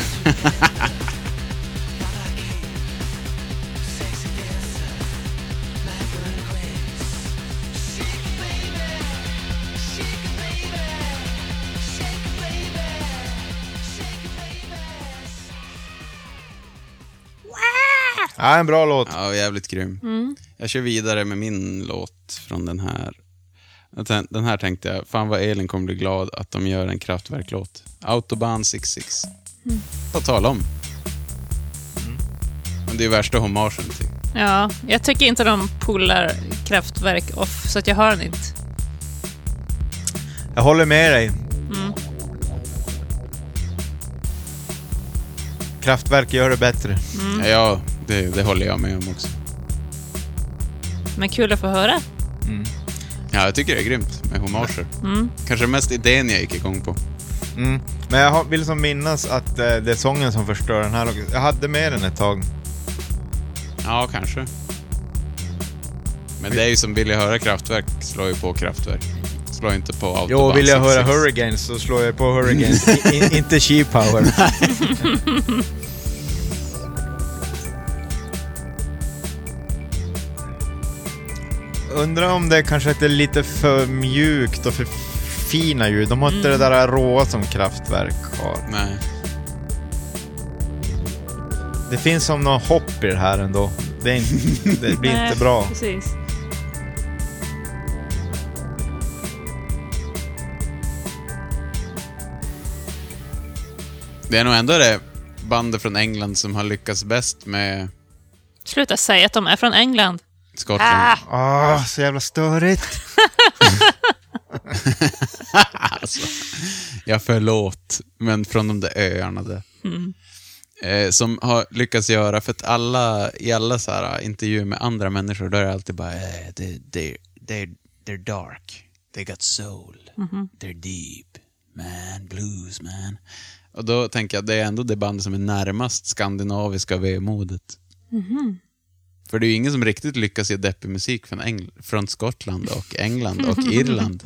C: Ja, en bra låt.
F: Ja, jävligt grym. Jag kör vidare med min låt från den här. Jag tän- Den här tänkte jag, fan vad Elin kommer bli glad att de gör en Kraftwerk-låt. Autobahn 66. Vad tala om.
C: Mm.
F: Men det är ju värsta hommagen till.
D: Ja, jag tycker inte de pullar kraftverk off, så att jag har den inte.
C: Jag håller med dig. Kraftwerk gör det bättre.
F: Ja, det, det håller jag med om också.
D: Men kul att få höra.
F: Ja, jag tycker det är grymt med hommager. Kanske den mest idén jag gick igång på.
C: Mm. Men jag har- vill som minnas att eh, det är sången som förstör den här. låten. Jag hade med den ett tag.
F: Ja, kanske. Men det är ju som vill jag höra Kraftwerk slår ju på Kraftwerk. Slår inte på Autobahn
C: Jo, vill jag höra
F: 66.
C: Hurricanes så slår jag på Hurricanes. I, i, inte She Power. Undrar om det kanske är lite för mjukt och för fina ljud. De har inte det där råa som Kraftwerk har.
F: Nej.
C: Det finns som någon hopp i det här ändå. Det, är inte, det blir
D: Nej,
C: inte bra.
D: Precis.
F: Det är nog ändå det bandet från England som har lyckats bäst med
D: Sluta säga att de är från England.
F: Skottland.
C: Ah, så jävla störigt.
F: Ja, förlåt, men från de där öarna där. Eh, som har lyckats göra, för att alla, i alla så här eh, intervjuer med andra människor, då är det alltid bara eh, they, they, they, they're dark, they got soul, they're deep, man, blues, man. Och då tänker jag, det är ändå det band som är närmast skandinaviska vemodet. För det är ju ingen som riktigt lyckas ge deppig musik från, Engl- från Skottland och England och Irland.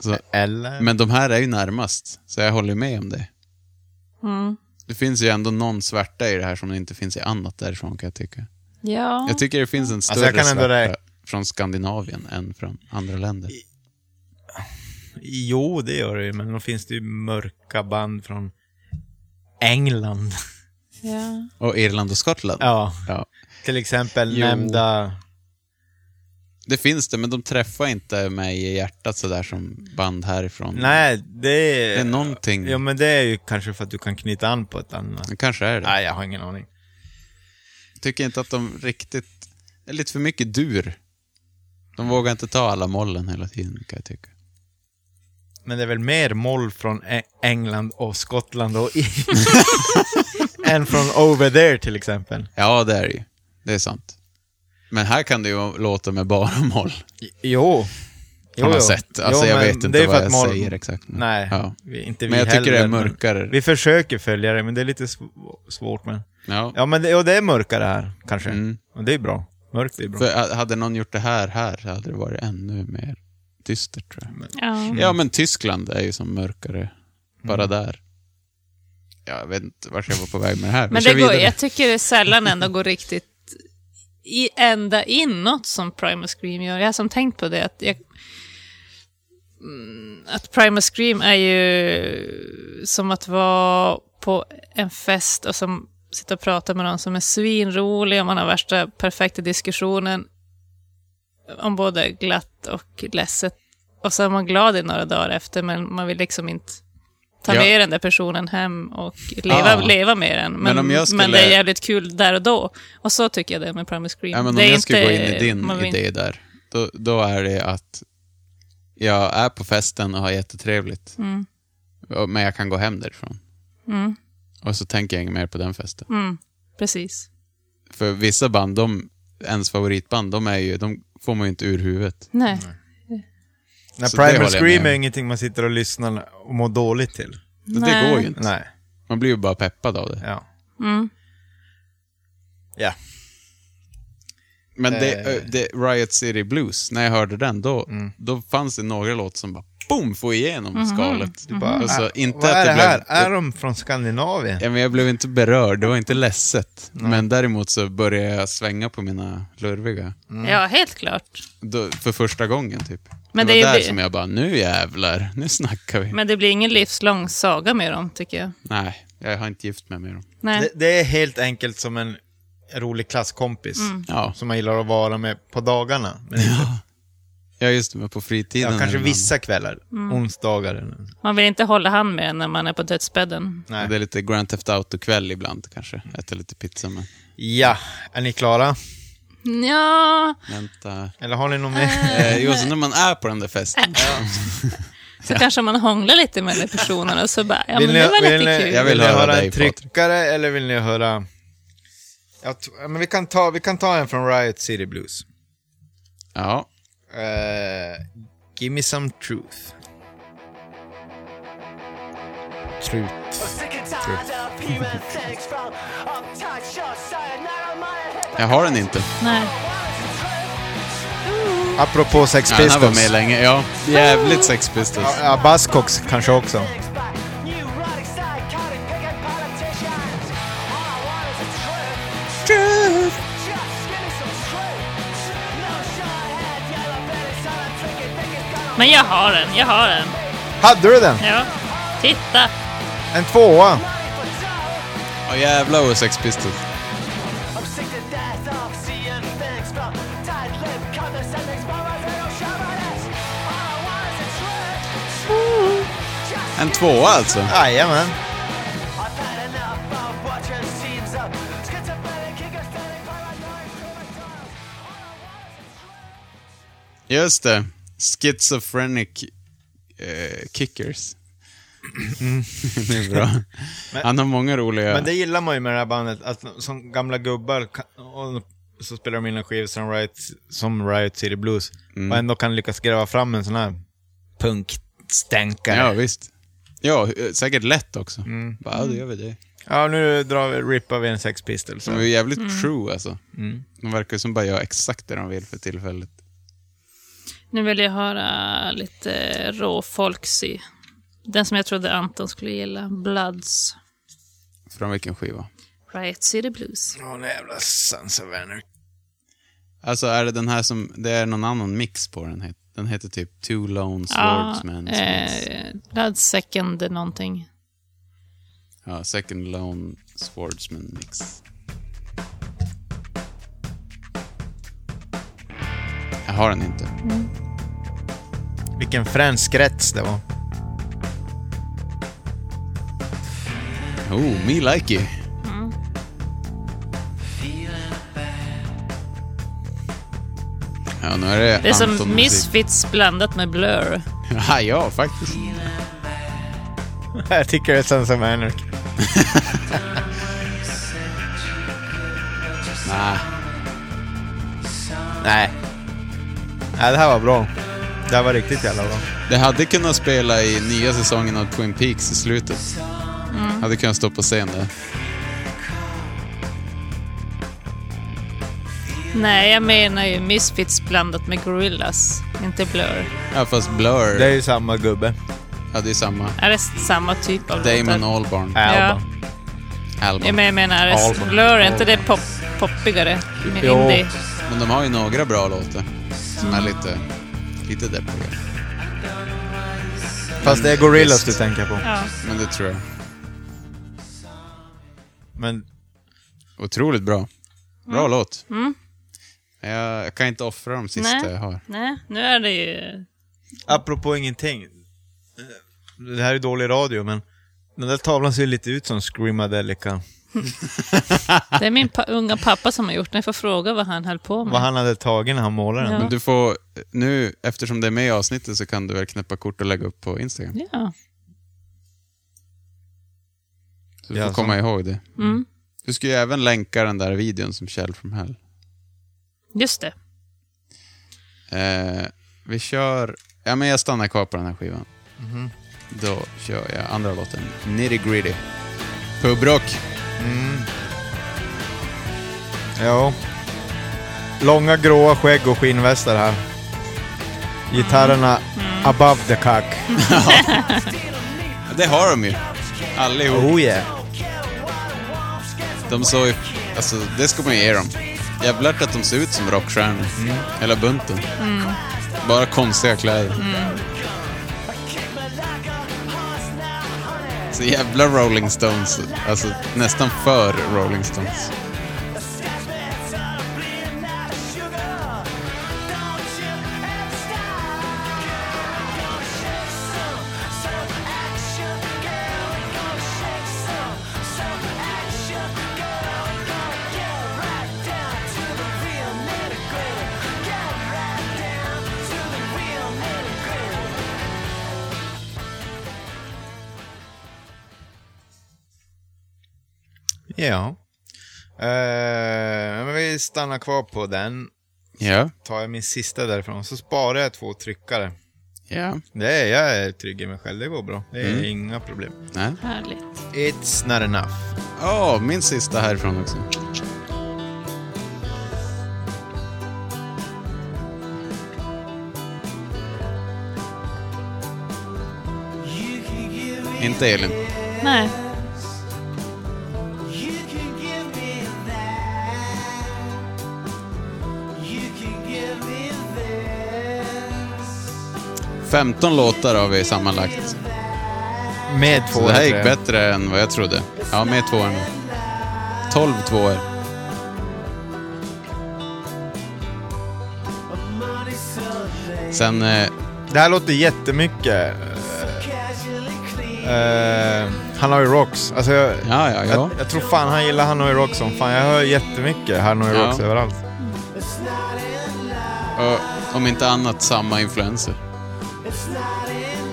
F: Så,
C: Eller?
F: men de här är ju närmast, så jag håller med om det. Det finns ju ändå någon svärta i det här som det inte finns i annat därifrån kan jag tycka.
D: Ja.
F: Jag tycker det finns en större
C: Alltså, jag kan ändå
F: svärta
C: rä-
F: från Skandinavien än från andra länder.
C: Jo, det gör det ju, men då finns det ju mörka band från England.
D: ja.
F: Och Irland och Skottland.
C: Ja,
F: Ja.
C: till exempel
F: Jo.
C: nämnda...
F: Det finns det, men de träffar inte mig i hjärtat sådär som band härifrån.
C: Nej, det är...
F: Det är någonting.
C: Ja, men det är ju kanske för att du kan knyta an på ett annat.
F: Det kanske är det.
C: Nej, jag har ingen aning.
F: Jag tycker inte att de riktigt... Det är lite för mycket dur. De vågar inte ta alla mollen hela tiden, kan jag tycka.
C: Men det är väl mer moll från E- England och Skottland och... i- än från over there till exempel.
F: Ja, det är det ju. Det är sant. Men här kan det ju låta med bara moll.
C: Jo.
F: På något sätt. Alltså, jag vet inte vad jag säger exakt, men-
C: Nej,
F: Ja.
C: vi, inte vi
F: Men jag tycker det är
C: heller, men
F: mörkare.
C: Vi försöker följa det, men det är lite sv- svårt. Men...
F: Ja.
C: Ja, men det, och det är mörkare här, kanske.
F: Mm.
C: Och det är bra. Mörkt är bra.
F: För ha- hade någon gjort det här här så hade det varit ännu mer dystert, tror jag.
C: Mm.
D: ja.
F: Ja, men Tyskland är ju som mörkare. Bara
C: Mm.
F: där. Ja, jag vet inte vart jag var på väg med det här. Vi
D: Men
F: kör
D: det går,
F: vidare.
D: jag tycker det sällan ändå går riktigt i ända inåt som Primal Scream gör. Jag har som tänkt på det att jag, Mm, att Primal Scream är ju som att vara på en fest och som sitta och prata med någon som är svinrolig och man har värsta perfekta diskussionen om både glatt och ledset. Och så är man glad i några dagar efter men man vill liksom inte ta
F: Ja.
D: med den där personen hem och leva,
F: Ah.
D: leva med den. Men,
F: Men
D: men,
F: om jag skulle-
D: det är jävligt kul där och då. Och så tycker jag det är med Primal Scream.
F: Ja, men
D: det
F: om
D: är
F: jag skulle gå in
D: inte-
F: i din
D: man vill
F: idé där, då, då är det att jag är på festen och har jättetrevligt,
D: Mm.
F: Och- men jag kan gå hem därifrån. Och så tänker jag inget mer på den festen.
D: Mm. Precis.
F: För vissa band, de, ens favoritband, de, är ju, de får man ju inte ur huvudet.
D: Nej.
C: Nej,
F: så det håller
C: Primal
F: jag
C: Scream
F: med
C: är
F: om.
C: ingenting man sitter och lyssnar och mår dåligt till.
F: Det, det
D: Nej.
F: går ju inte.
C: Nej,
F: Man blir ju bara peppad av det.
C: ja.
D: Mm.
C: Ja. Eh. Mm.
F: Men det, ö, det, Riot City Blues, när jag hörde den, då, då fanns det några låtar som bara boom, få igenom
D: Mhm.
F: skalet.
C: Bara,
F: Och så,
C: "Äh,
F: Alltså, inte
C: vad
F: att
C: är det
F: jag blev-
C: här? Är de från Skandinavien?
F: Ja, men jag blev inte berörd, det var inte ledset. Men däremot så började jag svänga på mina lurviga.
D: Ja, helt klart.
F: Då, för första gången typ.
D: Men
F: det
D: det
F: var
D: är
F: där
D: det-
F: som jag bara, nu jävlar, nu snackar vi.
D: Men det blir ingen livslång saga med dem, tycker jag.
F: Nej, jag har inte gift mig med dem.
D: Nej.
C: Det, det är helt enkelt som en rolig klasskompis.
F: Ja,
C: Som man gillar att vara med på dagarna. Men inte,
F: ja just det, men på fritiden.
C: ja, kanske
F: är det en
C: vissa kvällar.
D: Mm.
C: Onsdagar eller något.
D: Man vill inte hålla hand med när man är på dödsbädden.
F: annan.
C: Nej.
F: Det är lite Grand Theft Auto-kväll ibland kanske. Äta lite pizza men
C: Ja, är ni klara?
D: Ja,
F: vänta.
C: Eller har ni någon mer?
F: Eh, jo, så när man är på den där festen.
D: så kanske man hånglar lite med den personen och så bara, ja men
C: Vill ni,
D: det var
C: vill
D: lite
C: ni,
D: kul.
F: Jag vill
C: ni
F: höra
C: höra
F: dig,
C: en
F: Patrik.
C: tryckare eller vill ni höra... Jag t- men vi, kan ta, vi kan ta en från Riot City Blues.
F: Ja,
C: Eh, give me some truth. Truth.
F: jag har den inte.
D: Nej.
C: Apropå Sex
F: Ja, den här var med
C: Pistols.
F: länge. Ja, jävligt Sex Pistols.
C: Ja, ja, Buzzcocks kanske också.
D: Men jag har den, jag har den.
C: Hade du den?
D: Ja. Titta!
C: En tvåa?
F: Ja, jävlar vad Sex Pistols. En tvåa alltså.
C: Jajamän.
F: Just det. Schizophrenic eh, kickers. det är bra. Han har många roliga...
C: Mm. Men det gillar man ju med det här bandet, att som gamla gubbar, kan- och så spelar de in en skiva som Riot, som Riot City Blues, och ändå kan lyckas gräva fram en sån här punkstänkare.
F: Ja,
C: Ja.
F: visst. Ja, eh, säkert lätt också.
C: Mm.
F: Bara, ja, då gör vi det.
C: nu drar vi, rippar vi en Sex Pistols.
F: De är ju jävligt true alltså.
C: Mm.
F: De verkar som bara gör exakt det de vill för tillfället.
D: Nu vill jag höra lite råfolksy. Den som jag trodde Anton skulle gilla, Bloods.
F: Från vilken skiva?
D: Riot City Blues.
C: Åh, oh, jävla Sons of Anarchy.
F: Alltså är det den här som, det är någon annan mix på den. het- Den heter typ Two Lone Swordsmen.
D: eh, Bloods Second någonting.
F: Ja, Second Lone Swordsman mix. Jag har den inte.
C: Vilken frän skräts det var.
F: Oh, me like you. Ja, nu är det
D: Det är som
F: Anton-musik.
D: Misfits blandat med Blur.
F: Ja, ja, faktiskt.
C: Jag tycker det är Sons of Anarchy.
F: Nej,
C: Nej. Nej, det här var bra. Det här var riktigt jävla bra.
F: det hade kunnat spela i nya säsongen av Twin Peaks i slutet.
D: Mm.
F: Hade kunnat stå på scen där.
D: Nej, jag menar ju Misfits blandat med Gorillas, inte Blur.
F: Ja, fast Blur
C: Det är ju samma gubbe.
F: hade ju samma.
D: Är det samma typ av
F: Damon
D: låtar?
C: Alba.
F: Albarn.
D: Ja,
F: Albarn.
D: men jag menar, är det
C: Albarn.
D: Blur, är inte det pop, poppigare? Med
C: Jo.
D: indie?
F: Men de har ju några bra låtar som är lite, lite deppiga.
C: Fast det är Gorillas du tänker på.
D: Ja.
F: Men det tror jag.
C: Men
F: Otroligt bra. Bra
D: Mm.
F: låt. Men Jag, jag kan inte offra de sista
D: Nej.
F: jag har.
D: Nej, nu är det ju...
C: Apropå ingenting. Det här är dålig radio, men den där tavlan ser lite ut som Screamadelica.
D: Det är min pa unga pappa som har gjort det. Jag får fråga vad han höll på med.
C: Vad han hade tagit när han målade den.
D: Ja.
F: Men du får, nu, eftersom det är med i avsnittet så kan du väl knäppa kort och lägga upp på Instagram.
D: Ja.
F: Så du
C: Ja,
F: får
C: så.
F: komma ihåg det.
D: Mm.
F: Du ska ju även länka den där videon som Kjell from Hell.
D: Just det.
F: Eh, vi kör... Ja, men jag stannar kvar på den här skivan.
C: Mhm.
F: Då kör jag andra låten, Nitty Gritty. Pubrock.
C: Ja.
D: Mm.
C: Långa gråa skägg och skinnvästar här. Gitarrerna Above the cock.
F: Det har de ju.
D: Mm.
F: Allihop.
C: Oh yeah.
F: De såg ju... Alltså, det ska man ju ge dem. Jävlar att de ser ut som rockstjärnor. Hela bunten. Bara konstiga kläder. Så jävla Rolling Stones. Alltså nästan för Rolling Stones.
C: Ja. Eh, men vi stannar kvar på den.
F: Ja.
C: Tar jag min sista därifrån, så sparar jag två tryckare.
F: Ja.
C: Det är, jag är trygg i mig själv, det går bra. Det är inga problem.
F: Nej.
D: Härligt.
C: Mm. It's not enough.
F: Åh, min sista härifrån också. Inte Elin.
D: Nej.
F: Femton låtar har vi sammanlagt.
C: Med två
F: Så det här gick
C: tror jag.
F: bättre än vad jag trodde. Ja, med tvåan. 12 tvåor. Sen... Eh,
C: Det här låter jättemycket... eh, eh, Hanoi Rocks. Alltså jag,
F: ja, ja, ja.
C: jag, jag tror fan han gillar Hanoi Rocks som fan. Jag hör jättemycket Hanoi
F: Ja.
C: Rocks överallt.
F: Och, om inte annat samma influenser.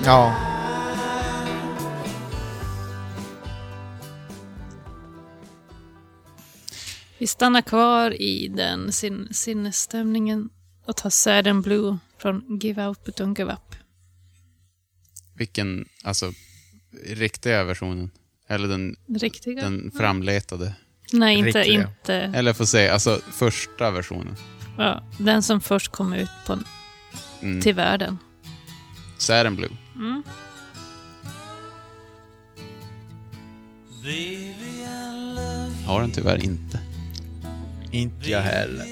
C: Ja.
D: Vi stannar kvar i den sin, sinnesstämningen och tar Sad Blue från Give Out But Don't Give Up.
F: Vilken, alltså, riktiga versionen. Eller den,
D: Riktiga?
F: den framletade.
D: Nej, inte...
C: riktiga.
D: inte
F: Eller får säga, alltså första versionen.
D: ja, den som först kom ut på,
F: Mm.
D: till världen.
F: Saturn Blue. Har den tyvärr inte.
C: Inte jag heller.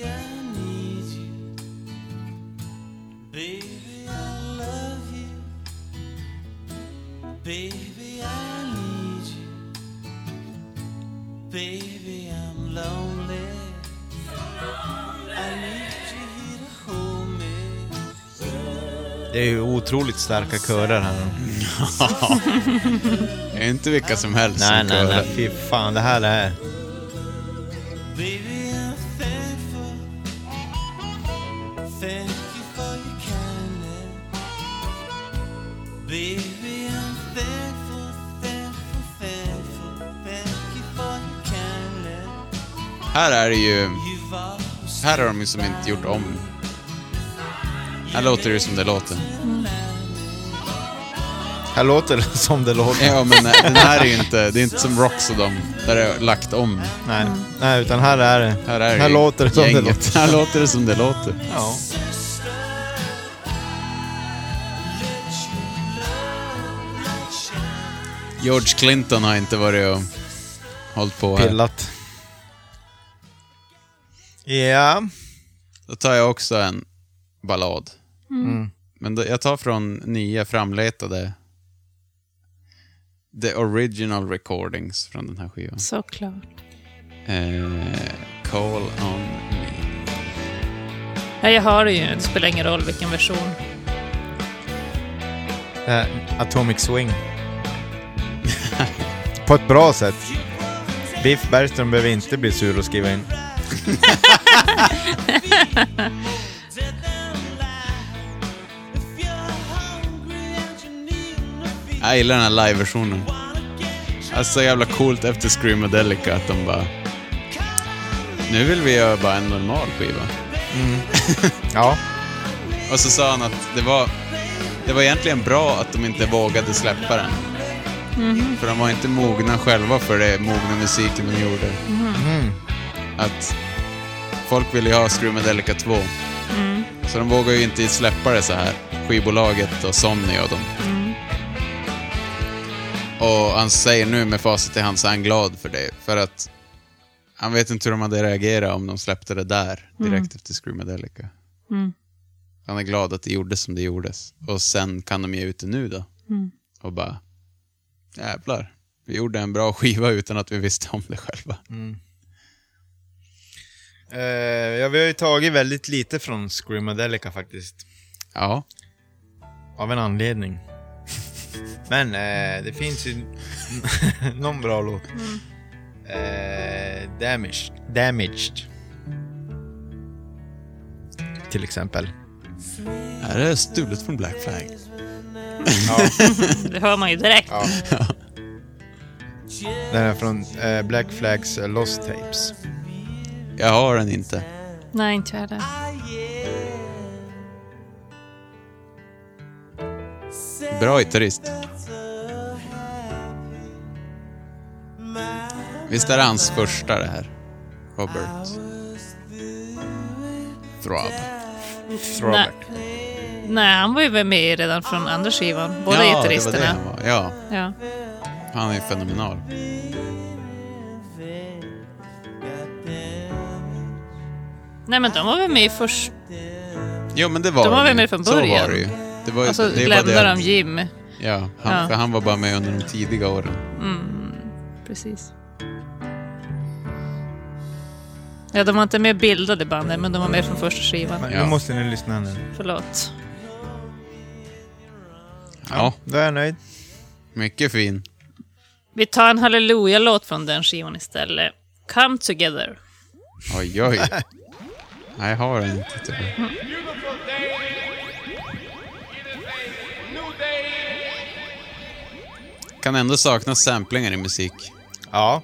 G: Baby, I need you. Baby, I'm lonely. I need you here to hold me.
C: Det är ju otroligt starka körer här.
F: Det är inte vilka som helst
C: Nej,
F: som
C: nej,
F: kör
C: nej.
F: den.
C: Fy fan, det här är...
G: Baby, I'm thankful. Thank you for your kindness. Baby, I'm thankful, thankful, thankful. Thank you for your kindness.
F: Här är det ju...
G: You've always
F: Här har de ju som inte gjort om. Här låter det ju som det låter.
C: Här låter det som det låter.
F: Ja, men nej, den här är ju inte... Det är inte som Rocks och dem, där det är lagt om.
C: Nej, nej, utan här är det.
F: Här, är ju
C: låter det som
F: gänget.
C: det låter.
F: Här låter det som det låter.
C: Ja.
F: George Clinton har inte varit och hållit på här.
C: Pillat. Ja.
F: Då tar jag också en ballad.
C: Mm.
F: Men då, jag tar från nya framletade The Original Recordings från den här skivan.
D: Såklart.
F: Eh, Call on me.
D: Ja, jag har det ju. Det spelar ingen roll vilken version.
C: Det här, Eh, Atomic Swing. På ett bra sätt. Biff Bergström behöver inte bli sur och skriva in.
F: Jag gillar den här live-versionen. Alltså så jävla coolt efter Screamadelica att de bara... Nu vill vi göra bara en normal skiva.
C: Ja.
F: Och så sa han att det var, det var egentligen bra att de inte vågade släppa den. För de var inte mogna själva för det mogna musiken de gjorde. Att folk ville ju ha Screamadelica 2. Så de vågade ju inte släppa det så här. skivbolaget och Somni och dem. Och han säger nu med facit i hand så är han glad för det. För att han vet inte hur de hade reagerat om de släppte det där direkt efter Screamadelica. Han är glad att det gjordes som det gjordes. Och sen kan de ge ut det nu då. Och bara, jävlar. Vi gjorde en bra skiva utan att vi visste om det själva.
C: Eh, ja, vi har ju tagit väldigt lite från Screamadelica faktiskt.
F: Ja.
C: Av en anledning. Men eh, det finns ju någon bra låt. Eh, damaged. Damaged. Till exempel.
F: Är det stulet från Black Flag?
D: Det hör man ju direkt.
C: Den är från eh, Black Flags eh, Lost Tapes.
F: Jag har den inte.
D: Nej, inte jag heller.
F: Bra gitarrist. Visst är det hans första det här? Robert. Throb.
D: Nej.
C: Throwback.
D: Nej, han var ju väl med redan från andra skivan. Båda
F: ja,
D: gitarristerna.
F: Det var det han var. Ja,
D: Ja.
F: han är ju fenomenal.
D: Nej, men de var väl med i först...
F: Jo, men det var
D: De var
F: det
D: väl
F: ju.
D: med från
F: Så
D: början.
F: var det ju. Det var ju
D: Alltså,
F: det är bara
D: lämnade
F: det
D: de
F: att-
D: Jim.
F: Ja, han,
D: Ja.
F: för han var bara med under de tidiga åren.
D: Precis. Ja, de var inte med bildade i bandet, men de var med från första skivan.
C: Nu
F: Ja.
C: måste ni lyssna nu.
D: Förlåt.
F: Ja,
C: Då är jag nöjd.
F: mycket fin.
D: Vi tar en halleluja-låt från den skivan istället. Come Together.
F: Oj, oj. Nej, jag har den inte tyvärr.
D: Mm.
J: Beautiful day. New day.
F: Kan ändå sakna samplingar i musik.
C: Ja.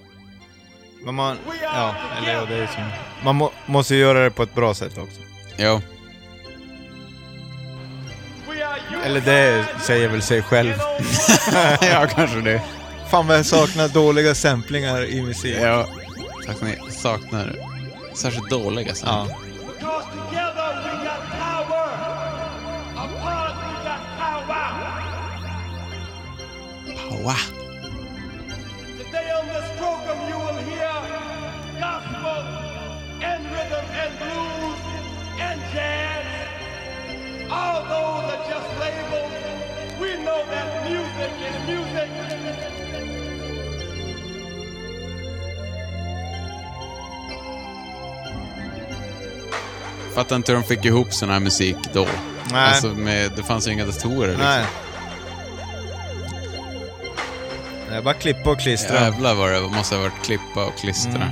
C: Men man... Ja, eller ja, det är ju som... Man må, måste ju göra det på ett bra sätt också.
F: Jo.
J: We are you.
C: Eller det säger väl sig själv.
F: ja, kanske det.
C: Fan vad jag saknar dåliga samplingar i musik.
F: Ja. Saknar, saknar särskilt dåliga
C: Ja.
F: samplingar.
J: Because together we got power. Apart we got power.
F: Power.
J: Today on this program you will hear gospel and rhythm and blues and jazz. All those are just labels. We know that music is music.
F: Fattar inte hur de fick ihop sån här musik då.
C: Nej.
F: Alltså, med, det fanns ju inga datorer liksom.
C: Nej. Det är bara klippa och klistra.
F: Jävlar vad det måste ha varit klippa och
C: Mm.
F: klistra.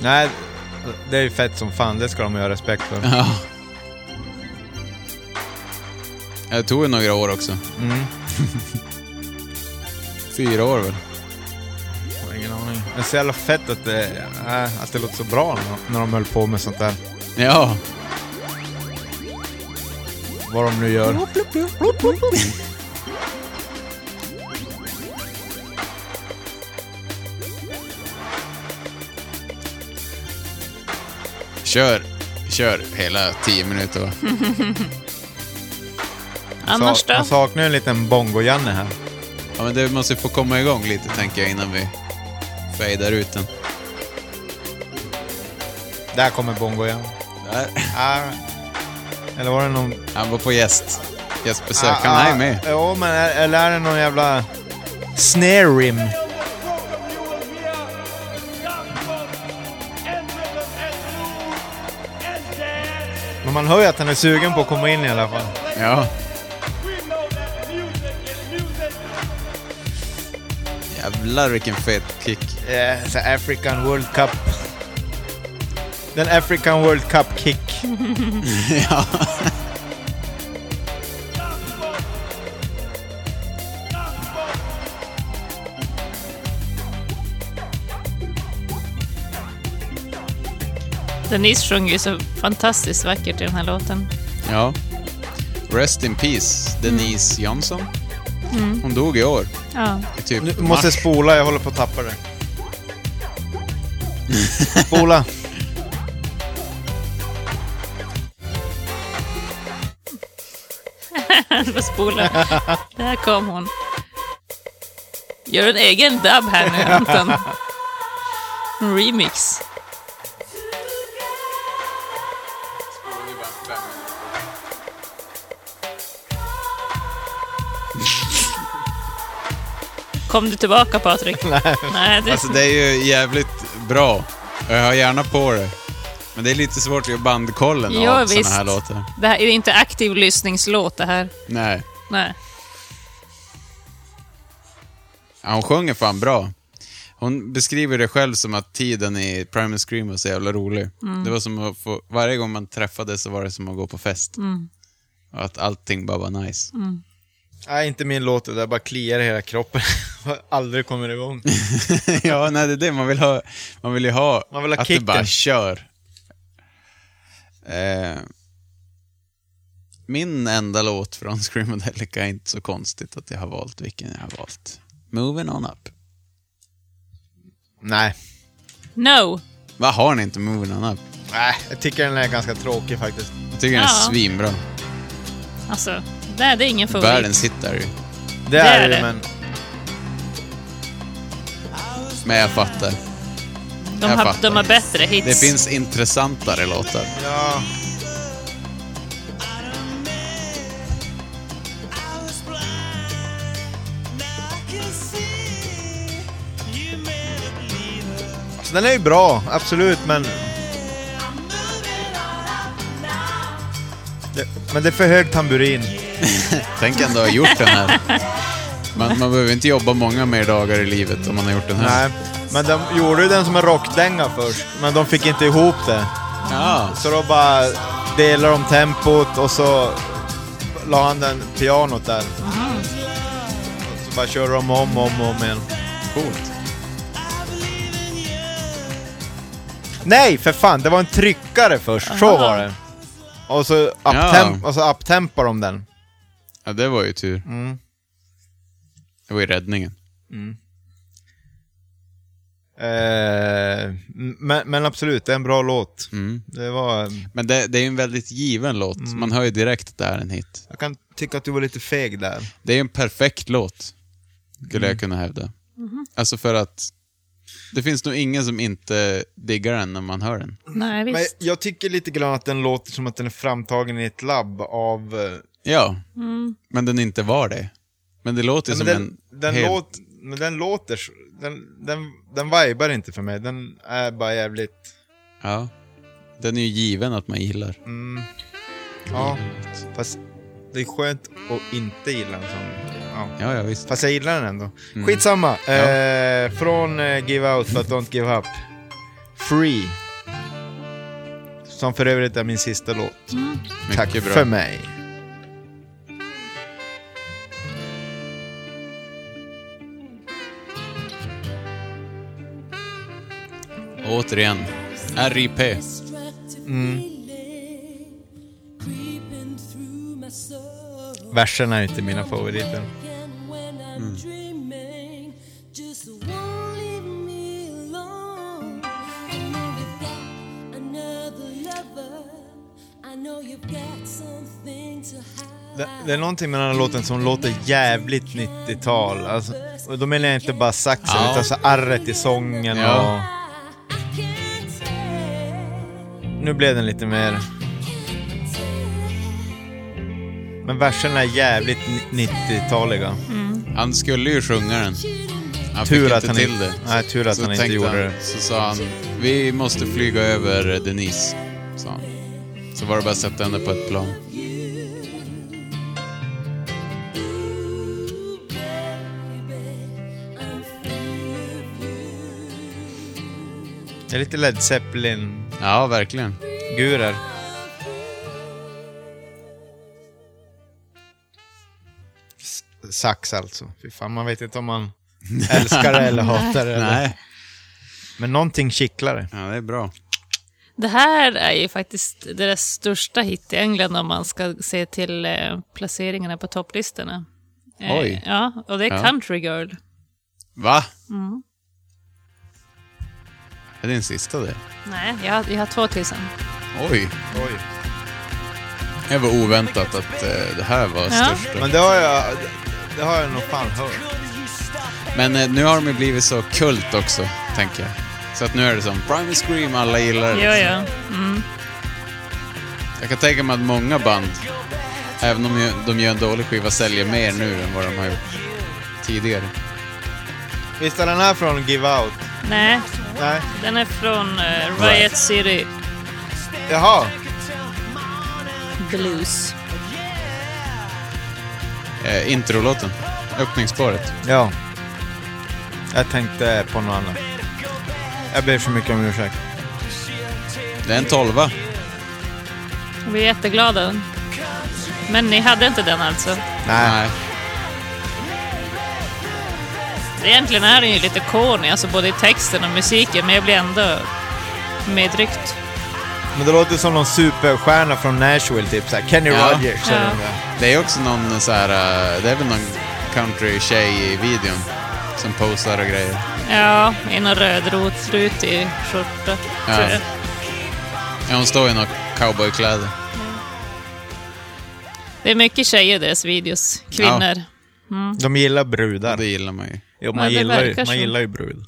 C: Nej, det är ju fett som fan. Det ska de ha respekt för.
F: Ja. Det tog ju några år också.
C: Mm.
F: Fyra år väl?
C: Ingen aning. Men det är så jävla fett att det, äh, att det låter så bra när, när de höll på med sånt där.
F: Ja.
C: Vad de nu gör.
F: Kör. Kör hela tio minuter va?
D: Annars
C: Sa- Jag
D: då?
C: saknar ju en liten bongo-Janne här.
F: Ja men det måste ju få komma igång lite tänker jag innan vi fejdar ut den.
C: Där kommer bongo-Janne.
F: Där.
C: Ah. Eller var det någon...
F: Han var på gäst. Gästbesök. Han
C: Ah,
F: är med.
C: Jo, men är- eller är det någon jävla... Snare rim.
J: On this program you will hear gospel and rhythm and blues and jazz.
C: Men man hör ju att han är sugen på att komma in i alla fall.
F: Ja.
J: We know that music is music.
F: Jävlar vilken fet kick.
C: Yeah, the African World Cup. Den African World Cup kick.
F: ja.
D: Denise sjöng ju så fantastiskt vackert i den här låten.
F: Ja. Rest in peace, Denise
D: Mm.
F: Johnson. Hon dog i år.
D: Ja.
F: I typ
C: Du måste
F: mars.
C: spola, jag håller på att tappa det. Spola.
D: Du får spola. Där kom hon. Gör en egen dubb här nu, Anton. En remix. Kom du tillbaka, Patrik? Nej. Nej det...
F: Alltså det är ju jävligt bra. Och jag har gärna på det. Men det är lite svårt att göra bandkollen
D: Ja,
F: av såna
D: visst.
F: här låtar.
D: det här är ju inte aktiv lyssningslåt det här.
F: Nej.
D: Nej.
F: Ja, hon sjunger fan bra. Hon beskriver det själv som att tiden i Primal Scream var så jävla rolig.
D: Mm.
F: Det var som att få, varje gång man träffades så var det som att gå på fest.
D: Mm.
F: Och att allting bara var nice.
C: Nej, inte min låt. Det där bara kliar i hela kroppen. Aldrig kommer igång.
F: ja, nej, det är det man vill ha. Man vill ju ha,
C: Man vill ha
F: att
C: kicken.
F: du bara kör. Eh, min enda låt från Screamadelica är inte så konstigt att jag har valt vilken jag har valt. Moving on up.
C: Nej.
D: No.
F: Vad har ni inte moving on up?
C: Nej, jag tycker den är ganska tråkig faktiskt.
F: Jag tycker den
D: Ja.
F: är svinbra.
D: Alltså, det här det är ingen favorit.
F: Världens hit är det ju.
C: Det, är
D: är
C: det
D: det.
C: men...
F: Men jag fattar.
D: de,
F: jag
D: har,
F: fattar.
D: de har bättre hits.
F: Det finns intressantare låtar.
C: Ja. Alltså, den är ju bra, absolut, men... Det, men det är för hög tamburin.
F: Tänk ändå ha gjort den här. Man, man behöver inte jobba många mer dagar i livet om man har gjort den här.
C: Nej. Men de gjorde ju den som en rockdänga först, men de fick inte ihop det.
F: Ja.
C: Så då bara delade de tempot och så la han den pianot där. Så bara körde de om och om, och om igen.
F: Coolt.
C: Nej, för fan! Det var en tryckare först, så
D: Aha.
C: var det. Och så uptemp- och så uptempar de den.
F: Ja, det var ju tur.
C: Mm.
F: Det var ju räddningen.
C: Eh, m- men, men absolut, det är en bra låt. Det var...
F: Mm. Men det, det är ju en väldigt given låt.
C: Mm.
F: Man hör ju direkt att det är en hit.
C: Jag kan tycka att du var lite feg där.
F: Det är ju en perfekt låt, skulle
C: Mm.
F: jag kunna hävda. Alltså för att det finns nog ingen som inte diggar den när man hör den.
D: Nej,
C: Men
D: visst.
C: jag tycker lite grann att den låter som att den är framtagen i ett labb av... eh,
F: Ja, men den inte var det. Men det låter
C: Ja,
F: som
C: men den,
F: en
C: den,
F: helt...
C: låt, men den låter... så- Den, den, den vibar inte för mig. Den är bara jävligt...
F: Ja. Den är ju given att man gillar.
C: Mm. Ja, fast det är skönt att inte gilla en sån. Ja.
F: Ja, ja visst.
C: Fast jag gillar den ändå.
F: Mm.
C: Skitsamma. Eh, från eh, Give Out för Don't Give Up. Free. Som för övrigt är min sista låt. Tack
F: Mycket bra.
C: för mig.
F: Återigen, R.I.P.
C: Verserna är inte mina favoriter. Det, det är någonting med den här låten som låter jävligt 90-tal. Alltså, och då menar jag inte bara saxen,
F: Ja.
C: utan så arret i sången
F: Ja.
C: och... Nu blev den lite mer... Men verserna är jävligt ni- 90-taliga.
F: Han skulle ju sjunga den. Han
C: Tur
F: fick
C: att
F: inte
C: han
F: till
C: inte-
F: det.
C: nej, tur att
F: så
C: han inte
F: tänkte
C: gjorde
F: han,
C: det.
F: Så sa han, vi måste flyga över Denise, sa han. Så var det bara att sätta henne på ett plan.
C: Det är lite Led Zeppelin-gurer.
F: Ja, verkligen.
C: S- Sax alltså. Fy fan, man vet inte om man älskar det eller hatar det. eller-
F: Nej.
C: Men någonting kittlar det.
F: Ja, det är bra.
D: Det här är ju faktiskt deras största hit i England om man ska se till eh, placeringarna på topplistorna. Eh,
F: Oj.
D: Ja, och det är
F: Ja.
D: Country Girl.
F: Va?
D: Mm.
F: Är det din sista det?
D: Nej, jag, har- jag har två till sen.
F: Oj.
C: Oj.
F: Det var oväntat att eh, det här var
D: Ja.
F: största.
C: Men det har jag, det har jag nog fan hört.
F: Men eh, nu har de ju blivit så kult också, tänker jag. Så att nu är det som Primal Scream, alla gillar det.
D: Ja, ja.
F: Jag kan tänka mig att många band, även om ju- de gör en dålig skiva, säljer mer nu än vad de har gjort tidigare.
C: Visst är den här från Give Out?
D: Nej,
C: Nej.
D: den är från eh, Riot City
C: Jaha.
D: Blues.
F: Eh, introlåten, öppningsspåret.
C: Ja. Jag tänkte på något annat. Jag ber så mycket om ursäkt.
F: Det är en tolva.
D: Vi är jätteglada. Men ni hade inte den alltså?
C: Nej.
D: Egentligen är den ju lite corny, alltså både i texten och musiken, men jag blir ändå medryckt.
C: Men det låter som någon superstjärna från Nashville, typ såhär Kenny
F: Ja.
C: Rogers eller
D: Ja.
C: något där.
F: Det är också någon så här, eh, det är väl någon country-tjej i videon som posar och grejer.
D: Ja, i någon rödrutig skjorta,
F: Ja.
D: tror jag.
F: Ja, hon står i några cowboykläder.
D: Det är mycket tjejer i deras videos. Kvinnor.
C: De gillar brudar.
F: Det gillar man ju.
C: Jo,
D: Ja,
C: man,
D: det
C: gillar ju,
D: verkar
C: man
D: så.
C: gillar ju brud.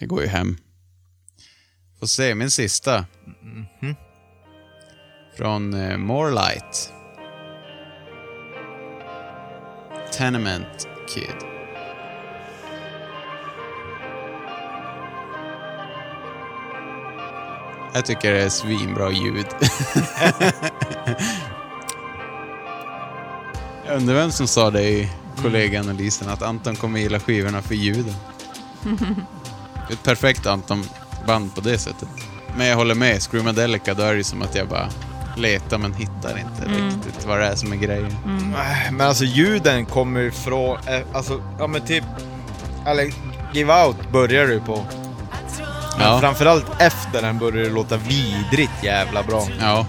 F: Det går ju hem. Får se, min sista. Från eh, Morelight. Tenement Kid. Jag tycker det är svinbra ljud. Jag undrar vem som sa det i kollegaanalysen att Anton kommer gilla skivorna för ljuden. Ett perfekt Anton-band på det sättet. Men jag håller med, Screamadelica, då är det ju som att jag bara letar men hittar inte riktigt vad det är som är grejen.
C: Äh, Men alltså ljuden kommer ju från, eh, alltså, ja men typ, eller Give Out börjar du på. Men
F: Ja.
C: framförallt efter den börjar det låta vidrigt jävla bra.
F: Ja.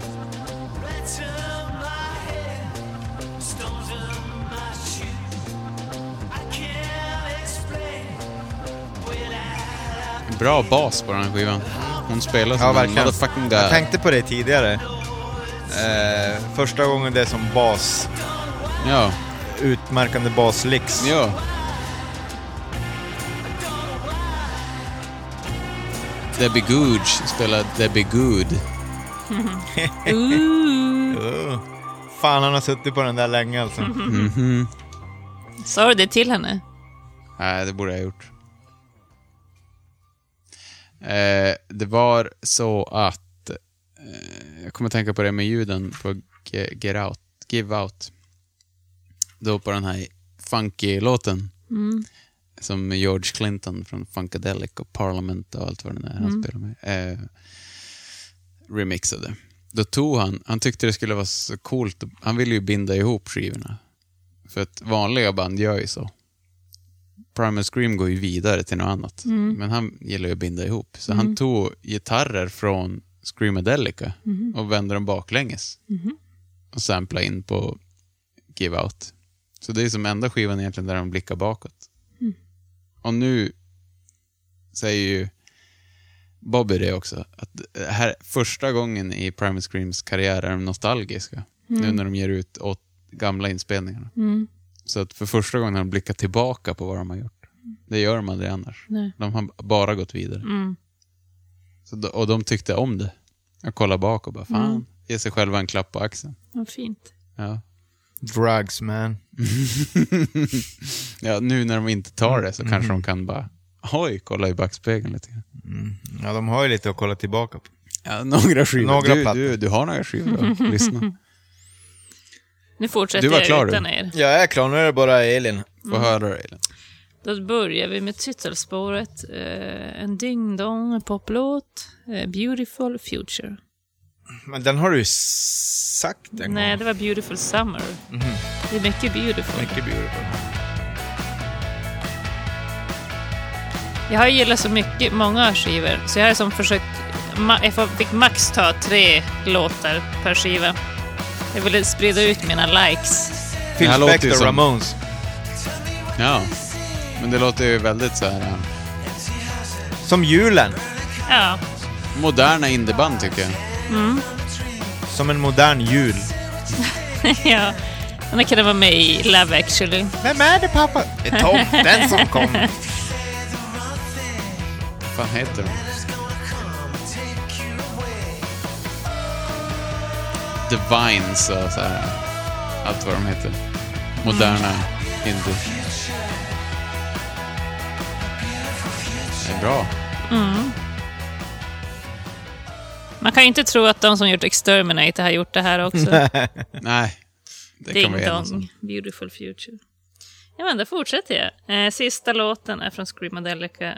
F: Bra bas på den här skivan. Hon spelar som
C: Ja,
F: en
C: verkligen.
F: motherfucking
C: Jag
F: god.
C: tänkte på det tidigare. Eh, första gången det är som bas,
F: Ja,
C: utmärkande baslicks.
F: ja. Debbie Googe spelar Debbie Good.
C: Uh. Fan, han har suttit på den där länge alltså.
F: Mhm.
D: Sa du det till henne?
F: Nej, det borde jag ha gjort. Eh, det var så att... Eh, jag kommer att tänka på det med ljuden på Ge- Get Out, Give Out. Då på den här funky-låten. Som George Clinton från Funkadelic och Parliament och allt vad det är han spelar med. Eh, remixade. Då tog han, han tyckte det skulle vara så coolt, han ville ju binda ihop skivorna. För att vanliga band gör ju så. Primal Scream går ju vidare till något annat. Men han gillar ju att binda ihop. Så han tog gitarrer från Screamadelica och vände dem baklänges. Och samplade in på Give Out. Så det är som enda skivan egentligen där de blickar bakåt. Och nu säger ju Bobby det också. Att det här första gången i Primal Screams karriär är de nostalgiska. Nu när de ger ut åt gamla inspelningarna. Så att för första gången har de blickat tillbaka på vad de har gjort. Det gör de aldrig annars.
D: Nej.
F: De har bara gått vidare. Så, då- och de tyckte om det. Jag kollar bak och bara, fan, ge sig själva en klapp på axeln.
D: Vad fint.
F: Ja.
C: Drugs man.
F: ja, nu när de inte tar det så kanske de kan bara, oj, kolla i backspegeln lite grann.
C: Ja, de har ju lite att kolla tillbaka på.
F: Ja, några skivor.
C: Några
F: du,
C: plattor.
F: du, du har några skivor att lyssna.
D: Nu
F: Du
D: fortsätter
F: var
D: jag
F: klar,
D: utan
F: du.
D: er.
C: Jag är klar, nu är det bara Elin.
F: Få höra det, Elin.
D: Då börjar vi med titelspåret. Eh, en ding-dong poplåt. Eh, Beautiful Future.
C: Men den har du ju sagt en
D: Nej,
C: gång.
D: det var Beautiful Summer.
F: Mhm.
D: Det är mycket beautiful.
C: Mycket beautiful.
D: Jag har ju gillat så mycket, många skivor, så jag har som försökt... Ma- jag fick max ta tre låtar per skiva. Jag ville sprida ut mina likes.
C: Phil
F: här låter ju
C: Spector,
F: som-
C: Ramones.
F: Ja, men det låter ju väldigt så här eh,
C: Som julen.
D: Ja,
F: moderna indieband tycker jag.
C: Som en modern jul.
D: ja. Men det kunde vara med i Love actually.
C: Vem är det pappa? Det är tomten som kom.
F: Vad fan heter den? The Vines och så här. Allt vad de heter. Moderna indie. Det är bra.
D: Man kan ju inte tro att de som gjort Exterminator har gjort det här också.
F: Nej, det alltså. kan vi
D: Ding
F: enas om.
D: dong, beautiful future. Ja, men då fortsätter jag. Eh, sista låten är från Screamadelica.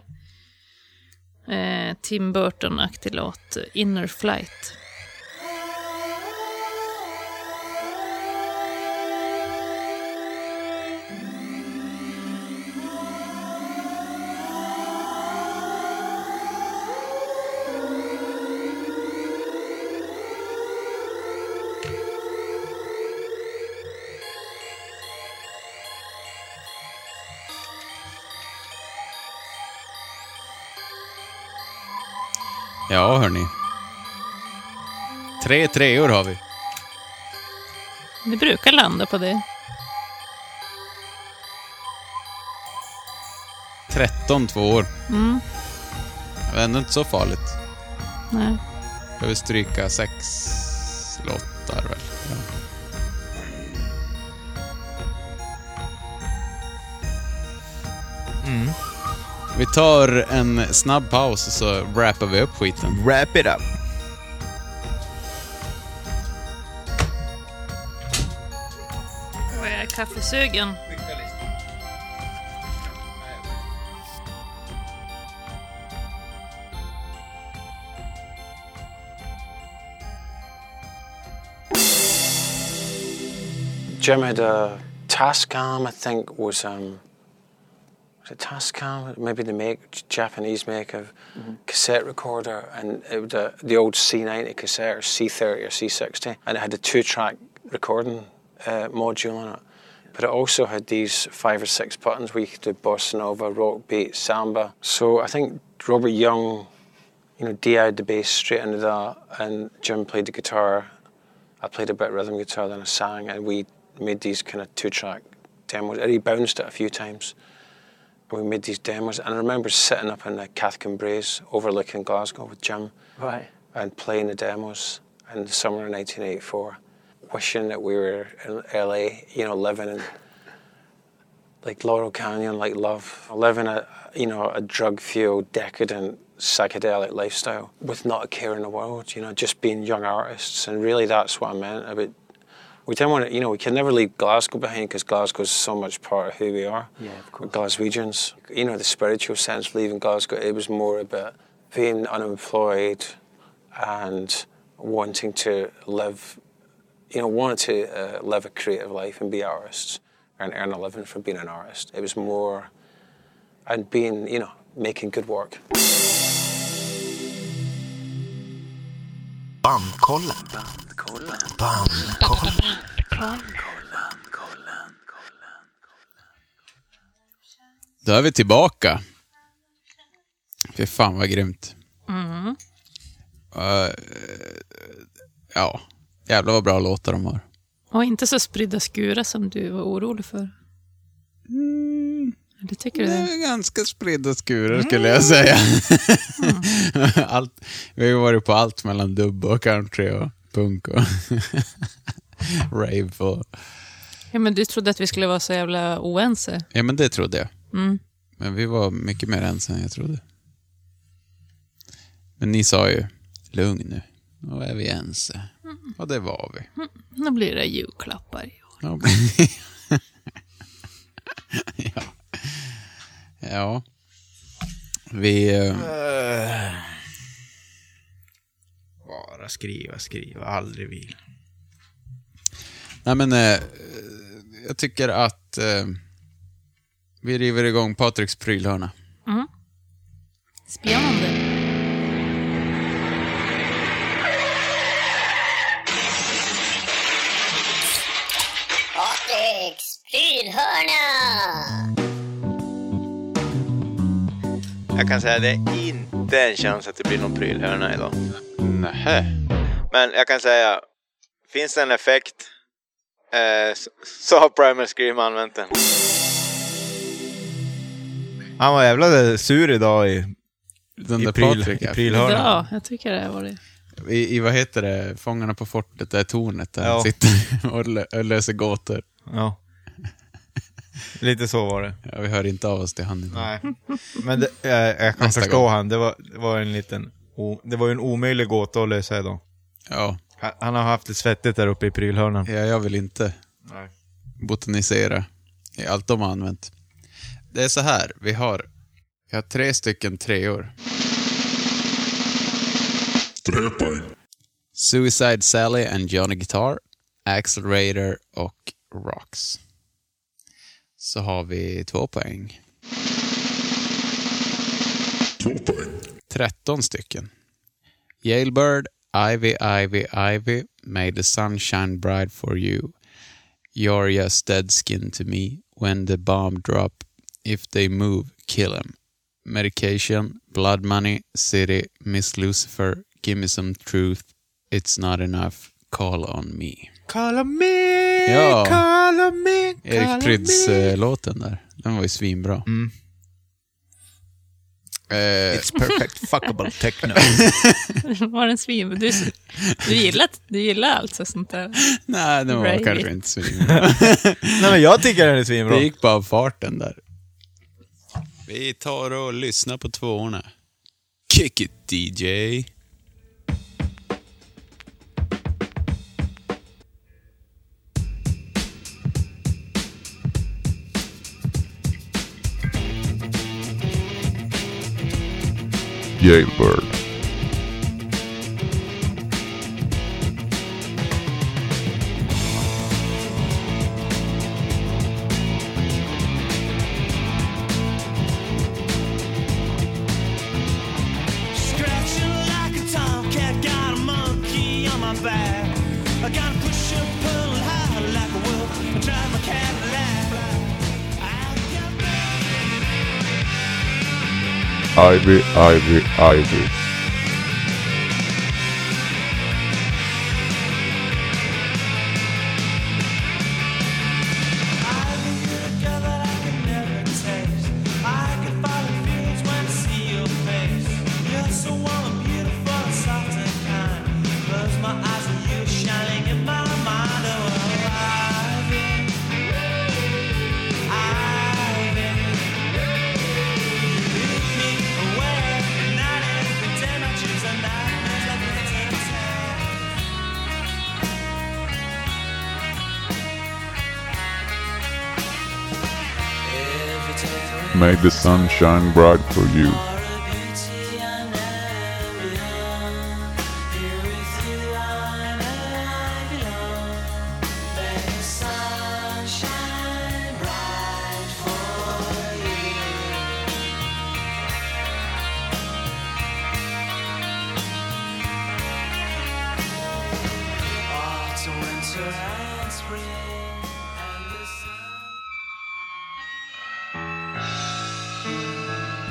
D: Eh, Tim Burton-aktig låt, Inner Flight.
F: Ja, hörni. Tre treor har vi.
D: Vi brukar landa på det.
F: 13 tvåor. Mm. Det var ändå inte så farligt.
D: Nej.
F: Behöver stryka sex låtar väl. Ja. Mm. Vi tar en snabb paus och så wrappar vi upp skiten.
C: Wrap it up.
D: Och jag är kaffesugen.
J: Jeremy, the Tascam, I think, was um, was it Tascam? Maybe the make Japanese make of cassette recorder, and it was a, the old C90 cassette, or C30 or C60, and it had a two-track recording uh, module on it. But it also had these five or six buttons where you could do bossa nova, rock beat, samba. So I think Robert Young, you know, DI'd the bass straight into that, and Jim played the guitar. I played a bit of rhythm guitar, then I sang, and we made these kind of two track demos. I rebounced it a few times. And we made these demos, and I remember sitting up in the Cathkin Braes overlooking Glasgow with Jim
I: Right.
J: and playing the demos in the summer of 1984, wishing that we were in LA, you know, living in like Laurel Canyon, like love, living a you know a drug fueled, decadent, psychedelic lifestyle with not a care in the world. You know, just being young artists, and really that's what I meant about. We didn't want to, you know, we can never leave Glasgow behind because Glasgow's so much part of who we are.
I: Yeah, of course.
J: Glaswegians. You know, the spiritual sense of leaving Glasgow, it was more about being unemployed and wanting to live, you know, wanted to uh, live a creative life and be artists and earn a living from being an artist. It was more, and being, you know, making good work.
A: Bandkollen. Bandkollen.
F: Då är vi tillbaka. Fy fan vad grymt.
D: Mm.
F: Eh, ja, jävlar vad bra låtar de har.
D: Och inte så spridda skurar som du var orolig för.
F: Mm.
D: Det tycker du?
F: Det är ganska spridda skurar skulle jag säga. allt, vi har ju varit på allt mellan dubb och country och punk och rave. Och,
D: Ja, men du trodde att vi skulle vara så jävla oense.
F: ja, men det trodde jag. Men vi var mycket mer än än jag trodde. Men ni sa ju, lugn nu, nu är vi ense. Och det var vi.
D: Nu blir det julklappar i år.
F: Ja. ja. ja. Vi... eh,
C: Bara skriva, skriva, aldrig vila.
F: Nej men, eh, jag tycker att eh, vi river igång Patriks prylhörna.
D: Spännande.
K: Patriks prylhörna!
C: Jag kan säga det är inte en chans att det blir någon prylhörna idag.
F: Nähä.
C: Men jag kan säga Finns det en effekt eh, s- så har Primal Scream använt den. Han var jävla sur idag i,
F: Den
C: i,
F: där
C: pryl,
F: Patrik,
C: i
F: ja.
C: prylhörnan.
D: Ja, jag tycker det var det.
F: I, I vad heter det, Fångarna på fortet, det är tornet där
C: Ja.
F: han sitter och, lö, och löser gåtor.
C: Ja. Lite så var det.
F: Ja, vi hör inte av oss till han idag.
C: Nej. Men det, jag, jag kan
F: Nästa
C: förstå
F: gång.
C: han. Det var, det var en liten... O, det var ju en omöjlig gåta att lösa idag.
F: Ja.
C: Han, han har haft det svettigt där uppe i prylhörnan.
F: ja, jag vill inte
C: Nej.
F: botanisera i allt de har använt. Det är så här, vi har, vi har tre stycken treor. Suicide Sally and Johnny Guitar, Accelerator och Rocks. Så har vi två poäng. Tretton stycken. Jailbird, Ivy, Ivy, Ivy, May the sun shine bright for you. You're just dead skin to me. When the bomb drop, if they move, kill 'em. Medication, Blood Money, City, Miss Lucifer, Give Me Some Truth, It's Not Enough, Call On Me.
C: Call me,
F: Ja.
C: call me, call
F: Erik
C: me.
F: Prydz-låten där, den var ju svinbra.
C: Mm.
F: Eh,
C: It's perfect fuckable techno.
D: Var den svin? Du, du, gillar, du gillar alltså sånt där?
F: nej, den var
D: Right.
F: kanske inte svinbra.
C: Nej men jag tycker den är svinbra.
F: det gick bara av farten där. Vi tar och lyssnar på tvåorna. Kick it DJ!
L: Jailbird.
G: Scratching like a tomcat, got a monkey on my back. I gotta push and pull and hide like a wolf and drive my Cadillac. I got
L: Ivy, Ivy, Ivy.
G: ivy in a girl that I can never taste. I can follow fields when I see your face. You're so warm and beautiful and soft and kind. Close my eyes and you shining in my mind. Oh, ivy, ivy.
L: May the sun shine bright for you.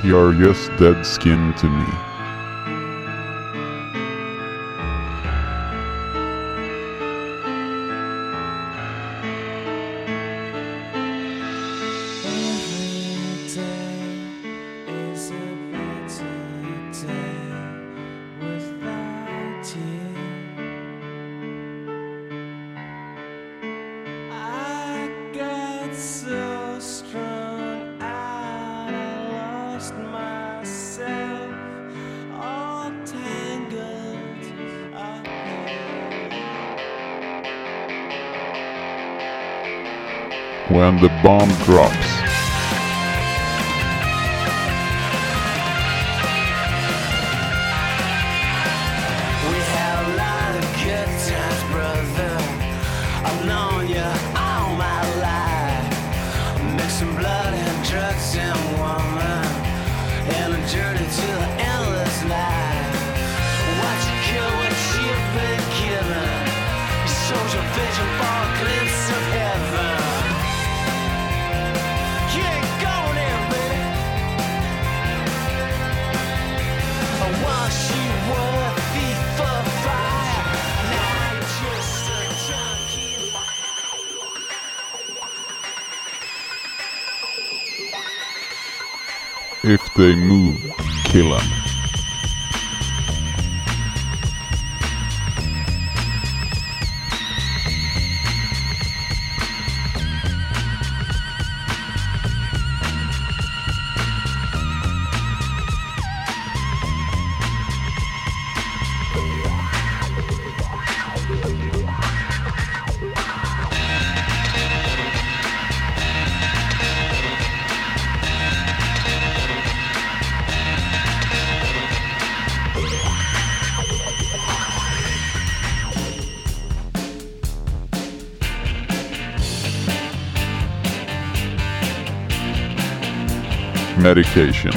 L: You're just dead skin to me.
G: Myself all tangled
L: When the bomb drops.
G: We had a lot of good times, brother. I've known you all my life. Mixing blood and drugs and woman. And a journey to the endless night. What you kill, what you've been killing. Shows your vision for a glimpse of heaven.
L: If they move, kill them. Medication.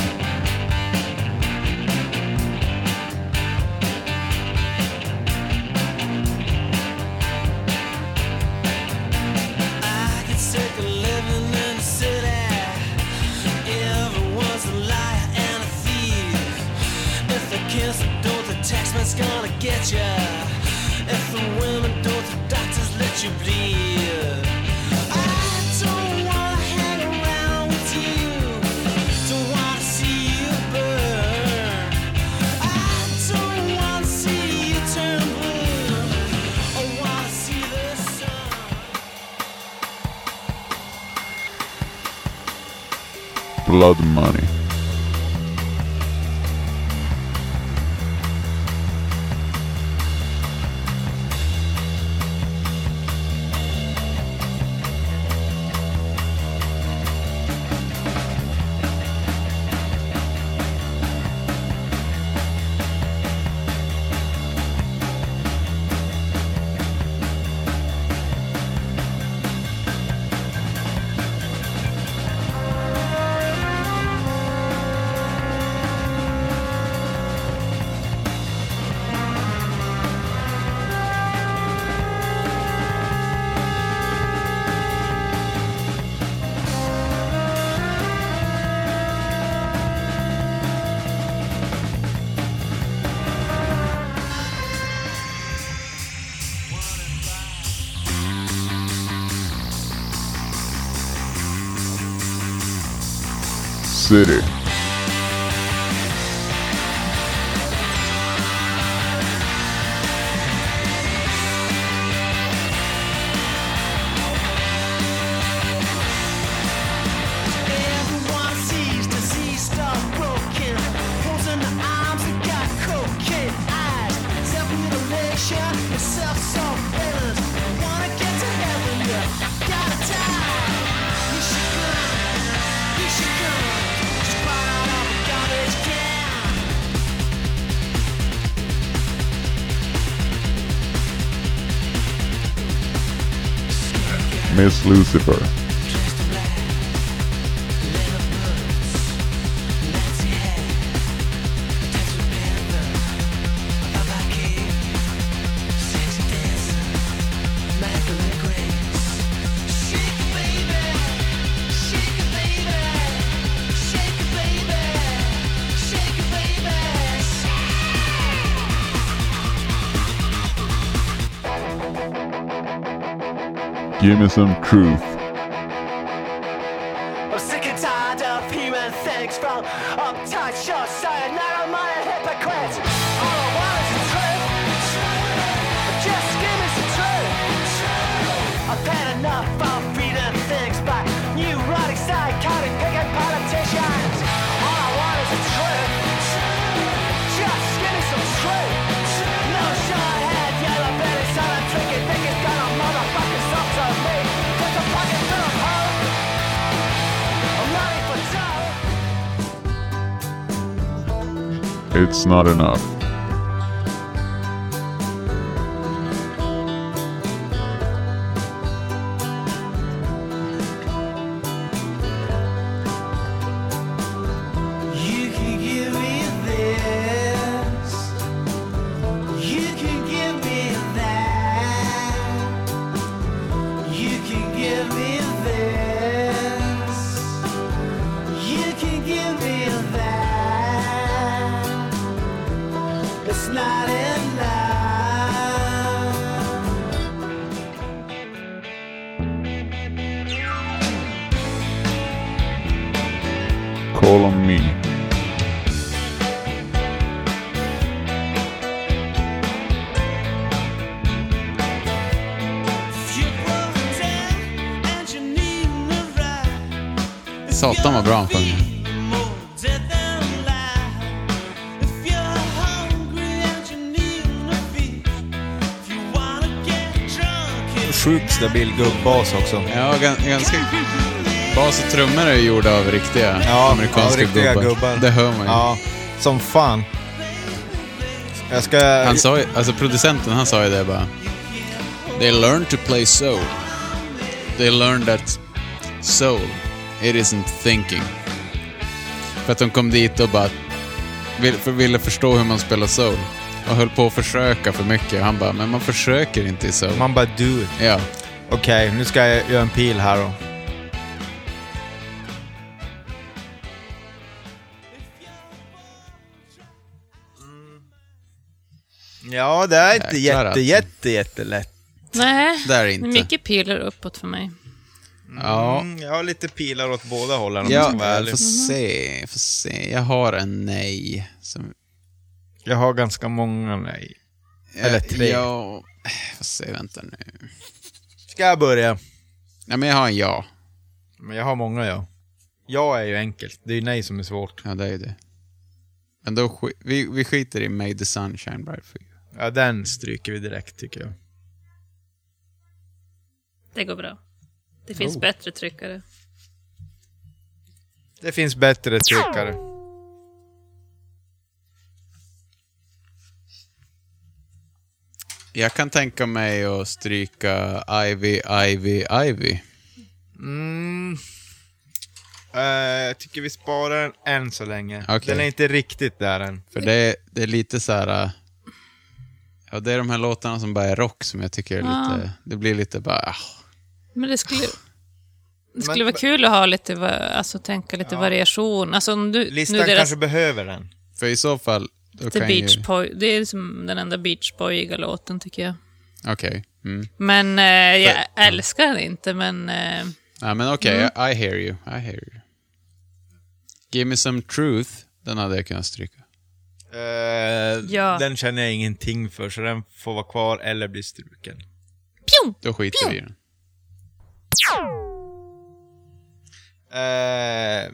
G: I get sick of living in the city. Everyone's a liar and a thief. If the kids don't, the taxman's gonna get ya. If the women don't, the doctors let you bleed. I don't wanna hang around with you. Don't wanna see you burn. I don't wanna see you turn blue. I wanna see the sun.
L: Blood money. City.
G: Everyone sees disease start broken. Holes in the arms that got cocaine eyes. Self-mutilation and self-surveillance. Wanna get to heaven, you gotta die. You should come, you should come. Squat out of a garbage can.
L: Miss Lucifer. Give me some truth.
G: I'm sick and tired of human things from uptight, short sighted, narrow-minded hypocrites. All I want is the truth. Just give me some truth. I've had enough of beaten things by neurotic, psychotic, picking politicians. All I want is the truth. Just give me some truth. No short head, yellow belly, silent tricky, think it's got a motherfucking song to me. Put the fucking through a I'm ready for dough.
L: It's not enough.
G: You can give me this. You can give me that. You can give me this. You can give me that.
L: Call on Me.
F: Satan vad bra han sjunger.
C: Sjukt stabil gubbbas också.
F: Ja, gan- ganska... Bas och trummor är ju gjorda av riktiga
C: Ja,
F: amerikanska
C: ja, riktiga
F: gubbar.
C: gubbar.
F: Det hör man ju.
C: Ja, som fan. Jag ska...
F: Han sa ju, alltså producenten han sa ju det bara. They learned to play soul. They learned that soul, it isn't thinking. För att de kom dit och bara vill, för, ville förstå hur man spelar soul. Och höll på att försöka för mycket. Han bara, men man försöker inte i soul.
C: Man bara do it.
F: Ja.
C: Okej, nu ska jag göra en pil här då. Mm. Ja, det är inte
D: Jäklar
C: jätte,
D: alltså.
C: jätte, jättelätt.
D: Nej,
C: Där är inte.
D: mycket pilar uppåt för mig.
F: Ja.
C: Mm, jag har lite pilar åt båda hållen om jag
F: Ja,
C: ska vara
F: jag
C: ärlig.
F: får se, jag får se. Jag har en nej. Som,
C: Jag har ganska många nej. Eller tre.
F: Eh, Ja, jag får se, vänta nu.
C: Ska jag börja?
F: Ja, men jag har en ja.
C: Men jag har många ja. Ja är ju enkelt. Det är ju nej som är svårt.
F: Ja, det är ju det. Men då sk- vi, vi skiter i May the sun shine bright for you.
C: Ja, den stryker vi direkt tycker jag.
D: Det går bra. Det finns
C: Oh.
D: bättre tryckare.
C: Det finns bättre tryckare.
F: Jag kan tänka mig att stryka Ivy, Ivy, Ivy.
C: Mm. Eh, jag tycker vi sparar den än så länge.
F: Okej.
C: Den är inte riktigt där än.
F: För det, det är lite så här... äh, Ja, det är de här låtarna som bara är rock som jag tycker är
D: Ja.
F: lite... Det blir lite bara... ah.
D: Men det skulle, det skulle
C: Men-
D: vara kul att ha lite, va- alltså tänka lite variation. Alltså om du,
C: Listan
D: nu deras,
C: kanske behöver den.
F: För i så fall... Då
D: The
F: kan
D: Beach
F: ju...
D: Boy, det är liksom den enda Beach Boyiga låten tycker jag.
F: Okej. Mm.
D: Men eh, jag älskar den inte, men eh,
F: Ja, men okej.
D: Mm.
F: I, I hear you. I hear you. Give me some truth. Den hade jag kunnat stryka.
C: Eh,
D: Ja.
C: Den känner jag ingenting för, så den får vara kvar eller bli struken.
D: pjong!
F: Då skiter vi i den.
C: Eh,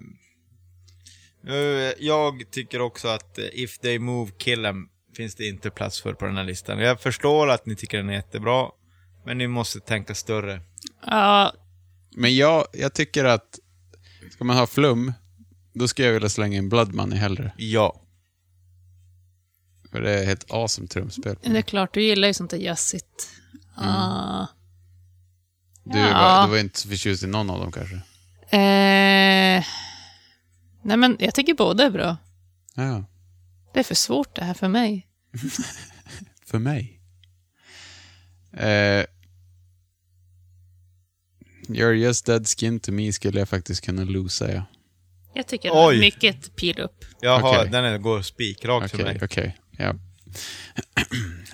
C: nu, jag tycker också att eh, If They Move Kill 'em finns det inte plats för på den här listan. Jag förstår att ni tycker den är jättebra, men ni måste tänka större.
D: Ja,
F: Men jag, jag tycker att ska man ha flum, då skulle jag vilja slänga in Blood Money hellre.
C: Ja.
F: För det är ett awesome trumspel.
D: det är klart, du gillar ju sånt där jazzigt.
C: Mm.
D: Ah.
F: Du,
D: Ja.
F: var, du var inte så förtjust i någon av dem kanske?
D: Eh, nej, men jag tycker båda är bra.
F: Ja,
D: Det är för svårt det här för mig.
F: för mig. Eh, You're just dead skin to me skulle jag faktiskt kunna losa, ja.
D: Jag tycker det var
C: Oj.
D: mycket pil upp.
C: Jaha,
F: Okej.
C: den är, går spikrakt
F: Okej,
C: för mig.
F: okej. Ja.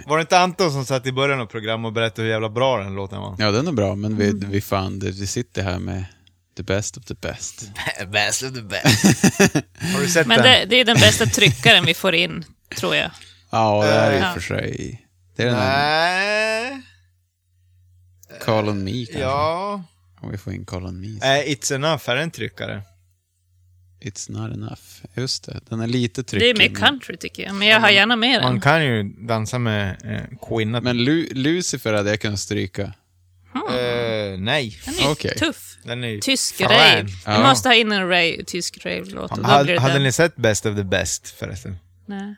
C: Var det inte Anton som satt i början av programmet och berättade hur jävla bra den låten var?
F: ja, den är bra, men vi,
D: Mm.
F: vi fan, det, vi sitter här med the best of the best.
C: best of the best. Har du sett
D: Men
C: den?
D: det, det är den bästa tryckaren vi får in, tror jag.
F: Ja, det är ju
D: Ja.
F: för sig... Det är den här
C: Nej.
F: Call on Me kanske.
C: Ja.
F: Om vi får in Call on Me.
C: Eh, It's enough är en tryckare.
F: It's not enough. Just det, den är lite tryckig.
D: Det är mer
F: men-
D: country tycker jag, men jag har gärna med
C: Man
D: den.
C: kan ju dansa med eh, Queen.
F: Men Lu- Lucifer hade jag kunnat stryka.
C: Eh, nej.
D: Den är ju
F: Okej.
D: tuff.
C: Den är ju
D: Tysk
C: frän.
D: rave. Vi
F: Ja.
D: måste ha in en rave, tysk rave-låt. och då blir
C: Hade,
D: det
C: hade
D: den.
C: ni sett Best of the Best förresten?
D: Nej.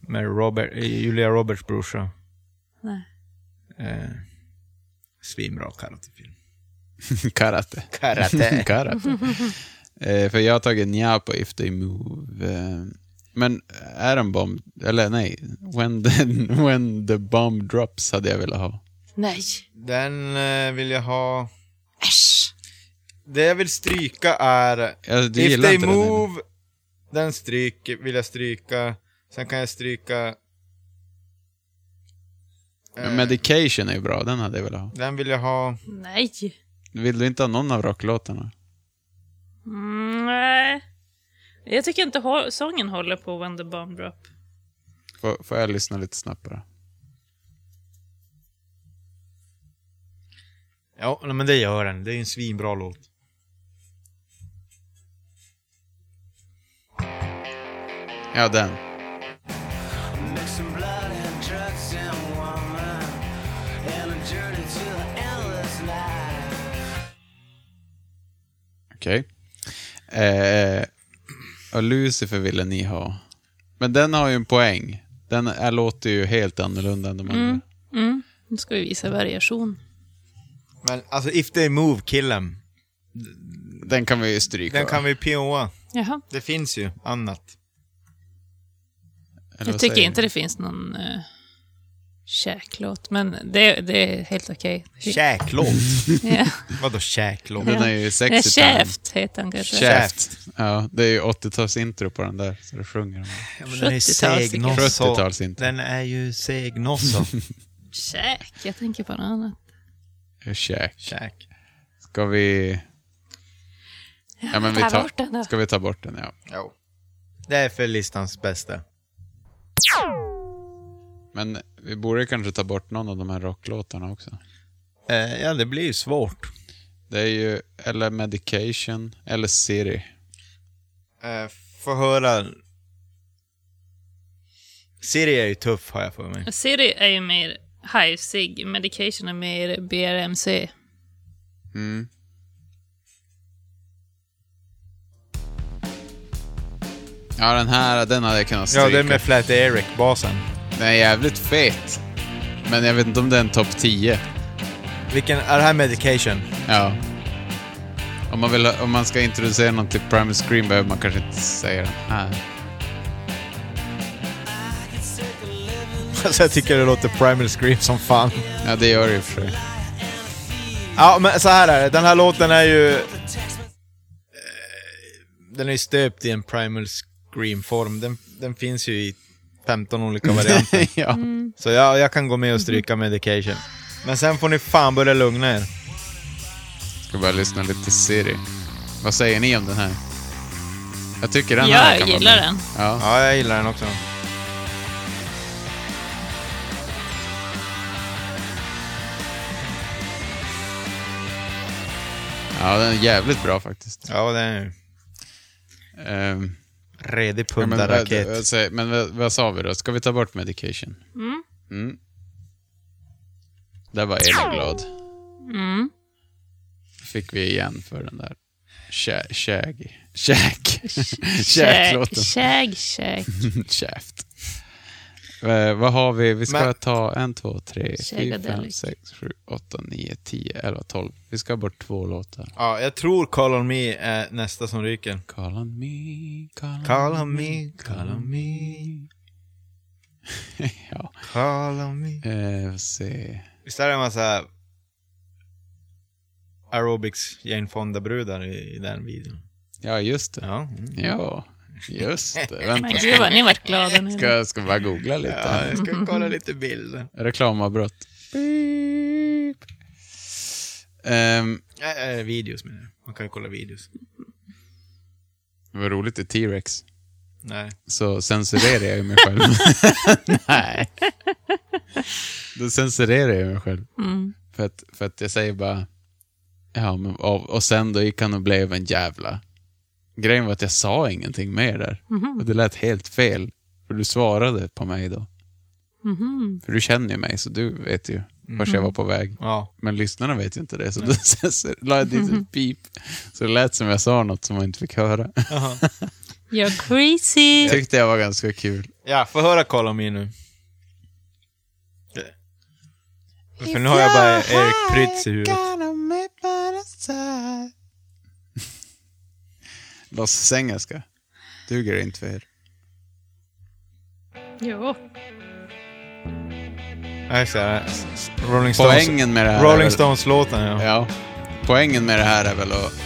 C: Med Robert, eh, Julia Roberts brorsa.
D: Nej.
C: Eh, svinbra karatefilm.
F: Karate.
C: Karate.
F: Karate. eh, för jag har tagit nja på If They Move. Eh, men Atom Bomb, eller nej, when the, when the Bomb Drops hade jag velat ha.
D: Nej.
C: Den eh, vill jag ha...
D: Äsch.
C: Det jag vill stryka är...
F: Ja, du
C: If
F: gillar
C: they
F: inte den, eller?
C: move, den, stryk, vill jag stryka. Sen kan jag stryka...
F: Men Medication är ju bra, den hade jag velat ha.
C: Den vill jag ha.
D: Nej.
F: Vill du inte ha någon av rocklåtarna?
D: Mm, nej. Jag tycker inte hå- sången håller på When the Bomb Drop.
F: Får, får jag lyssna lite snabbare?
C: Ja, nej, men det gör den. Det är ju en svinbra låt.
F: Ja, den.
G: Mixing blood and drugs and woman And a journey to the endless night
F: Okej. Eh, och Lucifer ville ni ha. Men den har ju en poäng. Den är, låter ju helt annorlunda än de andra.
D: Mm. Mm. Nu ska vi visa variation.
C: Men alltså, If They Move, Kill 'em.
F: Den kan vi ju stryka.
C: Den kan vi POa.
D: Jaha.
C: Det finns ju annat.
D: jag tycker inte det finns någon uh, käklåt, men det, det är helt okej.
C: Käklåt?
D: ja.
C: Vadå käklåt?
F: Den är ju sexy
D: Ja,
F: time.
D: Käft heter han kanske.
F: Shaft. Ja, det är ju 80-talsintro på den där, så det sjunger de.
C: Ja, men den är
D: 70-tals
C: seg nosso.
F: 70-talsintro.
C: Den är ju seg nosso.
D: Käk, jag tänker på något annat.
F: Käk.
C: Käk.
F: Ska vi... Ja, men vi
D: Ta
F: tar...
D: bort den då.
F: Ska vi ta bort den, ja.
C: Jo. Det är för listans bästa.
F: Men vi borde kanske ta bort någon av de här rocklåtarna också.
C: Eh, ja, det blir ju svårt.
F: Det är ju eller Medication eller City.
C: Eh, Få höra... Siri är ju tuff har jag för mig.
D: Siri är ju mer hivesig, medication är mer BRMC.
F: Mm. Ja, den här den hade jag kunnat stryka.
C: Ja, det är med Flat Eric-basen.
F: Den är jävligt fet. Men jag vet inte om det är en topp 10.
C: Vilken... Är det här Medication?
F: Ja. Om man, vill, om man ska introducera någon till Primal Scream behöver man kanske inte säga den här.
C: Alltså jag tycker det låter Primal Scream som fan.
F: Ja, det gör det i och för sig.
C: Ja, men så här är det. Den här låten är ju... eh, Den är ju stöpt i en Primal Scream-form. Den, den finns ju i 15 olika varianter.
F: ja.
C: Så jag, jag kan gå med och stryka Medication. Men sen får ni fan börja lugna er.
F: Ska bara lyssna lite Siri. Vad säger ni om den här? Jag tycker den
D: Ja,
F: här
D: jag
F: kan vara
D: gillar
F: med.
D: den.
F: Ja.
C: Ja, jag gillar den också.
F: ja, den är jävligt bra faktiskt.
C: Ja, den är ju...
F: Ehm,
C: Redig
F: ja, men vad-
C: pundarraket.
F: vad säger- men vad, vad sa vi då? Ska vi ta bort Medication?
D: Mm.
F: Mm. Där var Elin glad.
D: Mm.
F: Fick vi igen för den där. Kä- Käg. Käk.
D: Käk,
F: Käklåten.
D: käk, käk.
F: Käft. Eh, vad har vi? Vi ska
C: Men-
F: ta en, två, tre, fyra, fem,
D: Shagadelic.
F: sex, sju, åtta, nio, tio, elva, tolv. Vi ska ha bort två låtar.
C: Ja, jag tror Call On Me är nästa som ryker.
F: Call on me, call on,
C: Call On Me,
F: call on me. ja,
C: Call On Me.
F: eh, vi får se.
C: Visst är det en massa aerobics Jane Fonda-brudar i, i den videon?
F: Ja, just det.
C: Ja. Mm.
F: Ja, just det.
D: Men
F: Vänta,
D: gud vad ni vart glada nu.
F: ska, jag ska bara googla
C: ja,
F: lite.
C: jag ska kolla lite bilder.
F: Reklamavbrott. Beep. Ehm,
C: Äh, äh, videos menar jag. Man kan ju kolla videos.
F: det var roligt i T-Rex.
C: Nej.
F: så censurerar jag ju mig själv. Nej. Då censurerar jag mig själv.
D: Mm.
F: För att, för att jag säger bara... Ja, men, och, och sen då gick han och blev en jävla... Grejen var att jag sa ingenting mer där. Och det lät helt fel. För du svarade på mig då.
D: Mhm.
F: För du känner ju mig, så du vet ju vart jag var på väg.
C: Ja.
F: Men lyssnarna vet ju inte det, så då censur- la jag dit
D: Mhm.
F: ett pip. Så det lät som jag sa något som man inte fick höra.
D: You're crazy.
F: Tyckte jag var ganska kul.
C: Ja, få höra Call On Me nu. Det. För nu har jag bara Erik Prytz i huvudet.
F: Låtsasengelska. Duger det inte för er?
D: Jo.
C: Nej, så är det. Rolling Stones.
F: Poängen med det här är
C: Rolling
F: väl-
C: Stones-låten ja.
F: Ja. Poängen med det här är väl att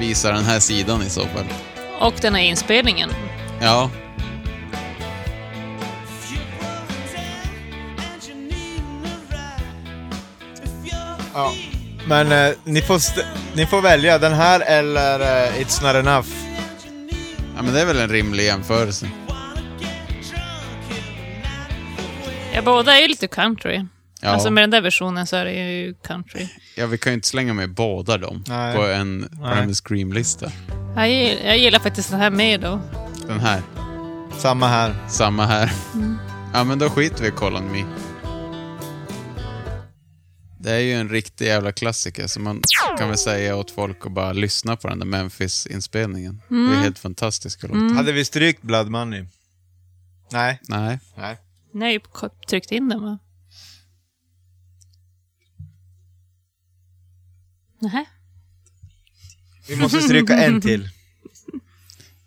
F: visa den här sidan i så fall.
D: Och den här inspelningen.
F: Ja.
G: If you broke down and you need a ride If you're
C: Ja. Men eh, ni, får st- ni får välja den här eller eh, It's Not Enough.
F: Ja, men det är väl en rimlig jämförelse.
D: Ja, båda är ju lite country.
F: Ja.
D: Alltså med den där versionen så är det ju country.
F: Ja, vi kan ju inte slänga med båda dem
D: Nej.
F: på en
D: Nej.
F: Prime Scream-lista.
D: Jag gillar, jag gillar faktiskt den här med då.
F: Den här.
C: Samma här.
F: Samma här.
D: Mm.
F: Ja, men då skiter vi i Call on Me. Det är ju en riktig jävla klassiker, så man kan väl säga åt folk att bara lyssna på den där Memphis-inspelningen. Det är
D: Mm.
F: helt fantastisk låt.
D: Mm.
C: Hade vi strykt Blood Money? Nej.
F: Nej.
C: Nej.
D: Ni har ju k- tryckt in den va? Nähä.
C: Vi måste stryka en till.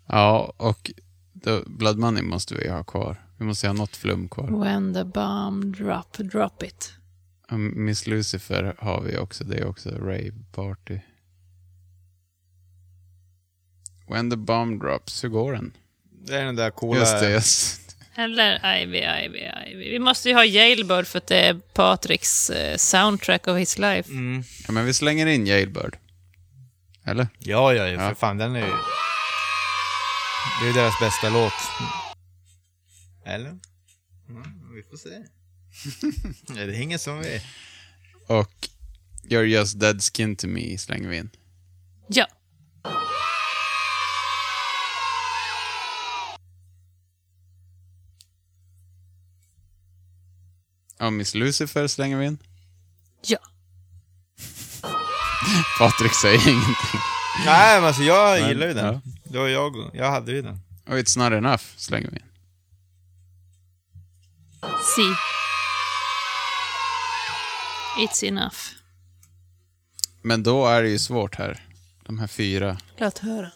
F: Ja, och då, Blood Money måste vi ha kvar. Vi måste ha något flum kvar.
D: When the bomb drop, drop it.
F: Ja, Mm. Miss Lucifer har vi också. Det är också Rave Party. When the bomb drops, hur går den?
C: Det är den där coola...
F: Just det, yes.
D: Eller Ivy, Ivy, Ivy. Vi måste ju ha Jailbird för att det är Patricks eh, soundtrack of his life.
F: Ja, men vi slänger in Jailbird. Eller?
C: Ja, ja, ja, för fan den är ju... Det är ju deras bästa låt. Eller? Mm, vi får se. Nej, det är ingen som vet.
F: Och You're Just Dead Skin To Me slänger vi in.
D: Ja.
F: Och Miss Lucifer slänger vi in.
D: Ja.
F: Patrik säger ingenting.
C: Nej, men alltså jag
F: Men,
C: gillar ju den.
F: ja.
C: Det var jag, jag hade ju den.
F: Och It's Not Enough slänger vi in.
D: Si. It's enough.
F: Men då är det ju svårt här. De här fyra.
D: Låt höra.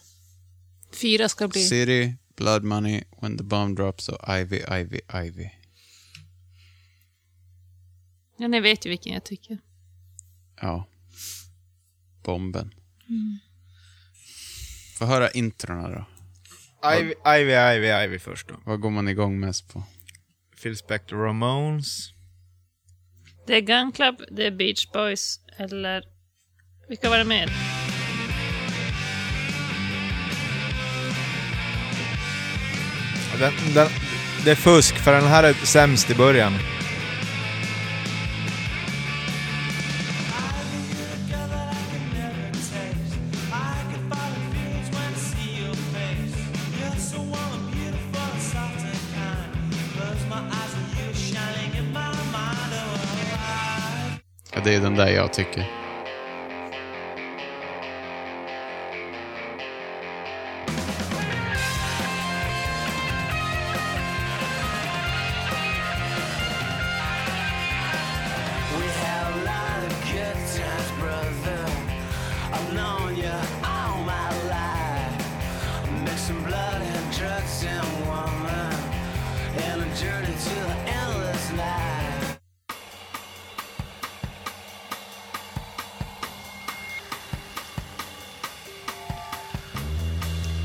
D: Fyra ska bli...
F: City, Blood Money, When the Bomb Drops och Ivy, Ivy, Ivy.
D: Ja, ni vet ju vilken jag tycker.
F: Ja. Bomben. Få höra introna då.
C: Ivy, Ivy, Ivy, Ivy först då.
F: Vad går man igång mest på?
C: Phil Spector Ramones.
D: Det är Gun Club, det är Beach Boys eller... Vilka var det mer?
C: Ja, Den, den, det är fusk, för den här är sämst i början.
F: Ja, det är den där jag tycker.
G: We had a lot of good times, brother. I've known you all my life. Mixing blood and drugs and woman. And a journey to the endless night.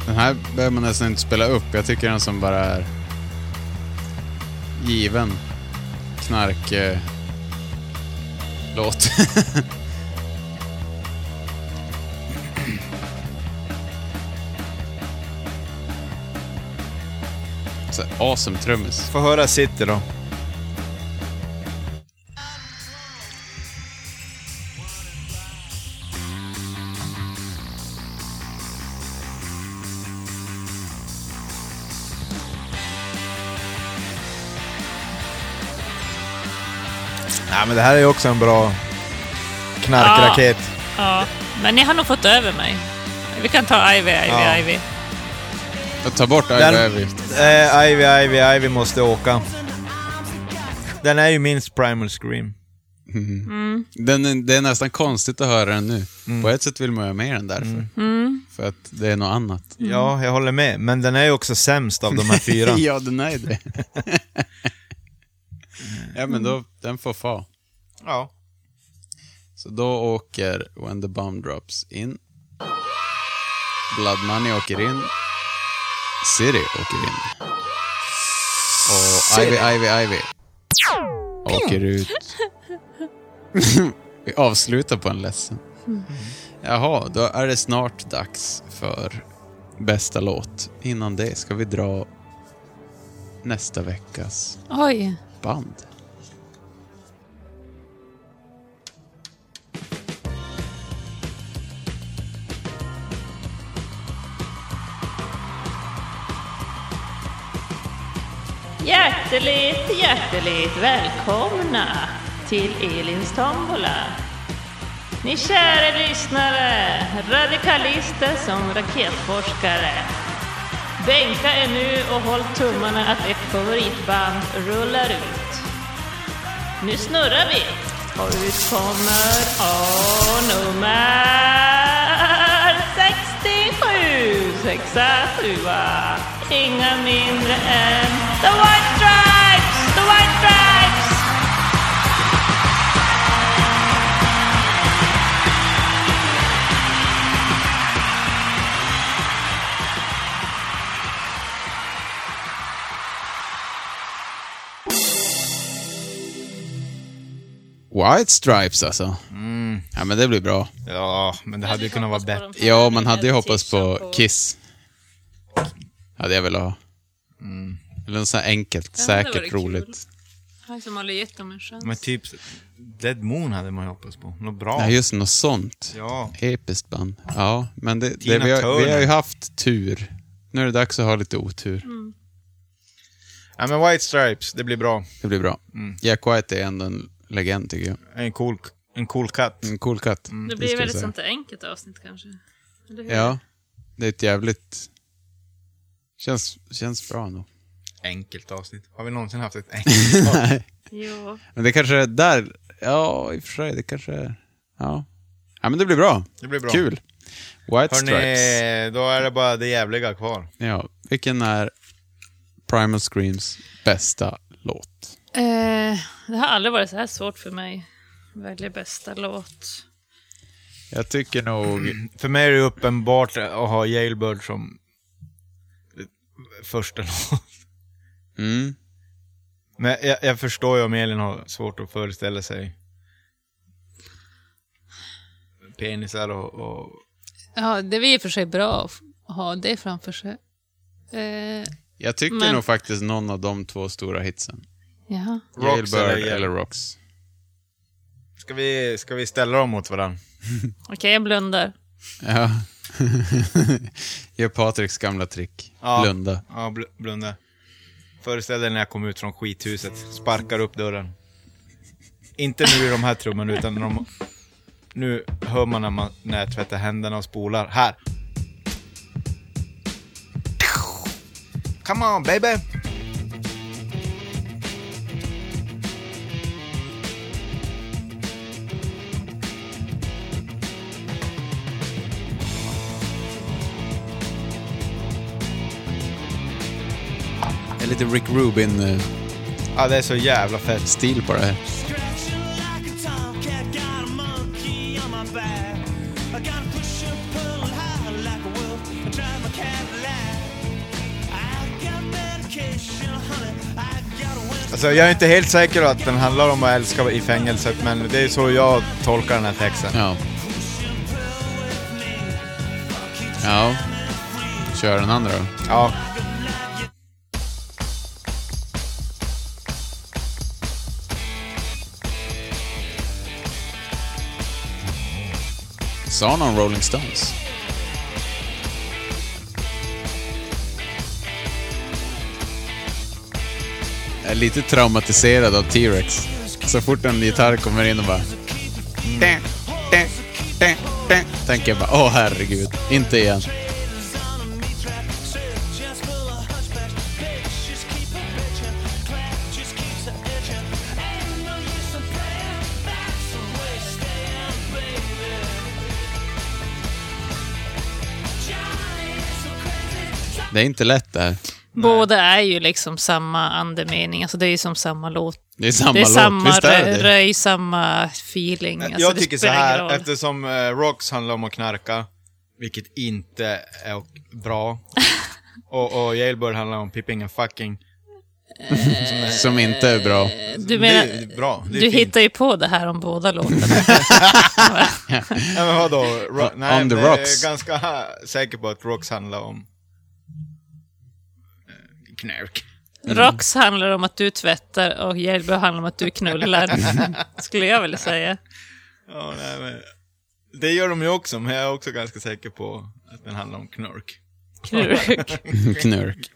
F: Den här behöver man nästan inte spela upp. Jag tycker den som bara är given knark eh, låt. Så här, awesome trummis.
C: Få höra City då. Nej, men det här är ju också en bra knarkraket.
D: Ja, men ni har nog fått över mig. Vi kan ta Ivy, Ivy,
C: Ja.
D: Ivy.
F: Ta bort Ivy
C: Den-
F: Ivy.
C: Eh, Ivy, Ivy, Ivy måste åka. Den är ju minst Primal Scream.
D: Mm.
F: Den, är- det är nästan konstigt att höra den nu. På ett sätt vill man ha med den därför.
D: Mm.
F: För att det är något annat.
C: Ja, jag håller med. Men den är ju också sämst av de här fyra.
F: Mm. ja, den är det. ja, men då, den får fa.
C: Ja.
F: Så då åker When the Bomb Drops in. Blood Money åker in. City åker in. Och Ivy, Ivy, Ivy åker ut. Vi avslutar på en ledsen. Jaha, då är det snart dags för bästa låt. Innan det ska vi dra nästa veckas
D: Oj.
F: band.
M: Hjärteligt, hjärteligt välkomna till Elins tombola. Ni kära lyssnare, radikalister som raketforskare. Bänka er nu och håll tummarna att ert favoritband rullar ut. Nu snurrar vi och ut kommer A nummer 67, sexa, sjua. Inga mindre än The White Stripes! The White Stripes!
F: White Stripes alltså.
C: Mm.
F: Ja, men det blir bra.
C: Ja, men det hade ju kunnat vara bättre.
F: Ja, man hade ju hoppats på Kiss. Hade jag velat ha.
C: Mm.
F: Eller något sånt här enkelt,
D: Ja, det hade varit
F: säkert,
D: kul.
F: roligt.
D: Han som aldrig gett dem en chans.
C: Men typ Dead Moon hade man ju hoppats på. Något bra.
F: Nej, just något sånt.
C: Ja.
F: Episkt band. Ja, men det, det,
C: Tina
F: vi, har, vi har ju
C: Turner.
F: haft tur. Nu är det dags att ha lite otur.
D: Mm.
C: Ja, men White Stripes, det blir bra.
F: Det blir bra.
C: Mm.
F: Jack White är ändå en legend tycker jag.
C: En cool, en cool katt.
F: En cool katt.
C: Mm.
D: Det
F: ska
D: blir
F: jag
D: väl ett
F: säga.
D: sånt där enkelt avsnitt kanske? Eller hur?
F: Ja, det är ett jävligt... Känns, känns bra nog.
C: Enkelt avsnitt. Har vi någonsin haft ett enkelt avsnitt?
D: Jo.
F: Men det kanske är där... Ja, i och för sig, det kanske är... Ja. Ja, men det blir bra.
C: Det blir bra.
F: Kul. White Stripes.
C: Hörrni, då är det bara det jävliga kvar.
F: Ja, vilken är Primal Screams bästa låt?
D: Eh, det har aldrig varit så här svårt för mig. Välja bästa låt.
F: Jag tycker nog...
C: För mig är det uppenbart att ha Jailbird som första låt.
F: Mm.
C: Men jag, jag förstår ju om Elin har svårt att föreställa sig penisar och, och
D: Ja, det är i och för sig bra att f- ha det framför sig. Eh,
F: Jag tycker
D: Men-
F: nog faktiskt någon av de två stora hitsen.
D: jaha.
C: Rocks
F: Jailbird
C: eller Jail-
F: eller Rocks.
C: Ska vi, ska vi ställa dem mot varandra?
D: Okej, jag blundar.
F: Ja. Gör Patriks gamla trick. Blunda.
C: Ja, bl blunda. Föreställ dig när jag kom ut från skithuset, sparkar upp dörren. Inte nu i de här trummorna, utan när de, nu hör man när, man när jag tvättar händerna och spolar. Här! Come on baby!
F: Det är lite Rick Rubin-stil
C: Ja, det är så jävla fett.
F: på det här.
G: Scratching like a tomcat, got a monkey on my back. I gotta push and pull and howl like a wolf. I drive my Cadillac. I got medication, honey. I got a wisdom.
C: Alltså, jag är inte helt säker att den handlar om att älska i fängelset, men det är så jag tolkar den här texten.
F: Ja. Ja. Kör den andra då.
C: Ja.
F: Sa någon Rolling Stones? Jag är lite traumatiserad av T-Rex. Så fort en gitarr kommer in och bara... "Dä, dä, dä, dä", Tänker jag bara, åh herregud, inte igen. Det är inte lätt det här.
D: Båda är ju liksom samma andemening. Alltså det är ju som samma låt.
F: Det är samma
D: det är
F: låt,
D: samma
F: visst är det
D: rö-
F: det?
D: röj, samma feeling. Alltså,
C: jag
D: det
C: tycker så
D: spelar ingen
C: här,
D: roll.
C: eftersom eh, Rocks handlar om att knarka, vilket inte är ok- bra, och, och Jailbird handlar om pipping and fucking.
F: Som inte är bra.
D: Du menar,
C: det är bra, det är
D: du
C: fint.
D: hittar ju på det här om båda låtarna.
C: Nej men vadå? Ro- nej,
F: On the
C: men jag är
F: rocks.
C: ganska säker på att Rocks handlar om eh, knark.
D: Rox handlar om att du tvättar och Jelbo handlar om att du knullar. skulle jag vilja säga.
C: Ja, nej, men, det gör de ju också, men jag är också ganska säker på att den handlar om knark.
D: Knurk.
F: Knurk.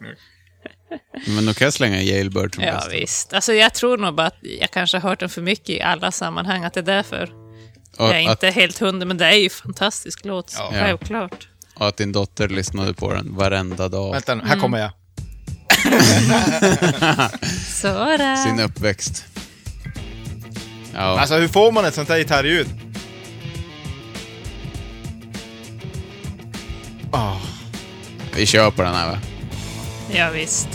F: Men då kan jag slänga Jailbird som
D: Ja,
F: bästa.
D: visst. Alltså, jag tror nog bara att jag kanske har hört den för mycket i alla sammanhang, att det är därför.
F: Och
D: jag är
F: att-
D: inte helt hundra, men det är ju en fantastisk låt,
F: Ja.
D: självklart.
F: Och att din dotter lyssnade på den varenda dag.
C: Vänta nu,
D: Mm.
C: här kommer jag.
D: Sådär.
F: Sin uppväxt. Ja.
C: Alltså hur får man ett sånt här gitarrljud?
F: Vi kör på den här va?
D: Ja, visst.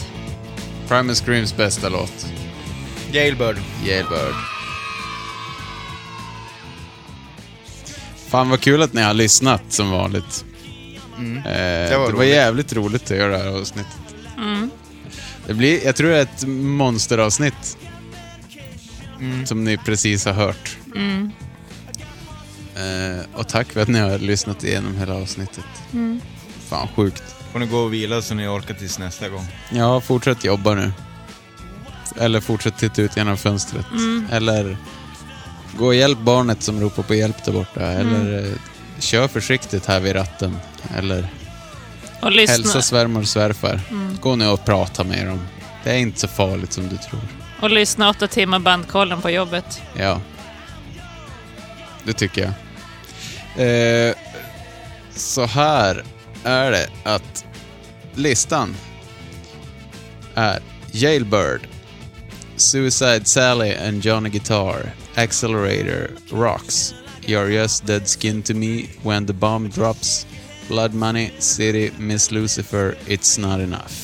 F: Primus Screams bästa låt.
C: Jailbird.
F: Jailbird. Fan vad kul att ni har lyssnat som vanligt. Eh, det var,
C: roligt.
F: jävligt roligt att göra det här avsnittet.
D: Mm.
F: Det blir, jag tror det är ett monsteravsnitt. Som ni precis har hört.
D: Mm.
F: Eh, och tack för att ni har lyssnat igenom hela avsnittet.
D: Mm.
F: Fan sjukt.
C: Får ni gå och vila så ni orkar tills nästa gång.
F: Ja, fortsätt jobba nu. Eller fortsätt titta ut genom fönstret.
C: Mm.
F: Eller gå och hjälp barnet som ropar på hjälp där borta. Eller
D: Mm.
F: eh, kör försiktigt här vid ratten. Eller
D: Och lyssna.
F: hälsa svärmor och svärfar.
D: Mm.
F: Gå nu och prata med dem. Det är inte så farligt som du tror.
D: Och lyssna åtta timmar bandkollen på jobbet.
F: Ja. Det tycker jag. Eh, så här är det att listan är Jailbird, Suicide Sally and Johnny Guitar, Accelerator, Rocks, You're Just Dead Skin to Me, When the Bomb Drops, Blood Money, City, Miss Lucifer, It's Not Enough.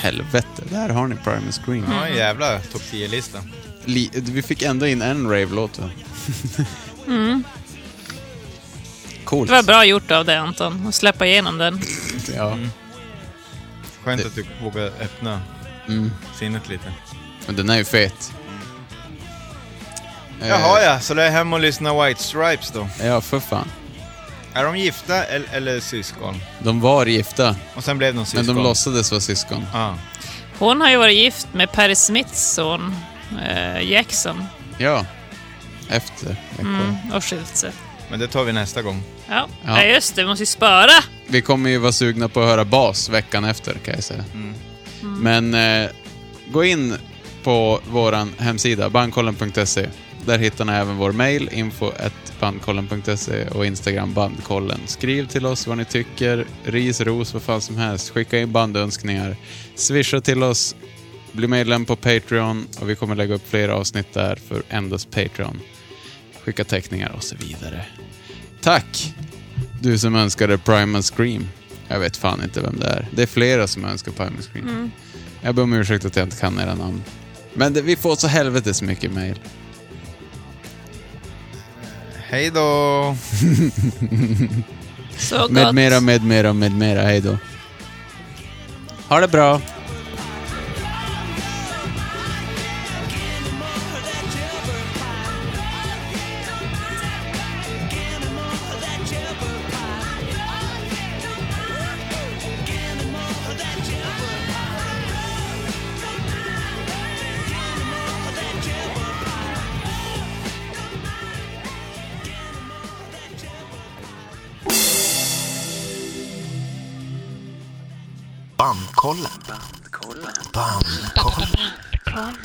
F: Helvete, där har ni Primus Green.
C: Ja, jävla topp 10-lista.
F: Li- vi fick ändå in en rave-låt va?
D: Mm.
F: Coolt.
D: Det var bra gjort av dig, Anton, att släppa igenom den.
F: Ja.
C: Skönt att du vågar öppna
F: Mm.
C: sinnet lite.
F: Men den är ju fet. Eh,
C: Jaha ja, så lär jag hem och lyssna White Stripes då.
F: Ja, för fan.
C: Är de gifta eller, eller syskon?
F: De var gifta.
C: Och sen blev de syskon.
F: Men de låtsades vara syskon.
D: Hon har ju varit gift med Perry Smiths son, eh, Jackson,
F: Ja. Efter. Jag kollar.
D: mm, och skilt sig.
C: Men det tar vi nästa gång.
D: Ja.
F: Ja.
D: ja, just det, vi måste ju spara.
F: Vi kommer ju vara sugna på att höra bas veckan efter, kan jag säga. Men eh, gå in på våran hemsida, bandkollen.se. Där hittar ni även vår mail, info.bandkollen.se och Instagram bandkollen. Skriv till oss vad ni tycker, ris, ros, vad fan som helst. Skicka in bandönskningar. Swisha till oss, bli medlem på Patreon och vi kommer lägga upp flera avsnitt där för endast Patreon. Skicka teckningar och så vidare. Tack! Du som önskade Primal Scream. Jag vet fan inte vem det är. Det är flera som önskar Primal Scream.
D: Mm.
F: Jag ber om ursäkt att jag inte kan era namn. Men det, vi får så helvetes mycket mail.
C: Hej då!
D: Så gott.
F: Med mera, med mera, med mera. Hej då. Ha det bra.
A: Bandkollen. Bandkollen. Bandkollen.